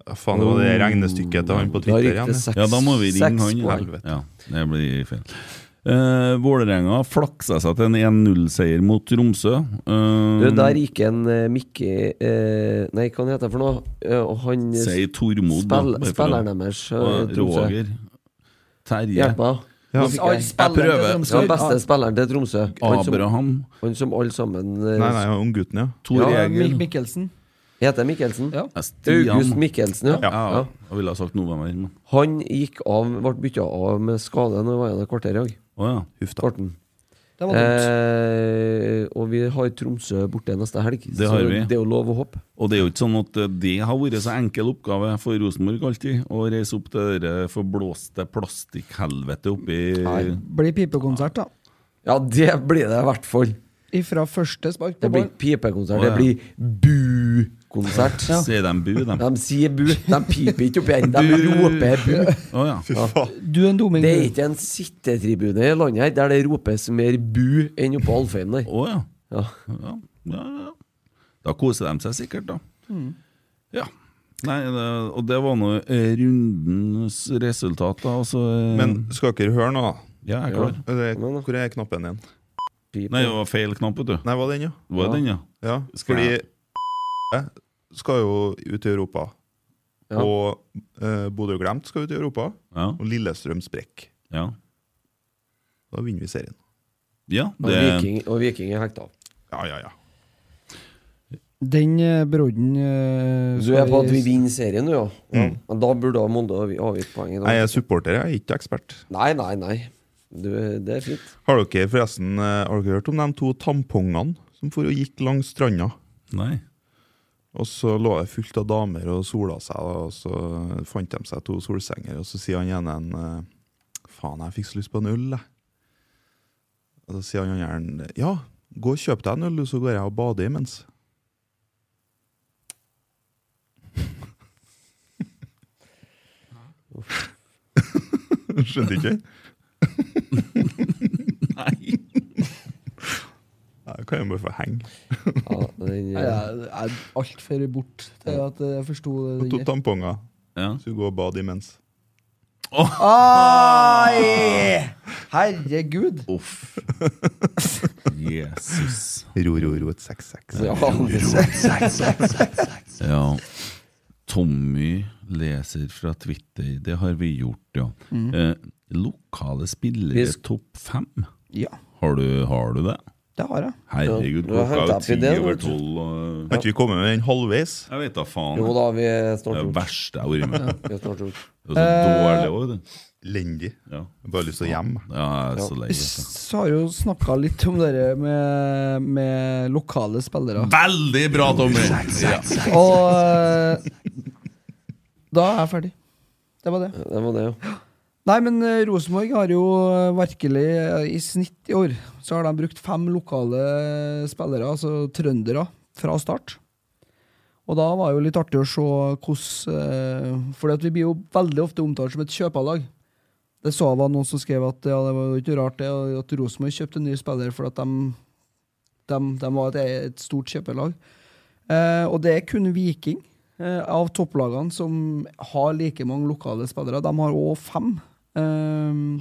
[SPEAKER 5] Ja, Faen, det var det regnestykket til han på Twitter igjen. ja.
[SPEAKER 3] Ja, da må vi ringe han. ja.
[SPEAKER 5] Helvete.
[SPEAKER 3] Ja, det blir feil. Uh, Vålerenga flaksa seg til en 1-0-seier mot Tromsø. Eh,
[SPEAKER 4] Du, der gikk en eh, Mikke eh, Nei, hva han heter for noe? Eh, og han eh,
[SPEAKER 3] Si Tormod, da,
[SPEAKER 4] spill,
[SPEAKER 3] bare for å-
[SPEAKER 4] Spilleren deres. eh,
[SPEAKER 3] Og
[SPEAKER 4] Tromsø.
[SPEAKER 3] Roger. Terje.
[SPEAKER 4] Hjelp meg.
[SPEAKER 3] Ja.
[SPEAKER 4] Nå fikk jeg-
[SPEAKER 3] Jeg prøver.
[SPEAKER 4] Ja, beste spilleren til Tromsø. Han som-
[SPEAKER 3] Abraham.
[SPEAKER 4] Han som alle sammen eh,
[SPEAKER 5] Nei, nei, unggutten, ja.
[SPEAKER 3] Tor
[SPEAKER 4] Ja,
[SPEAKER 3] Egil.
[SPEAKER 6] Mik- Mikkelsen.
[SPEAKER 4] Heter han Mikkelsen?
[SPEAKER 6] Ja.
[SPEAKER 3] Stian.
[SPEAKER 4] August Mikkelsen, ja.
[SPEAKER 3] Ja,
[SPEAKER 4] Ja.
[SPEAKER 3] Jeg ville ha sagt noe mer, men
[SPEAKER 4] Han gikk av, ble bytta av med skade når han var igjen et kvarter i dag.
[SPEAKER 3] Å ja.
[SPEAKER 4] Korten.
[SPEAKER 6] Det var
[SPEAKER 4] Eh, og vi har Tromsø borte neste helg,
[SPEAKER 3] Det har
[SPEAKER 4] så
[SPEAKER 3] vi.
[SPEAKER 4] det er jo lov å håpe.
[SPEAKER 3] Og det er jo ikke sånn at eh, det har vært så enkel oppgave for Rosenborg alltid, å reise opp til det der eh, forblåste plastikkhelvetet oppi
[SPEAKER 6] Blir pipekonsert, da.
[SPEAKER 4] Ja, det blir det i hvert fall.
[SPEAKER 6] Ifra første spark på
[SPEAKER 4] Det blir
[SPEAKER 6] ball.
[SPEAKER 4] ikke pipekonsert,
[SPEAKER 3] Å, ja.
[SPEAKER 4] det blir bu-konsert.
[SPEAKER 3] Sier de bu, dem?
[SPEAKER 4] De sier bu, de piper ikke opp igjen, de roper bu.
[SPEAKER 3] Å ja.
[SPEAKER 6] Du er en dumming.
[SPEAKER 4] Det er
[SPEAKER 6] du.
[SPEAKER 4] ikke en sittetribune i landet her der det ropes mer bu enn oppe på Alfheim der.
[SPEAKER 3] Å ja.
[SPEAKER 4] Ja.
[SPEAKER 3] Ja, ja, ja. Da koser de seg sikkert, da.
[SPEAKER 4] Mm.
[SPEAKER 3] Ja. Nei, det, og det var nå eh, rundens resultat, da. Altså, eh,
[SPEAKER 5] Men skal dere høre nå, da?
[SPEAKER 3] Ja, jeg er klar.
[SPEAKER 5] Eller, Hvor er knappen din?
[SPEAKER 3] Nei, det var feil knapp, vet du.
[SPEAKER 5] Nei, var den, ja?
[SPEAKER 3] Var det den, ja?
[SPEAKER 5] Ja,
[SPEAKER 3] Skal
[SPEAKER 5] fordi
[SPEAKER 3] jeg-
[SPEAKER 5] skal jo ut i Europa.
[SPEAKER 4] Ja.
[SPEAKER 5] Og eh, Bodø og Glemt skal ut i Europa.
[SPEAKER 3] Ja.
[SPEAKER 5] Og Lillestrøm sprekker.
[SPEAKER 3] Ja.
[SPEAKER 5] Da vinner vi serien.
[SPEAKER 3] ja
[SPEAKER 4] Og,
[SPEAKER 3] det,
[SPEAKER 4] viking, og viking er hekta.
[SPEAKER 5] Ja, ja, ja.
[SPEAKER 6] Den eh, brodden eh,
[SPEAKER 4] Så du er på at vi
[SPEAKER 6] skal vi-
[SPEAKER 4] vinner serien nå, ja. ja. Men da burde da Molde ha avgitt poeng i
[SPEAKER 5] Nei,
[SPEAKER 4] dag.
[SPEAKER 5] jeg er supporter, jeg er ikke ekspert.
[SPEAKER 4] Nei, nei, nei. Du, det er fint.
[SPEAKER 5] Har dere forresten eh, har dere hørt om de to tampongene som for og gikk langs stranda?
[SPEAKER 3] nei.
[SPEAKER 5] Og så lå det fullt av damer og sola seg, da, og så fant de seg to solsenger. Og så sier han ene en eh, Faen, jeg fikk så lyst på en øl, jeg. Og så sier han andre Ja, gå og kjøp deg en øl, du, så går jeg og bader imens. Skjønte ikke?
[SPEAKER 3] Nei.
[SPEAKER 5] Jeg kan jo bare få henge.
[SPEAKER 4] Ja, den,
[SPEAKER 6] Nei, Jeg er altfor bort til at jeg forsto det.
[SPEAKER 5] To
[SPEAKER 6] der.
[SPEAKER 5] tamponger,
[SPEAKER 3] Ja.
[SPEAKER 5] så du går og bader imens.
[SPEAKER 6] Ai! Herregud.
[SPEAKER 3] Uff. Jesus.
[SPEAKER 5] Ro, ro, ro, et 6-6.
[SPEAKER 4] ja, det-
[SPEAKER 3] Ja. Tommy leser fra Twitter. Det har vi gjort, ja. Eh, lokale spillere
[SPEAKER 4] Vi sk-
[SPEAKER 3] topp fem.
[SPEAKER 6] Ja,
[SPEAKER 3] Har du, har du det?
[SPEAKER 6] det har jeg.
[SPEAKER 4] Ja, nå
[SPEAKER 3] Herregud, klokka er jo
[SPEAKER 4] hentet vi
[SPEAKER 3] ti
[SPEAKER 4] det,
[SPEAKER 3] over
[SPEAKER 4] vet du.
[SPEAKER 3] tolv. og-
[SPEAKER 5] Har ikke vi kommet med den halvveis?
[SPEAKER 3] Jeg vet da faen.
[SPEAKER 4] jo da, vi er
[SPEAKER 3] det
[SPEAKER 4] snart
[SPEAKER 3] er det
[SPEAKER 4] gjort.
[SPEAKER 3] verste jeg har vært med på.
[SPEAKER 4] Vi er snart gjort.
[SPEAKER 3] Det er så dårlig òg, det.
[SPEAKER 5] Lendig.
[SPEAKER 3] Ja.
[SPEAKER 5] Jeg har Bare lyst til å hjem.
[SPEAKER 3] ja, jeg er så lei.
[SPEAKER 4] altså.
[SPEAKER 3] vet
[SPEAKER 6] Så har jeg jo snakka litt om det der med, med lokale spillere.
[SPEAKER 3] du. Veldig bra, Tommy! Ja.
[SPEAKER 6] Og eh, da er jeg ferdig. Det var det.
[SPEAKER 4] Det var det, jo.
[SPEAKER 6] Nei, men eh, Rosenborg har jo eh, virkelig eh, I snitt i år så har de brukt fem lokale spillere, altså trøndere, fra start. Og da var det jo litt artig å se hvordan For vi blir jo veldig ofte omtalt som et kjøpelag. Det så jeg var noen som skrev at ja, det var jo ikke rart det, at Rosenborg kjøpte en ny spiller fordi at de, de, de var et, et stort kjøpelag. Eh, og det er kun Viking eh, av topplagene som har like mange lokale spillere. De har òg fem. Eh,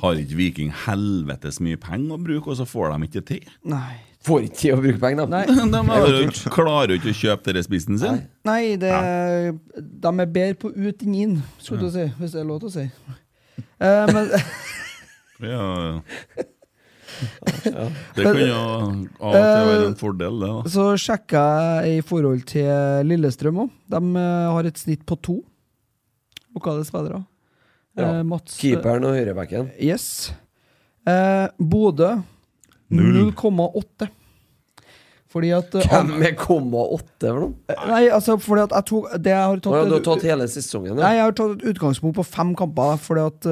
[SPEAKER 3] Har ikke Viking helvetes mye penger å bruke, og så får de ikke til?
[SPEAKER 6] nei.
[SPEAKER 4] Får ikke tid å bruke penger, da.
[SPEAKER 3] De har jo ikke- klarer jo ikke å kjøpe dere spissen sin.
[SPEAKER 6] Nei, det, de er bedre på ut enn inn, skulle du si, hvis det er lov til å si. Eh, men,
[SPEAKER 3] Ja. Det kan jo av og til være
[SPEAKER 4] Eh,
[SPEAKER 3] en fordel, det. da
[SPEAKER 6] så sjekka jeg i forhold til Lillestrøm òg. De eh, har et snitt på to lokale spillere.
[SPEAKER 4] Ja.
[SPEAKER 6] Eh, Mats,
[SPEAKER 4] Keeperen og høyrebacken.
[SPEAKER 6] Yes. Eh, Bodø 0,8. Fordi at eh,
[SPEAKER 4] Hvem er komma åtte for noe?
[SPEAKER 6] an- Nei, altså, fordi at jeg tok Det jeg har
[SPEAKER 4] Å, ja,
[SPEAKER 6] tatt,
[SPEAKER 4] du har tatt hele sesongen?
[SPEAKER 6] Nei,
[SPEAKER 4] Ja.
[SPEAKER 6] jeg har tatt et utgangspunkt på fem kamper, fordi at eh,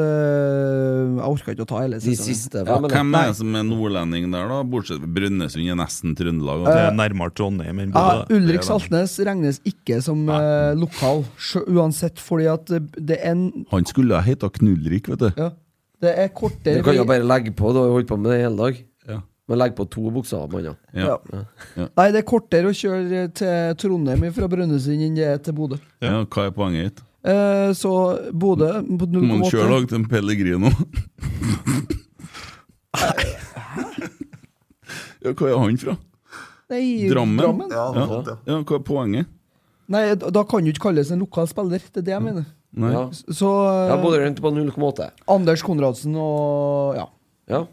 [SPEAKER 6] Jeg orka ikke å ta hele
[SPEAKER 4] De
[SPEAKER 6] sesongen.
[SPEAKER 4] siste
[SPEAKER 3] Ja,
[SPEAKER 4] fem, eller?
[SPEAKER 3] Hvem er det som er nordlending der, da? Bortsett fra Brønnøysund er nesten
[SPEAKER 4] Eh,
[SPEAKER 3] Trøndelag.
[SPEAKER 5] Det
[SPEAKER 3] da.
[SPEAKER 5] er nærmere Trondheim enn
[SPEAKER 6] Ja,
[SPEAKER 5] Bodø. det.
[SPEAKER 6] Ulrik
[SPEAKER 5] Det er det.
[SPEAKER 6] Saltnes regnes ikke som eh, lokal, sjø- uansett, fordi at det- det er en
[SPEAKER 3] Han skulle ha heta Knullrik, vet du.
[SPEAKER 6] ja, Det er
[SPEAKER 4] Du
[SPEAKER 6] kortere
[SPEAKER 4] kan jo
[SPEAKER 6] vei-
[SPEAKER 4] bare legge på, du har jo holdt på med det i hele dag.
[SPEAKER 3] Ja.
[SPEAKER 4] Men legg på to bokstaver på annen.
[SPEAKER 3] Ja.
[SPEAKER 6] Nei, det er kortere å kjøre til Trondheim fra Brønnøysund enn det er til Bodø.
[SPEAKER 3] Ja, hva er poenget ditt?
[SPEAKER 6] Eh, så Bodø
[SPEAKER 3] Må
[SPEAKER 6] på
[SPEAKER 3] han
[SPEAKER 6] 0,8
[SPEAKER 3] kjøre lag til en Pellegrino? ja, hva er han fra?
[SPEAKER 6] Nei,
[SPEAKER 3] Drammen?
[SPEAKER 6] Ja.
[SPEAKER 3] Ja, ja hva er poenget?
[SPEAKER 6] Nei, d- da kan du ikke kalles en lokal spiller. Det er det jeg mener.
[SPEAKER 3] Nei.
[SPEAKER 4] Ja.
[SPEAKER 6] Så eh,
[SPEAKER 4] Ja, Bodø endte på 0,8.
[SPEAKER 6] Anders Konradsen og ja,
[SPEAKER 4] Ja.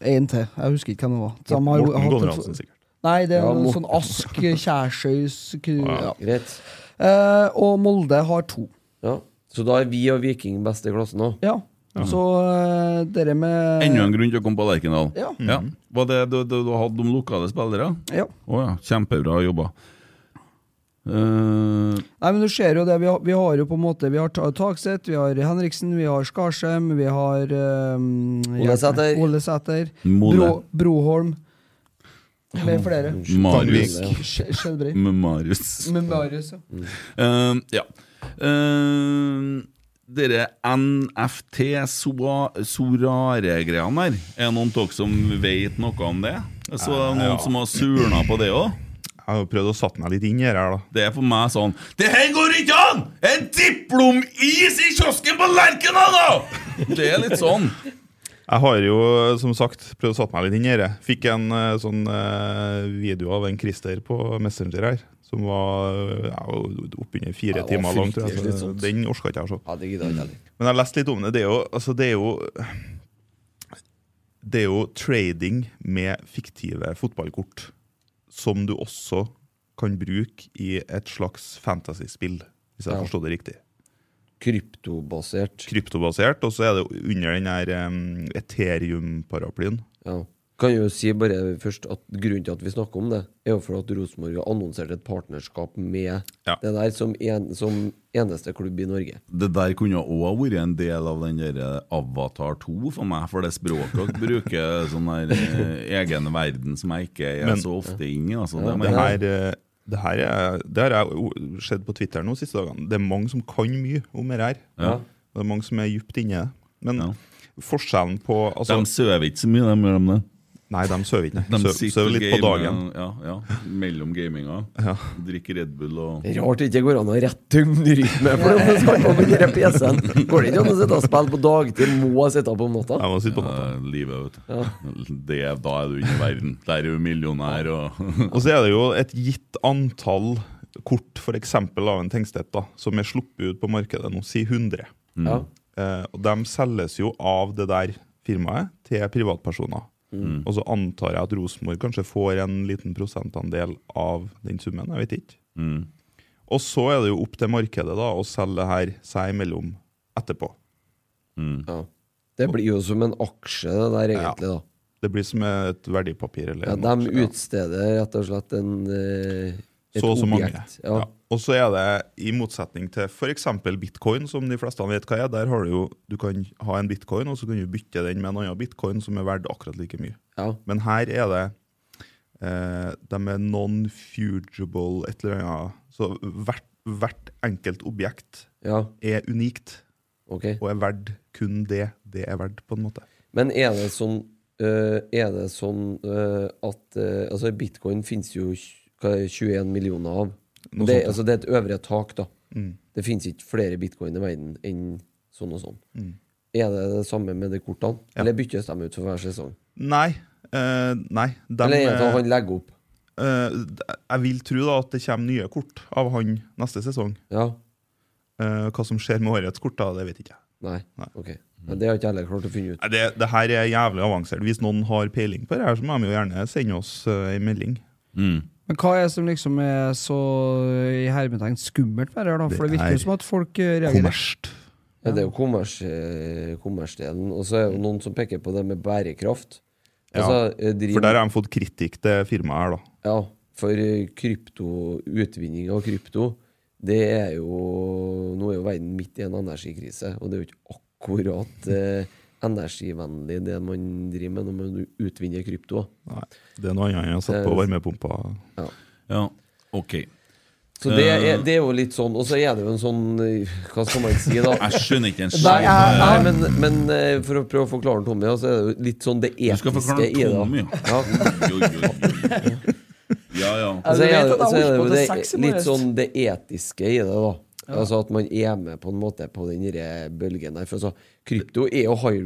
[SPEAKER 6] en til. Jeg husker ikke hvem det var. De har jo
[SPEAKER 5] Morten
[SPEAKER 6] hatt en- sånn-
[SPEAKER 5] Konradsen, sikkert.
[SPEAKER 6] Nei, det er
[SPEAKER 4] Ja,
[SPEAKER 6] noe
[SPEAKER 4] Morten.
[SPEAKER 6] sånn Ask, Kjærsøys ku- ja.
[SPEAKER 4] Greit.
[SPEAKER 6] Eh, og Molde har to.
[SPEAKER 4] Ja. Så da er vi og Viking best i klassen òg.
[SPEAKER 6] Ja. Så eh, dere med
[SPEAKER 3] Enda en grunn til å komme på Lerkendal.
[SPEAKER 6] Ja.
[SPEAKER 3] Var det du, du, du hadde de lokale spillere?
[SPEAKER 6] Ja.
[SPEAKER 3] Å ja, kjempebra jobba. Eh,
[SPEAKER 6] Nei, men du ser jo det. Vi har, vi har jo på en måte Vi har Ta- Tagseth, vi har Henriksen, vi har Skarsheim, vi har eh,
[SPEAKER 4] Ole Sæter.
[SPEAKER 6] Ole Sæter.
[SPEAKER 3] Mole.
[SPEAKER 6] Bro, Broholm. Med flere.
[SPEAKER 3] Marius.
[SPEAKER 4] Tanvik.
[SPEAKER 6] Skje- Skjelbrei.
[SPEAKER 3] Med Marius.
[SPEAKER 6] Med Marius, ja.
[SPEAKER 3] Eh, ja. Uh, dere NFT Soa- Sorare-greiene der, er det noen av dere som vet noe om det? Så er det noen
[SPEAKER 5] ja.
[SPEAKER 3] som har surna på det òg?
[SPEAKER 5] Jeg har jo prøvd å satt meg litt inn i det her, da.
[SPEAKER 3] Det er for meg sånn Det her går ikke an! En diplomis i kiosken på Lerkendal, da! Det er litt sånn.
[SPEAKER 5] Jeg har jo, som sagt, prøvd å satt meg litt inn i det. Fikk en eh, sånn eh, video av en Christer på Messenger her, som var eh, ja, oppunder
[SPEAKER 4] Ja,
[SPEAKER 5] fire
[SPEAKER 4] det var
[SPEAKER 5] timer lang. tror jeg,
[SPEAKER 4] fryktelig
[SPEAKER 5] så
[SPEAKER 4] slitsomt.
[SPEAKER 5] Den orka ikke jeg å se.
[SPEAKER 4] Ja, det gidder jeg ikke heller.
[SPEAKER 5] Men jeg har lest litt om det. Det er jo, altså, det er jo Det er jo trading med fiktive fotballkort som du også kan bruke i et slags fantasyspill, hvis jeg
[SPEAKER 4] Ja.
[SPEAKER 5] forstod det riktig.
[SPEAKER 4] Kryptobasert.
[SPEAKER 5] Kryptobasert, og så er det under den her em, Ethereum-paraplyen.
[SPEAKER 4] Ja. Kan jo si bare først at Grunnen til at vi snakker om det, er jo for at Rosenborg har annonsert et partnerskap med
[SPEAKER 5] Ja.
[SPEAKER 4] det der som, en, som eneste klubb i Norge.
[SPEAKER 3] Det der kunne òg ha vært en del av den der eh, Avatar 2 for meg, for det språket dere bruker, er sånn der eh, egen verden som jeg ikke er
[SPEAKER 5] Men-
[SPEAKER 3] så ofte inne i. Altså,
[SPEAKER 4] Ja,
[SPEAKER 3] det
[SPEAKER 5] Det
[SPEAKER 3] mener jeg.
[SPEAKER 5] her, eh, det her er, det her er jo skjedd på Twitter nå siste dagene. Det er mange som kan mye om det her.
[SPEAKER 3] Ja.
[SPEAKER 5] Det er mange som er djupt inne i det. Men
[SPEAKER 3] Ja.
[SPEAKER 5] forskjellen på altså,
[SPEAKER 3] De sover ikke så mye, de gjør de det.
[SPEAKER 5] Nei, de sover ikke.
[SPEAKER 3] De
[SPEAKER 5] De
[SPEAKER 3] sitter
[SPEAKER 5] sover litt
[SPEAKER 3] og
[SPEAKER 5] på dagen.
[SPEAKER 3] gamer, Ja, ja, mellom gaminga. Drikker Red Bull og
[SPEAKER 4] Rart det ikke går an å ha rett døgnrytme for om du skal på med den der PC-en. Går det ikke an å sitte og spille på dagtid? Må jeg sitte opp om natta?
[SPEAKER 5] Jeg må sitte på natta.
[SPEAKER 3] eh, livet, vet du. Det, da er du inne i verden. Der er du millionær og
[SPEAKER 5] Og så er det jo et gitt antall kort, f.eks. av en Tengstedt, da, som er sluppet ut på markedet nå, si 100.
[SPEAKER 4] Ja.
[SPEAKER 5] Eh, og de selges jo av det der firmaet til privatpersoner.
[SPEAKER 3] Mm.
[SPEAKER 5] Og så antar jeg at Rosenborg kanskje får en liten prosentandel av den summen. jeg vet ikke.
[SPEAKER 3] Mm.
[SPEAKER 5] Og så er det jo opp til markedet da, å selge det her seg imellom etterpå.
[SPEAKER 4] Ja. Det blir jo som en aksje, det der, egentlig. da
[SPEAKER 5] Det blir som et verdipapir. eller
[SPEAKER 4] ja,
[SPEAKER 5] en
[SPEAKER 4] De
[SPEAKER 5] aksje, ja.
[SPEAKER 4] utsteder rett og slett en eh, et
[SPEAKER 5] så og så mange.
[SPEAKER 4] objekt.
[SPEAKER 5] Ja. Og så er det, i motsetning til f.eks. bitcoin, som de fleste vet hva er, der har du jo, du kan ha en bitcoin, og så kan du bytte den med en annen bitcoin som er verdt akkurat like mye. Men her er det eh, De er non-fugible et eller annet. Så hvert, hvert enkelt objekt er unikt, og er verdt kun det det er verdt, på en måte.
[SPEAKER 4] Men er det sånn, øh, er det sånn øh, at øh, Altså, bitcoin finnes jo tj- hva er det, 21 millioner av.
[SPEAKER 5] Noe
[SPEAKER 4] Det,
[SPEAKER 5] sånt, ja.
[SPEAKER 4] altså, det er et øvre tak, da.
[SPEAKER 5] Mm.
[SPEAKER 4] Det finnes ikke flere bitcoin i verden enn sånn og sånn.
[SPEAKER 5] Mm.
[SPEAKER 4] Er det det samme med de kortene? Eller byttes de ut for hver sesong?
[SPEAKER 5] Nei. eh, nei dem,
[SPEAKER 4] Eller er det at
[SPEAKER 5] eh,
[SPEAKER 4] han legger opp?
[SPEAKER 5] eh, d- jeg vil tro da at det kommer nye kort av han neste sesong. Eh, hva som skjer med årets kort, da, det vet ikke jeg.
[SPEAKER 4] Nei. ok. Men det har ikke jeg heller klart å finne ut.
[SPEAKER 5] Nei, Det, det her er jævlig avansert. Hvis noen har peiling på det her, så må de jo gjerne sende oss eh, en melding.
[SPEAKER 6] Men hva er det som liksom er så i hermetegn skummelt med det her, da? For
[SPEAKER 4] Det
[SPEAKER 6] det virker
[SPEAKER 4] er
[SPEAKER 6] jo som at folk eh, reagerer.
[SPEAKER 4] Ja, det er jo kommers, eh, kommersdelen. Og så er det jo noen som peker på det med bærekraft. Altså, eh,
[SPEAKER 5] Mm. ja.
[SPEAKER 4] driv-
[SPEAKER 5] For der har de fått kritikk til firmaet her, da.
[SPEAKER 4] Ja, for eh, krypto, utvinning av krypto, det er jo Nå er jo verden midt i en energikrise, og det er jo ikke akkurat eh, energivennlig det man driver med når man utvinner krypto.
[SPEAKER 5] Nei, det er noe annet enn å sette
[SPEAKER 6] Eh,
[SPEAKER 5] på varmepumpa.
[SPEAKER 4] Ja.
[SPEAKER 3] Ja, ok.
[SPEAKER 4] Så det
[SPEAKER 3] Eh.
[SPEAKER 4] er, det er jo litt sånn, og så er det jo en sånn eh, Hva skal man si, da?
[SPEAKER 3] Jeg skjønner ikke en skit.
[SPEAKER 4] Nei, nei, men, men eh, for å prøve å forklare Tommy, så er det jo litt sånn det
[SPEAKER 3] Du skal
[SPEAKER 4] etiske
[SPEAKER 3] forklare
[SPEAKER 4] i det.
[SPEAKER 3] Tommy, ja. Oi, oi, oi, oi. Ja, ja.
[SPEAKER 4] Og så
[SPEAKER 3] Ja,
[SPEAKER 4] er det,
[SPEAKER 3] du vet at jeg
[SPEAKER 4] Altså, så er det,
[SPEAKER 3] holdt på
[SPEAKER 4] jo
[SPEAKER 3] til
[SPEAKER 4] det
[SPEAKER 3] seks i
[SPEAKER 4] litt
[SPEAKER 3] morges.
[SPEAKER 4] sånn det etiske i det, da.
[SPEAKER 3] Ja.
[SPEAKER 4] Altså At man er med på en måte på den derre bølgen der. For altså, krypto er jo high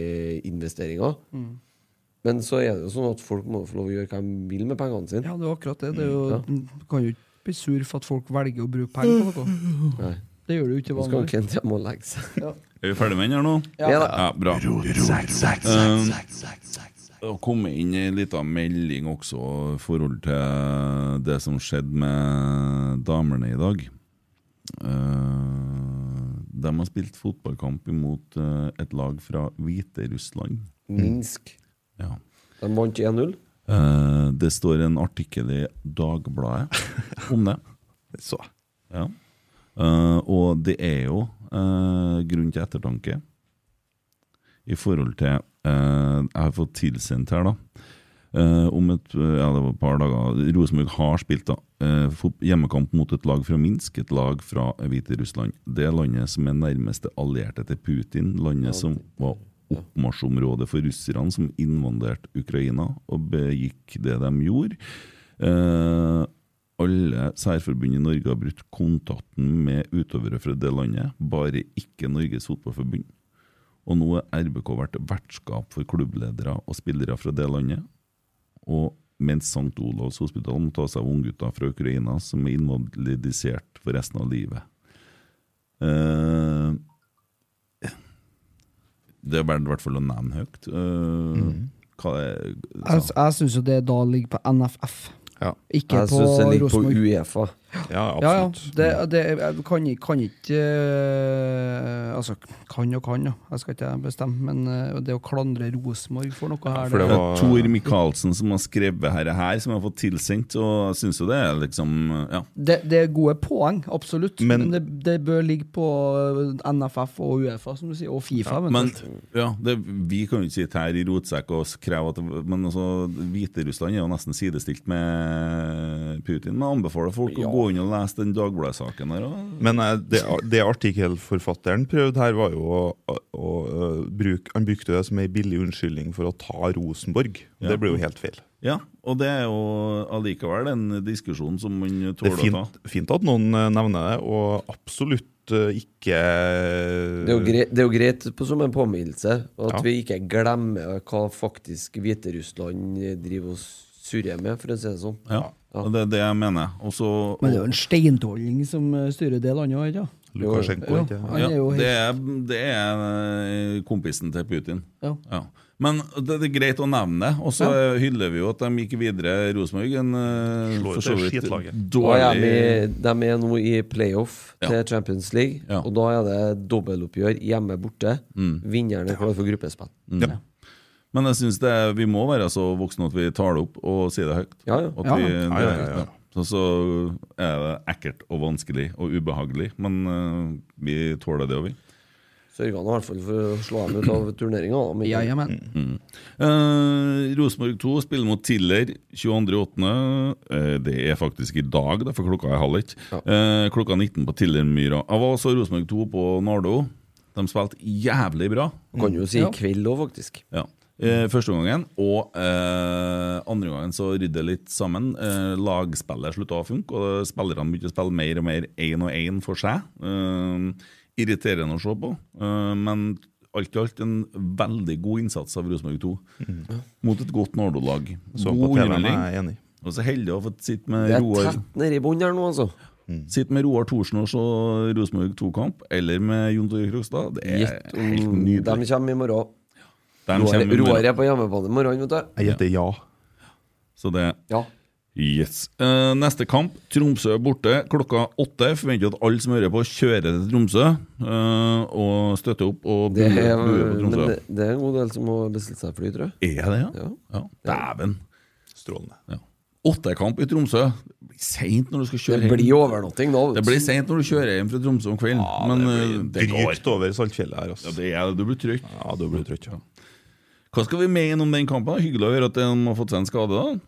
[SPEAKER 4] risk-investeringer.
[SPEAKER 6] Mm.
[SPEAKER 4] Men så er det jo sånn at folk må få lov å gjøre hva de vil med pengene sine.
[SPEAKER 6] Ja, det er jo akkurat det. det er jo,
[SPEAKER 4] Ja.
[SPEAKER 6] Du kan jo ikke bli sur for at folk velger å bruke penger på noe.
[SPEAKER 4] Nei.
[SPEAKER 6] Det gjør du jo ikke
[SPEAKER 4] Nå skal
[SPEAKER 6] vanlig.
[SPEAKER 4] Kent hjem og legge seg.
[SPEAKER 3] Er vi ferdig med den her nå?
[SPEAKER 4] Ja. Ja da.
[SPEAKER 3] bra.
[SPEAKER 4] sak,
[SPEAKER 3] Um, Det har kommet inn ei lita melding også i forhold til det som skjedde med damene i dag. Eh, de har spilt fotballkamp imot eh, et lag fra Hviterussland.
[SPEAKER 4] Minsk.
[SPEAKER 3] Ja.
[SPEAKER 4] De vant 1-0.
[SPEAKER 3] Eh, det står en artikkel i Dagbladet om det. Ja. Eh, og det er jo eh, grunn til ettertanke i forhold til eh, Jeg har fått tilsendt her, da. eh, om et ja, det var et par dager Rosenborg har spilt da eh, fot- hjemmekamp mot et lag fra Minsk, et lag fra Hviterussland. Det landet som er nærmeste allierte til Putin, landet som var oppmarsjområdet for russerne som invanderte Ukraina og begikk det de gjorde. Eh, alle særforbund i Norge har brutt kontakten med utøvere fra det landet, bare ikke Norges Fotballforbund. Og nå er RBK vært vertskap for klubbledere og spillere fra det landet. Og mens St. Olavs hospital må ta seg av unggutter fra Ukraina som er invalidisert for resten av livet. Eh, det er verdt i hvert fall å nevne høyt. Eh, hva er,
[SPEAKER 6] Jeg, jeg syns jo det da ligger på NFF, ikke
[SPEAKER 4] Jeg
[SPEAKER 6] på
[SPEAKER 4] synes det ligger på
[SPEAKER 6] Rosenborg.
[SPEAKER 4] Uefa.
[SPEAKER 6] Ja, ja. Det,
[SPEAKER 3] Mm.
[SPEAKER 6] det, jeg kan, ikke- kan ikke eh, Altså, kan og kan, da. Jeg skal ikke bestemme, men eh, det å klandre Rosenborg for noe her
[SPEAKER 3] det er Tor Michaelsen som har skrevet her, her som jeg har fått tilsendt, og jeg syns jo det er liksom Ja.
[SPEAKER 6] det, det er gode poeng, absolutt, men,
[SPEAKER 3] Men-
[SPEAKER 6] det, det bør ligge på eh, NFF og Uefa, som du sier, og Fifa.
[SPEAKER 3] Ja, men
[SPEAKER 6] eventuelt.
[SPEAKER 3] ja, det, vi kan jo ikke sitte her i rotsekk og kreve at Men altså, Hviterussland er jo nesten sidestilt med Putin. Men jeg anbefaler folk å gå inn og lese den Dagbladet-saken der. og-
[SPEAKER 5] Men eh, det, det artikkelforfatteren prøvde her, var jo å, å, å bruke Han brukte det som ei billig unnskyldning for å ta Rosenborg.
[SPEAKER 3] Ja.
[SPEAKER 5] Det ble jo helt feil.
[SPEAKER 3] Ja, og det er jo allikevel en diskusjon som man
[SPEAKER 5] Det
[SPEAKER 3] tåler
[SPEAKER 5] er
[SPEAKER 3] å ta.
[SPEAKER 5] fint, fint at noen eh, nevner det, og absolutt eh, ikke
[SPEAKER 4] Det er, jo greit, det er jo greit på- som en påminnelse at
[SPEAKER 5] Ja.
[SPEAKER 4] vi ikke glemmer hva faktisk Hviterussland driver og surrer med, for å si det sånn.
[SPEAKER 3] Ja, og det er det jeg mener. Og så
[SPEAKER 6] Men det er jo en steintolling som eh, styrer det landet òg, ikke sant? Ja, han er
[SPEAKER 3] Ja,
[SPEAKER 6] jo helt
[SPEAKER 3] det er, det er eh, kompisen til Putin.
[SPEAKER 6] Ja.
[SPEAKER 3] Men det, det er greit å nevne det. Og så eh, hyller vi jo at de gikk videre, Rosenborg. En eh, for så vidt
[SPEAKER 4] Og
[SPEAKER 3] dårlig
[SPEAKER 4] de, er med- de er nå i playoff til Champions League, og da er det dobbeltoppgjør hjemme borte.
[SPEAKER 3] Mm.
[SPEAKER 4] Vinneren er klar for gruppespill.
[SPEAKER 3] Mm. Men jeg syns vi må være så voksne at vi tar det opp og sier det høyt.
[SPEAKER 4] Ja, ja.
[SPEAKER 3] At
[SPEAKER 4] Ja,
[SPEAKER 3] vi,
[SPEAKER 4] ja. Ja, ja, ja, ja.
[SPEAKER 3] Så, så er det ekkelt og vanskelig og ubehagelig, men eh, vi tåler det, og vi.
[SPEAKER 4] Sørga nå i hvert fall for å slå dem ut av turneringa. da, men-
[SPEAKER 3] Mm. Eh, Rosenborg 2 spiller mot Tiller 22.8. Eh, det er faktisk i dag, da, for klokka er halv ett. Eh, klokka 19 på Tillermyra. Jeg var også Rosenborg 2 på Nardo. De spilte jævlig bra.
[SPEAKER 4] Kan jo si i kveld òg, faktisk.
[SPEAKER 3] Ja. Eh, første gangen, og eh, andre gangen så rydder litt sammen. Eh, lagspillet slutta å funke, og spillerne begynte å spille mer og mer én og én for seg. Eh, irriterende å se på, eh, men alt i alt en veldig god innsats av Rosenborg 2
[SPEAKER 5] Mhm.
[SPEAKER 3] mot et godt Nardo-lag.
[SPEAKER 5] Så på
[SPEAKER 3] God
[SPEAKER 5] TV-en er jeg
[SPEAKER 3] underholdning. Og så heldig å ha fått sitte med
[SPEAKER 4] Det er
[SPEAKER 3] Roar
[SPEAKER 4] tett nedi bunnen her nå, altså.
[SPEAKER 3] Sitte med Roar Thorsen og se Rosenborg 2-kamp, eller med Jon Tore Krogstad. Det er
[SPEAKER 4] Gjett om
[SPEAKER 3] helt
[SPEAKER 4] de
[SPEAKER 3] nydelig.
[SPEAKER 4] kommer i morgen.
[SPEAKER 3] De
[SPEAKER 4] Roar,
[SPEAKER 3] kommer i morgen.
[SPEAKER 4] Roar er på hjemmebane i morgen, vet du.
[SPEAKER 3] Jeg gjetter
[SPEAKER 5] ja.
[SPEAKER 3] Så det
[SPEAKER 4] Ja.
[SPEAKER 3] Yes. Eh, neste kamp, Tromsø er borte klokka åtte. Forventer at alle som hører på, kjører til Tromsø eh, og støtter opp og
[SPEAKER 4] Det
[SPEAKER 3] buer
[SPEAKER 4] er,
[SPEAKER 3] buer på
[SPEAKER 4] men
[SPEAKER 3] Tromsø.
[SPEAKER 4] det, det er en god del som må bestille seg fly, tror jeg.
[SPEAKER 3] Er det, ja? ja. Dæven.
[SPEAKER 5] Strålende.
[SPEAKER 3] Ja. Åttekamp i Tromsø. Det blir seint når du skal kjøre
[SPEAKER 4] Det blir overnatting nå.
[SPEAKER 3] Det blir sent når du kjører hjem fra Tromsø om kvelden. men eh,
[SPEAKER 5] det blir
[SPEAKER 3] går.
[SPEAKER 5] drygt over Saltfjellet her. Altså.
[SPEAKER 3] Ja, det er det. Du blir trøtt.
[SPEAKER 5] Ja, du blir trøtt, ja.
[SPEAKER 3] Hva skal vi mene om den kampen? Hyggelig å høre at de har fått seg en skade, da.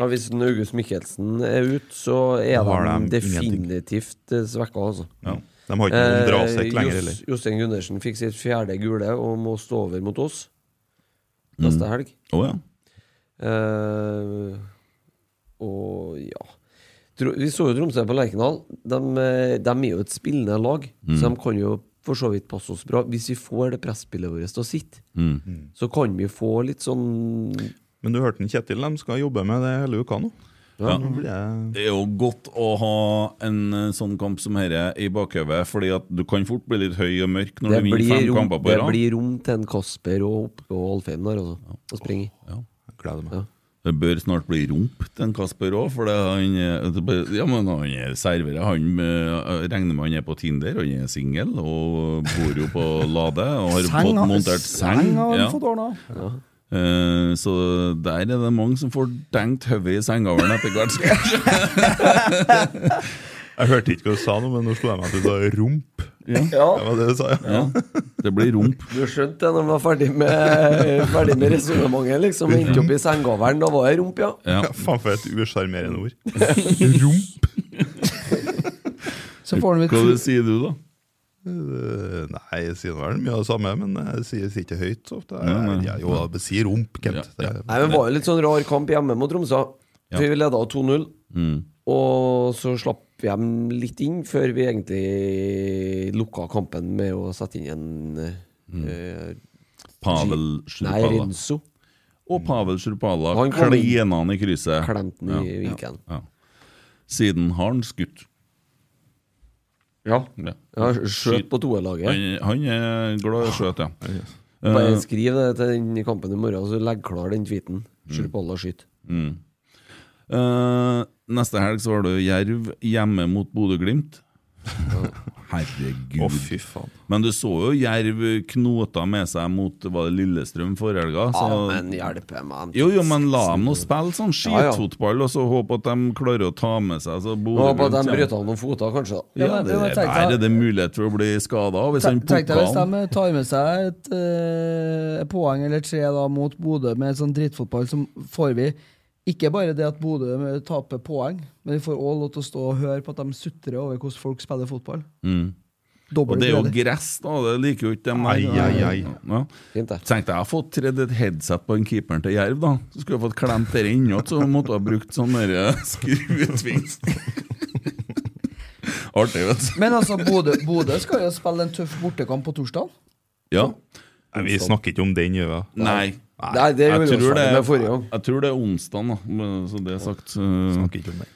[SPEAKER 4] Ja, hvis August Mikkelsen er ute, så er
[SPEAKER 3] Da har
[SPEAKER 4] de,
[SPEAKER 3] de
[SPEAKER 4] definitivt eh, svekka. Altså.
[SPEAKER 3] Ja.
[SPEAKER 5] De har ikke noen
[SPEAKER 4] Eh,
[SPEAKER 5] drasekk lenger,
[SPEAKER 4] Jos-
[SPEAKER 5] heller.
[SPEAKER 4] Jostein Gundersen fikk sitt fjerde gule og må stå over mot oss
[SPEAKER 3] Mm.
[SPEAKER 4] neste helg.
[SPEAKER 3] Å, ja.
[SPEAKER 4] Eh, og ja Tro- Vi så jo Tromsø på Lerkendal. De, eh, de er jo et spillende lag,
[SPEAKER 3] Mm.
[SPEAKER 4] så de kan jo for så vidt passe oss bra. Hvis vi får det presspillet vårt til å sitte,
[SPEAKER 3] Mm.
[SPEAKER 4] så kan vi få litt sånn
[SPEAKER 5] Men du hørte den Kjetil, de skal jobbe med det hele uka nå.
[SPEAKER 3] Ja.
[SPEAKER 5] Nå blir jeg-
[SPEAKER 3] Det er jo godt å ha en eh, sånn kamp som herre i bakhodet, fordi at du kan fort bli litt høy og mørk når
[SPEAKER 4] det
[SPEAKER 3] du vinner
[SPEAKER 4] blir,
[SPEAKER 3] fem
[SPEAKER 4] rom,
[SPEAKER 3] kamper på
[SPEAKER 4] det
[SPEAKER 3] rad.
[SPEAKER 4] blir rom til en Kasper og oppe og Alfheim der, altså. Å springe.
[SPEAKER 5] Gleder meg.
[SPEAKER 4] Ja.
[SPEAKER 3] Det bør snart bli rump til en Kasper òg, for det han, eh, det bør- ja, men han er servere. Han eh, regner med han er på Tinder, han er singel og bor jo på Lade. Og har
[SPEAKER 6] Seng
[SPEAKER 3] fått
[SPEAKER 6] har-
[SPEAKER 3] montert seng.
[SPEAKER 6] seng har han
[SPEAKER 3] ja.
[SPEAKER 6] fått ordnet.
[SPEAKER 3] Eh, så der er det mange som får dengt hodet i sengegavlen etter hvert.
[SPEAKER 5] Jeg hørte ikke hva du sa nå, men nå slo jeg meg at du sa rump.
[SPEAKER 3] Ja.
[SPEAKER 5] Det var det du sa, ja.
[SPEAKER 3] Det blir rump.
[SPEAKER 4] Du skjønte det når vi var ferdig med, ferdig med resonnementet, liksom. Endte opp i sengegavelen, da var det rump, ja.
[SPEAKER 3] Ja.
[SPEAKER 5] Faen, for et usjarmerende ord.
[SPEAKER 6] Så får han
[SPEAKER 3] Hva
[SPEAKER 6] litt
[SPEAKER 3] sier du, da?
[SPEAKER 5] Eh, Nei, jeg sier vel mye av det samme, men jeg sier sier ikke høyt så ofte.
[SPEAKER 3] Nei, nei.
[SPEAKER 5] Jeg, jeg, jo, jeg sier rump, Kent. Det er-
[SPEAKER 4] Nei, men Det var jo litt sånn rar kamp hjemme mot Tromsø. For Vi leda 2-0,
[SPEAKER 3] Mm.
[SPEAKER 4] og så slapp vi dem litt inn før vi egentlig lukka kampen med å sette inn en
[SPEAKER 3] Mm.
[SPEAKER 4] eh,
[SPEAKER 3] Pavel
[SPEAKER 4] Nei,
[SPEAKER 3] Sjurpala.
[SPEAKER 4] Renzo.
[SPEAKER 3] Og Pavel Sjurpala
[SPEAKER 4] Han kom inn.
[SPEAKER 3] klena han i krysset.
[SPEAKER 4] Klemte han i vinken.
[SPEAKER 3] Ja, ja. Siden har han skutt.
[SPEAKER 4] Ja.
[SPEAKER 3] Ja.
[SPEAKER 4] ja skjøt på toerlaget.
[SPEAKER 3] Han, han er glad i skjøt, ja. Eh,
[SPEAKER 4] Bare skriv det til den kampen i morgen, så legg klar den tweeten. Sjurpala skyter.
[SPEAKER 3] Mm. Eh, neste helg så har du Jerv hjemme mot Bodø-Glimt. Herregud.
[SPEAKER 5] Å, fy faen.
[SPEAKER 3] Men du så jo Jerv knota med seg mot var det Lillestrøm forrige helga.
[SPEAKER 4] Ja,
[SPEAKER 3] så-
[SPEAKER 4] men eh, hjelpe meg.
[SPEAKER 3] Jo, jo, men la dem nå spille sånn
[SPEAKER 4] Ja, ja.
[SPEAKER 3] skitfotball, og så håpe at de klarer å ta med seg så
[SPEAKER 4] Nå håper
[SPEAKER 3] Bodø-Glimt
[SPEAKER 4] jeg at de
[SPEAKER 3] kommer.
[SPEAKER 4] bryter av noen foter, kanskje. da.
[SPEAKER 3] Ja,
[SPEAKER 6] Ja, men-
[SPEAKER 3] det,
[SPEAKER 6] ja, men
[SPEAKER 3] der
[SPEAKER 6] tenk deg-
[SPEAKER 3] er det mulighet for å bli skada hvis han
[SPEAKER 6] Tenk tenk deg hvis
[SPEAKER 3] pukker han.
[SPEAKER 6] de tar med seg et eh, poeng eller tre da mot Bodø med sånn drittfotball, så får vi ikke bare det at Bodø taper poeng, men vi får også lov til å stå og høre på at de sutrer over hvordan folk spiller fotball.
[SPEAKER 3] Mm. Og
[SPEAKER 6] Dobbelt
[SPEAKER 3] det er jo
[SPEAKER 6] glede.
[SPEAKER 3] gress, da. Det liker jo ikke dem.
[SPEAKER 5] Ai, ai, ai.
[SPEAKER 3] Ja.
[SPEAKER 4] Fint, det.
[SPEAKER 3] Tenkte jeg har fått tredd et headset på en keeperen til Jerv, da. Så skulle jeg fått klemt det inn igjen, så måtte jeg ha brukt sånn derre skruetvins. Artig, vet du.
[SPEAKER 6] Men altså, Bodø, Bodø skal jo spille en tøff bortekamp på torsdag.
[SPEAKER 3] Ja.
[SPEAKER 5] Nei, Vi snakker ikke om den, gjør vi?
[SPEAKER 3] Nei.
[SPEAKER 4] Nei, det
[SPEAKER 3] Jeg
[SPEAKER 4] gjorde vi
[SPEAKER 3] tror
[SPEAKER 4] også
[SPEAKER 3] det
[SPEAKER 4] med forrige
[SPEAKER 3] er,
[SPEAKER 4] gang.
[SPEAKER 3] jeg tror det er onsdag, da. Men Så det er sagt. eh,
[SPEAKER 5] Vi
[SPEAKER 3] så-
[SPEAKER 5] Snakker ikke om den.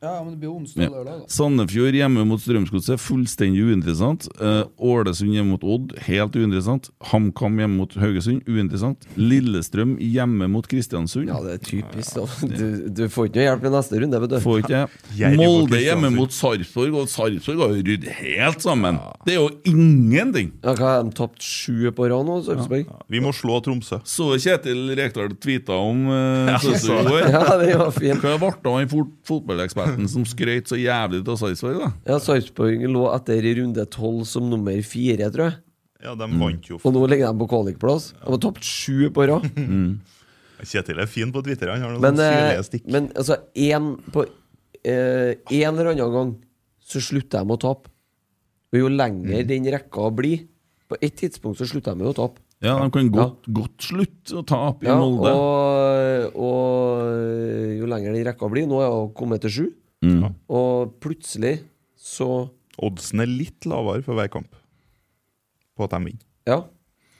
[SPEAKER 6] Ja, men det blir jo onsdag
[SPEAKER 3] Ja.
[SPEAKER 6] og lørdag, da.
[SPEAKER 3] Sandefjord hjemme mot Strømsgodset, fullstendig uinteressant. Eh, Ålesund hjemme mot Odd, helt uinteressant. HamKam hjemme mot Haugesund, uinteressant. Lillestrøm hjemme mot Kristiansund. Ja,
[SPEAKER 4] det er typisk. Du, du får ikke noe hjelp i neste runde, vet du.
[SPEAKER 3] Får ikke jeg. Molde hjemme mot Sarpsborg, og Sarpsborg har jo rydd helt sammen. Det er jo ingenting!
[SPEAKER 4] Ja, hva Har de tapt sju på rad nå, Sarpsborg?
[SPEAKER 5] Vi må slå Tromsø.
[SPEAKER 3] Så Kjetil Rekdal tweeta om uh,
[SPEAKER 5] Ja, så.
[SPEAKER 3] Sarpsborg i går.
[SPEAKER 5] Ja, det var fint.
[SPEAKER 3] Hva ble det av han fot fotballeksperten som skrøt så jævlig av Sarpsborg, da?
[SPEAKER 4] Ja, Sarpsborg lå etter i runde tolv som nummer fire, tror jeg.
[SPEAKER 5] Ja, de vant jo.
[SPEAKER 4] Og nå ligger de på kvalikplass. De har tapt sju på rad.
[SPEAKER 5] Kjetil er fin på Twitter. Han har noen
[SPEAKER 4] Men, eh,
[SPEAKER 5] syrlige stikk.
[SPEAKER 4] men altså, en, på eh, en eller annen gang så slutter de å tape. Og jo lenger
[SPEAKER 3] Mm.
[SPEAKER 4] den rekka blir På et tidspunkt så slutter de jo å tape.
[SPEAKER 3] Ja, de kan godt, godt slutte å tape i
[SPEAKER 4] Ja,
[SPEAKER 3] Molde.
[SPEAKER 4] og, og jo lenger den rekka blir Nå er hun kommet til sju.
[SPEAKER 3] Mm.
[SPEAKER 4] Og plutselig så
[SPEAKER 5] Oddsen er litt lavere for hver kamp på at de vinner.
[SPEAKER 4] Ja.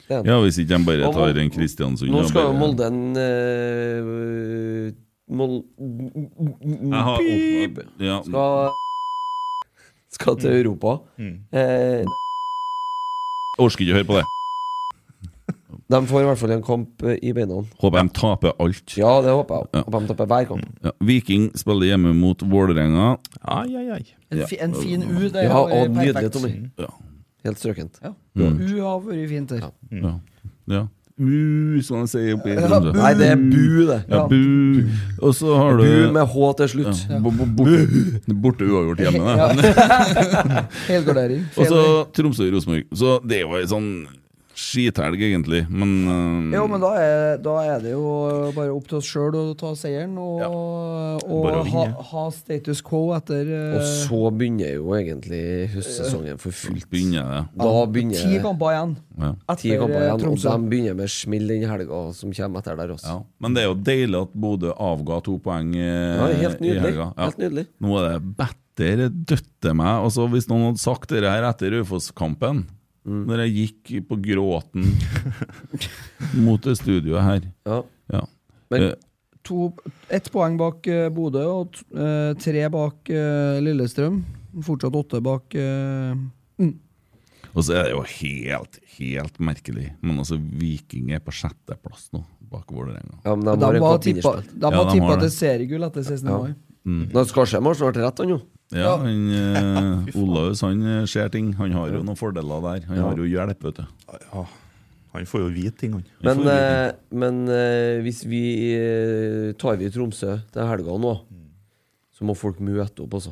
[SPEAKER 4] det er den.
[SPEAKER 3] Ja, hvis ikke de bare
[SPEAKER 4] Og Mol-
[SPEAKER 3] tar en Kristiansund
[SPEAKER 4] Nå
[SPEAKER 3] og
[SPEAKER 4] skal jo
[SPEAKER 3] bare-
[SPEAKER 4] Molde en eh, Mol...
[SPEAKER 3] Jeg har
[SPEAKER 4] Pip!
[SPEAKER 3] åpnet- ja.
[SPEAKER 4] Skal, skal til Europa.
[SPEAKER 5] Mm.
[SPEAKER 4] Eh,
[SPEAKER 3] Orker ikke høre på det.
[SPEAKER 4] de får i hvert fall en kamp eh, i beina.
[SPEAKER 3] Håper de taper alt.
[SPEAKER 4] Ja, det håper jeg. Håper de taper hver kamp.
[SPEAKER 3] Ja, Viking spiller hjemme mot Vålerenga.
[SPEAKER 5] Ai, ai, ai.
[SPEAKER 6] En, fi, en fin U, det
[SPEAKER 4] Ja,
[SPEAKER 6] har vært
[SPEAKER 4] og nydelig,
[SPEAKER 6] perfekt.
[SPEAKER 4] Tommy.
[SPEAKER 3] Ja.
[SPEAKER 4] Helt strøkent.
[SPEAKER 3] Mm.
[SPEAKER 6] U har vært fint her.
[SPEAKER 4] Mm.
[SPEAKER 3] Ja. ja. Mu, som de sier oppe i
[SPEAKER 6] Ja,
[SPEAKER 3] Tromsø.
[SPEAKER 6] bu. Nei, det er
[SPEAKER 4] bu, det. Ja.
[SPEAKER 3] Ja, bu. Og så har du
[SPEAKER 4] Bu med H til slutt.
[SPEAKER 3] Ja. bo- bo- Borte, borte uavgjort hjemme, det.
[SPEAKER 6] Ja. Helgardering.
[SPEAKER 3] Og så Tromsø og Rosenborg. Så det er jo ei sånn skithelg, egentlig, men eh,
[SPEAKER 4] Mm.
[SPEAKER 6] Jo, men da er, da er det jo bare opp til oss sjøl å ta seieren, og,
[SPEAKER 4] Bare å
[SPEAKER 6] og ha,
[SPEAKER 4] vinne.
[SPEAKER 6] ha status quo etter eh,
[SPEAKER 4] Og så begynner jo egentlig høstsesongen for
[SPEAKER 3] eh,
[SPEAKER 4] fullt. Da begynner
[SPEAKER 6] Ti kamper igjen.
[SPEAKER 3] Ja.
[SPEAKER 6] Etter, eh,
[SPEAKER 4] Ti kamper igjen, og
[SPEAKER 6] Tromsø.
[SPEAKER 4] de begynner med smell den helga som kommer etter der også.
[SPEAKER 3] Men det er jo deilig at Bodø avga to poeng eh,
[SPEAKER 4] Ja, helt nydelig.
[SPEAKER 3] i helga.
[SPEAKER 4] Helt nydelig.
[SPEAKER 3] Nå er det bedre døtte meg. Altså, hvis noen hadde sagt det her etter Raufoss-kampen, når jeg gikk på gråten mot det studioet her
[SPEAKER 4] Ja.
[SPEAKER 6] Men-
[SPEAKER 3] Eh,
[SPEAKER 6] To, ett poeng bak eh, Bodø og t- eh, tre bak eh, Lillestrøm. Fortsatt åtte bak eh, mm.
[SPEAKER 3] og så er det jo helt, helt merkelig. Men altså, Viking er på sjetteplass nå, bak Vålerenga.
[SPEAKER 4] Ja, men
[SPEAKER 6] De
[SPEAKER 4] de har en
[SPEAKER 6] har
[SPEAKER 4] kamp
[SPEAKER 6] tippa
[SPEAKER 4] vinnerspill.
[SPEAKER 6] de har tippa
[SPEAKER 3] det.
[SPEAKER 6] til seriegull etter 16.
[SPEAKER 3] Ja.
[SPEAKER 6] mai.
[SPEAKER 3] Mm.
[SPEAKER 4] Nå skal Skjem ha snart rett, han jo.
[SPEAKER 3] Ja, han, eh, Olaus han eh, ser ting. Han har jo noen fordeler der. Han
[SPEAKER 4] Ja.
[SPEAKER 3] har jo hjelp, vet du.
[SPEAKER 5] Han får jo vite ting, han.
[SPEAKER 4] Men, eh, men eh, hvis vi eh, tar vi Tromsø til helga nå,
[SPEAKER 6] Mm.
[SPEAKER 4] så må folk møte opp, altså.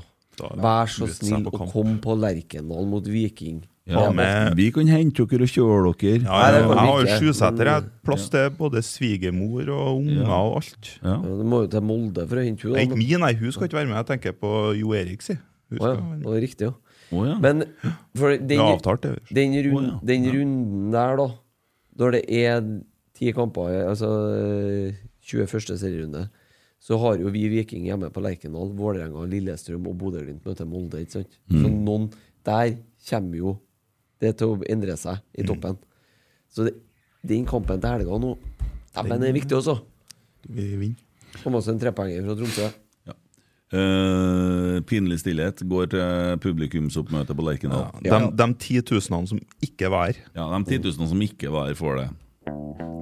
[SPEAKER 4] Vær så
[SPEAKER 3] møte seg
[SPEAKER 4] snill
[SPEAKER 3] på
[SPEAKER 4] og
[SPEAKER 3] kamp.
[SPEAKER 4] kom på Lerkendal mot Viking.
[SPEAKER 3] Ja,
[SPEAKER 4] Ja,
[SPEAKER 3] men vi kan hente dere og kjøre dere.
[SPEAKER 5] Ja, jeg, jeg har jo sjuseter. Jeg har plass
[SPEAKER 3] Ja.
[SPEAKER 5] til både svigermor og unger
[SPEAKER 3] Ja.
[SPEAKER 5] og alt.
[SPEAKER 3] Ja.
[SPEAKER 4] Du må jo til Molde for å hente
[SPEAKER 5] Nei,
[SPEAKER 4] henne.
[SPEAKER 5] ikke min, nei. Hun skal ikke være med. Jeg tenker på Jo Erik, si. Hun
[SPEAKER 4] Å ja,
[SPEAKER 5] skal være med.
[SPEAKER 4] det var riktig, ja.
[SPEAKER 3] Å ja.
[SPEAKER 4] Men for den,
[SPEAKER 5] Det er avtalt, det, vet
[SPEAKER 4] den, run, den runden der, da, når det er ti kamper, altså eh, 21. serierunde, så har jo vi Viking hjemme på Lerkendal, Vålerenga, Lillestrøm og Bodø-Glimt møter Molde, ikke sant? Så
[SPEAKER 3] Mm.
[SPEAKER 4] noen Der kommer jo det til å endre seg i
[SPEAKER 3] Mm.
[SPEAKER 4] toppen. Så det, den kampen til helga nå, dæven, den er viktig også.
[SPEAKER 5] Vi vinner.
[SPEAKER 4] Få med oss en trepoenger fra Tromsø.
[SPEAKER 3] Eh, pinlig stillhet går til publikumsoppmøte på Lerkendal.
[SPEAKER 5] Ja, de, de 10 000 som ikke var her.
[SPEAKER 3] Ja, de 10 000 som ikke var her, får det.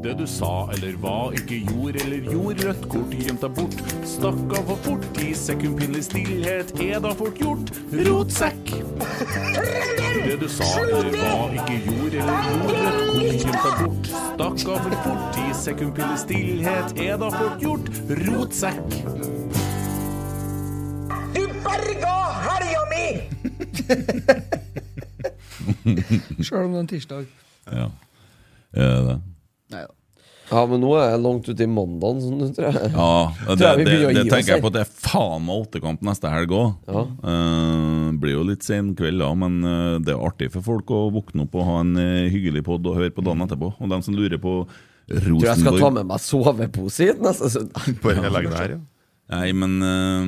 [SPEAKER 10] Det du sa eller hva, ikke gjorde eller gjorde, rødt kort gjemt deg bort. Stakk av for fort, ti sekund pinlig stillhet er da fort gjort. Rotsekk! Det du sa eller hva, ikke gjorde eller gjorde, rødt kort gjemt deg bort. Stakk av for fort, ti sekund pinlig stillhet er da fort gjort. Rotsekk!
[SPEAKER 2] Du berga helga mi!
[SPEAKER 6] Sjøl om det er en tirsdag.
[SPEAKER 3] Ja. Er det det?
[SPEAKER 4] Ja, men nå er jeg langt ute i mandagen, sånn, tror jeg.
[SPEAKER 3] Ja, det,
[SPEAKER 4] Tror jeg vi
[SPEAKER 3] det,
[SPEAKER 4] begynner å
[SPEAKER 3] det
[SPEAKER 4] gi oss
[SPEAKER 3] tenker jeg
[SPEAKER 4] her.
[SPEAKER 3] på at det er faen meg åttekamp neste helg òg.
[SPEAKER 4] Ja.
[SPEAKER 3] blir jo litt sen kveld, da, men eh, det er artig for folk å våkne opp og ha en eh, hyggelig pod og høre på dagen etterpå. Og dem som lurer på Rosenborg
[SPEAKER 4] Mm. Tror jeg skal ta med meg sovepose hit neste søndag.
[SPEAKER 5] Bare legge det her, ja.
[SPEAKER 3] Nei, men eh,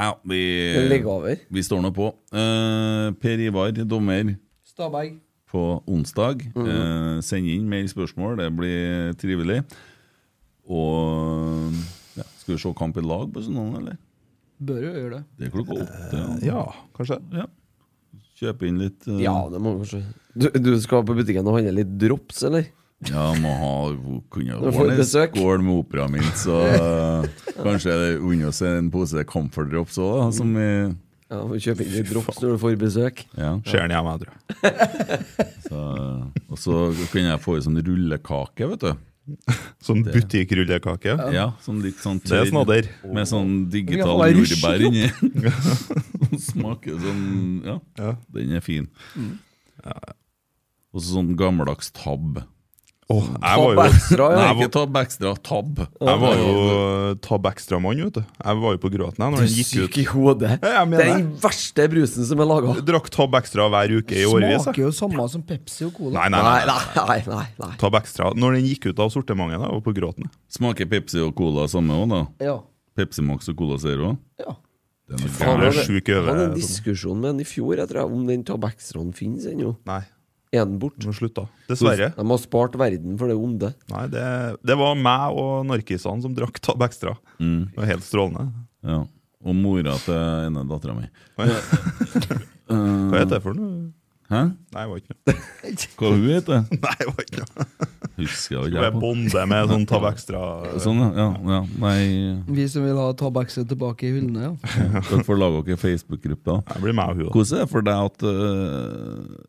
[SPEAKER 3] ja, vi,
[SPEAKER 4] Det ligger over.
[SPEAKER 3] vi står nå på. Eh, per Ivar, dommer
[SPEAKER 6] Stabæk.
[SPEAKER 3] på onsdag.
[SPEAKER 4] Mhm.
[SPEAKER 3] Eh, send inn mer spørsmål, det blir trivelig. Og ja, skal vi se kamp i lag på søndag, eller?
[SPEAKER 6] Bør jo gjøre det.
[SPEAKER 3] Det er klokka åtte.
[SPEAKER 4] Eh,
[SPEAKER 5] Ja, kanskje.
[SPEAKER 3] Ja. Kjøpe inn litt eh,
[SPEAKER 4] Ja, det må vi kanskje du, du skal på butikken og handle litt drops, eller?
[SPEAKER 3] Ja, må ha kunne
[SPEAKER 4] Du får
[SPEAKER 3] ordne en
[SPEAKER 4] besøk.
[SPEAKER 3] skål med operamints og eh, kanskje unne oss en pose Comfort Drops òg, da. Som vi
[SPEAKER 4] Ja, får kjøpe inn litt drops når du får besøk.
[SPEAKER 3] Ja.
[SPEAKER 5] Ser den hjemme, jeg tror.
[SPEAKER 3] Så, eh, og så kunne jeg få i sånn rullekake, vet du.
[SPEAKER 5] Sånn butikkrullekake?
[SPEAKER 3] Ja, sånn litt sånn
[SPEAKER 5] Det er snadder.
[SPEAKER 3] Med sånn
[SPEAKER 5] Det
[SPEAKER 3] digital
[SPEAKER 5] kan være
[SPEAKER 3] jordbær inni.
[SPEAKER 5] rusjekrop.
[SPEAKER 3] Smaker sånn ja,
[SPEAKER 5] Ja.
[SPEAKER 3] den er fin.
[SPEAKER 5] Mm.
[SPEAKER 3] Og så sånn gammeldags tabb.
[SPEAKER 5] Åh, jeg var jo Nei, jeg var-
[SPEAKER 3] Ikke tabb ekstra, tabb.
[SPEAKER 5] Jeg var jo Tab Extra-mann, vet du. Jeg var jo på gråten jeg, når
[SPEAKER 4] Du
[SPEAKER 5] den gikk
[SPEAKER 4] syk
[SPEAKER 5] ut.
[SPEAKER 4] i hodet.
[SPEAKER 5] Ja, jeg mener
[SPEAKER 4] Det er den verste brusen som er laga.
[SPEAKER 5] Drakk Tab Extra hver uke i årevis. jeg.
[SPEAKER 6] Smaker jo samme som Pepsi og Cola.
[SPEAKER 5] Nei, nei, nei.
[SPEAKER 4] nei, nei, nei.
[SPEAKER 5] Tab Extra. Når den gikk ut av sortimentet, da, jeg var på gråten. jeg.
[SPEAKER 3] Smaker Pepsi og Cola samme òg, da?
[SPEAKER 6] Ja.
[SPEAKER 3] Pepsi Max og Cola Zero?
[SPEAKER 6] Ja.
[SPEAKER 3] Det er noe
[SPEAKER 5] Faen,
[SPEAKER 3] gærent.
[SPEAKER 5] det er sjuk i øyet,
[SPEAKER 4] Jeg hadde en
[SPEAKER 5] sånn.
[SPEAKER 4] diskusjon med den i fjor jeg tror jeg, om den tabaksranen finnes ennå.
[SPEAKER 5] Nei.
[SPEAKER 4] Er den borte?
[SPEAKER 5] Dessverre.
[SPEAKER 4] De har spart verden for det onde.
[SPEAKER 5] Nei, det, det var meg og narkisene som drakk Tab Extra.
[SPEAKER 3] Mm.
[SPEAKER 5] Det var helt strålende.
[SPEAKER 3] Ja. Og mora til ene dattera mi.
[SPEAKER 5] Hva heter det for noe?
[SPEAKER 3] Hæ?
[SPEAKER 5] Nei, det var ikke noe.
[SPEAKER 3] Hva hun heter
[SPEAKER 5] Nei, det var ikke noe.
[SPEAKER 3] Husker jeg
[SPEAKER 5] Skulle
[SPEAKER 3] ikke.
[SPEAKER 5] være
[SPEAKER 3] jeg på.
[SPEAKER 5] bonde med sånn Tab Extra.
[SPEAKER 3] Sånn, ja, ja. ja. Nei
[SPEAKER 6] Vi som vil ha tabakset tilbake i hyllene, ja.
[SPEAKER 3] Dere får lage dere Facebook-gruppe. da.
[SPEAKER 5] blir meg og hun, da.
[SPEAKER 3] Hvordan er det for deg at øh,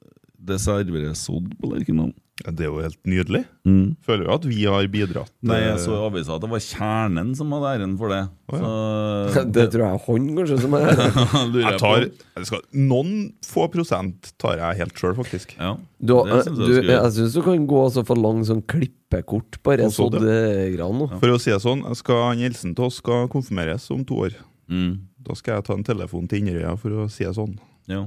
[SPEAKER 3] det serveres sodd på Lerkendal?
[SPEAKER 5] Ja, Det er jo helt nydelig.
[SPEAKER 3] Mm.
[SPEAKER 5] Føler jo at vi har bidratt.
[SPEAKER 3] Nei,
[SPEAKER 5] eh,
[SPEAKER 3] jeg så i avisa at det var Kjernen som hadde æren for det. Så,
[SPEAKER 4] Det tror jeg er han, kanskje, som er
[SPEAKER 3] Lurer
[SPEAKER 5] jeg tar, jeg skal, Noen få prosent tar jeg helt sjøl, faktisk.
[SPEAKER 4] Du, jeg du, jeg syns du kan gå og få lang sånn klippekort, bare
[SPEAKER 5] Og så
[SPEAKER 4] sådd
[SPEAKER 5] det.
[SPEAKER 4] eh, gran nå.
[SPEAKER 5] For å si det sånn, jeg skal, Nielsen til oss skal konfirmeres om to år.
[SPEAKER 3] Mm.
[SPEAKER 5] Da skal jeg ta en telefon til Inderøya for å si det sånn.
[SPEAKER 3] Ja.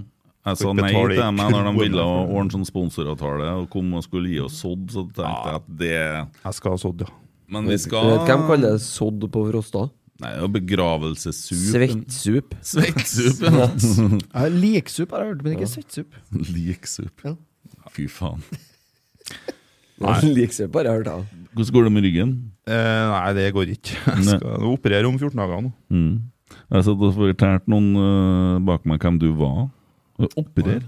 [SPEAKER 3] Jeg sa
[SPEAKER 5] Folk
[SPEAKER 3] nei
[SPEAKER 5] betaler
[SPEAKER 3] til dem jeg, når de
[SPEAKER 5] ikke
[SPEAKER 3] ville
[SPEAKER 5] noe for det.
[SPEAKER 3] ordne sånn sponsoravtale og kom og skulle gi oss sodd, så tenkte jeg at det
[SPEAKER 5] Jeg skal ha sådd, ja.
[SPEAKER 3] Men vi skal
[SPEAKER 4] Hvem kaller det sådd på Frosta?
[SPEAKER 3] Nei, det er jo begravelsessup.
[SPEAKER 4] Svettsup.
[SPEAKER 3] Svettsup, ja.
[SPEAKER 6] Ja, Liksup har jeg hørt, men ikke
[SPEAKER 3] Ja.
[SPEAKER 6] søtsup.
[SPEAKER 3] Liksup.
[SPEAKER 6] Ja.
[SPEAKER 3] Fy faen.
[SPEAKER 4] Nei, Liksup har jeg hørt, ja.
[SPEAKER 3] Hvordan går det med ryggen?
[SPEAKER 5] Eh, nei, det går ikke. Jeg
[SPEAKER 3] Nei.
[SPEAKER 5] skal operere om 14 dager nå.
[SPEAKER 3] Mm. Jeg satt og fortalte noen øh, bak meg hvem du var. Øh, Operer.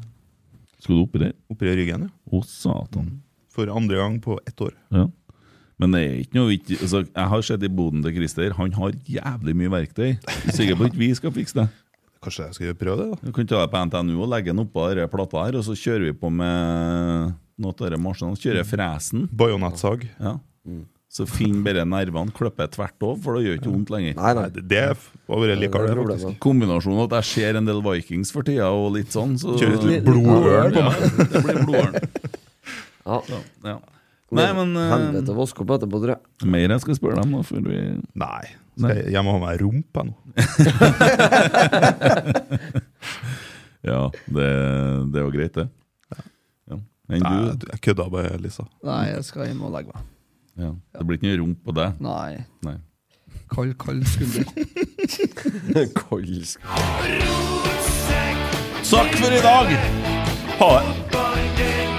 [SPEAKER 3] Skal du operere?
[SPEAKER 5] Operere ryggen, ja.
[SPEAKER 3] Å, satan.
[SPEAKER 5] For andre gang på ett år.
[SPEAKER 3] Ja. Men det er ikke noe vits altså, Jeg har sett i boden til Christer, han har jævlig mye verktøy. Jeg er Sikker på at vi skal fikse det.
[SPEAKER 5] Kanskje jeg skal prøve det, da.
[SPEAKER 3] Du kan ta det på NTNU og legge den oppå denne plata her, og så kjører vi på med noe av denne maskinen. Kjører fresen.
[SPEAKER 5] Bajonettsag.
[SPEAKER 3] Ja. Så finn bare nervene, klipper tvert over, for det gjør ikke vondt lenger.
[SPEAKER 4] Nei, nei.
[SPEAKER 5] Det, det har vært likere, det, faktisk.
[SPEAKER 3] Kombinasjonen at jeg ser en del Vikings for tida og litt sånn, så
[SPEAKER 5] Kjører litt blodørn på meg.
[SPEAKER 3] Ja, det blir blodørn.
[SPEAKER 4] Ja.
[SPEAKER 3] Så, ja. Nei, men eh,
[SPEAKER 4] Helvete, vask opp etterpå, tror jeg.
[SPEAKER 3] Mer jeg skal spørre dem, da, før vi
[SPEAKER 5] Nei. Skal jeg, jeg må ha meg rump, jeg nå.
[SPEAKER 3] Ja, det, det er jo greit, det. Ja. Men
[SPEAKER 5] Nei,
[SPEAKER 3] du,
[SPEAKER 5] du- jeg kødda bare, Lisa.
[SPEAKER 6] Nei, jeg skal hjem og legge meg.
[SPEAKER 3] ja. det blir ikke noe rump på deg?
[SPEAKER 6] Nei.
[SPEAKER 3] Nei.
[SPEAKER 6] Kald, kald skulder.
[SPEAKER 4] Koldsk.
[SPEAKER 3] Takk for i dag!
[SPEAKER 5] Ha det!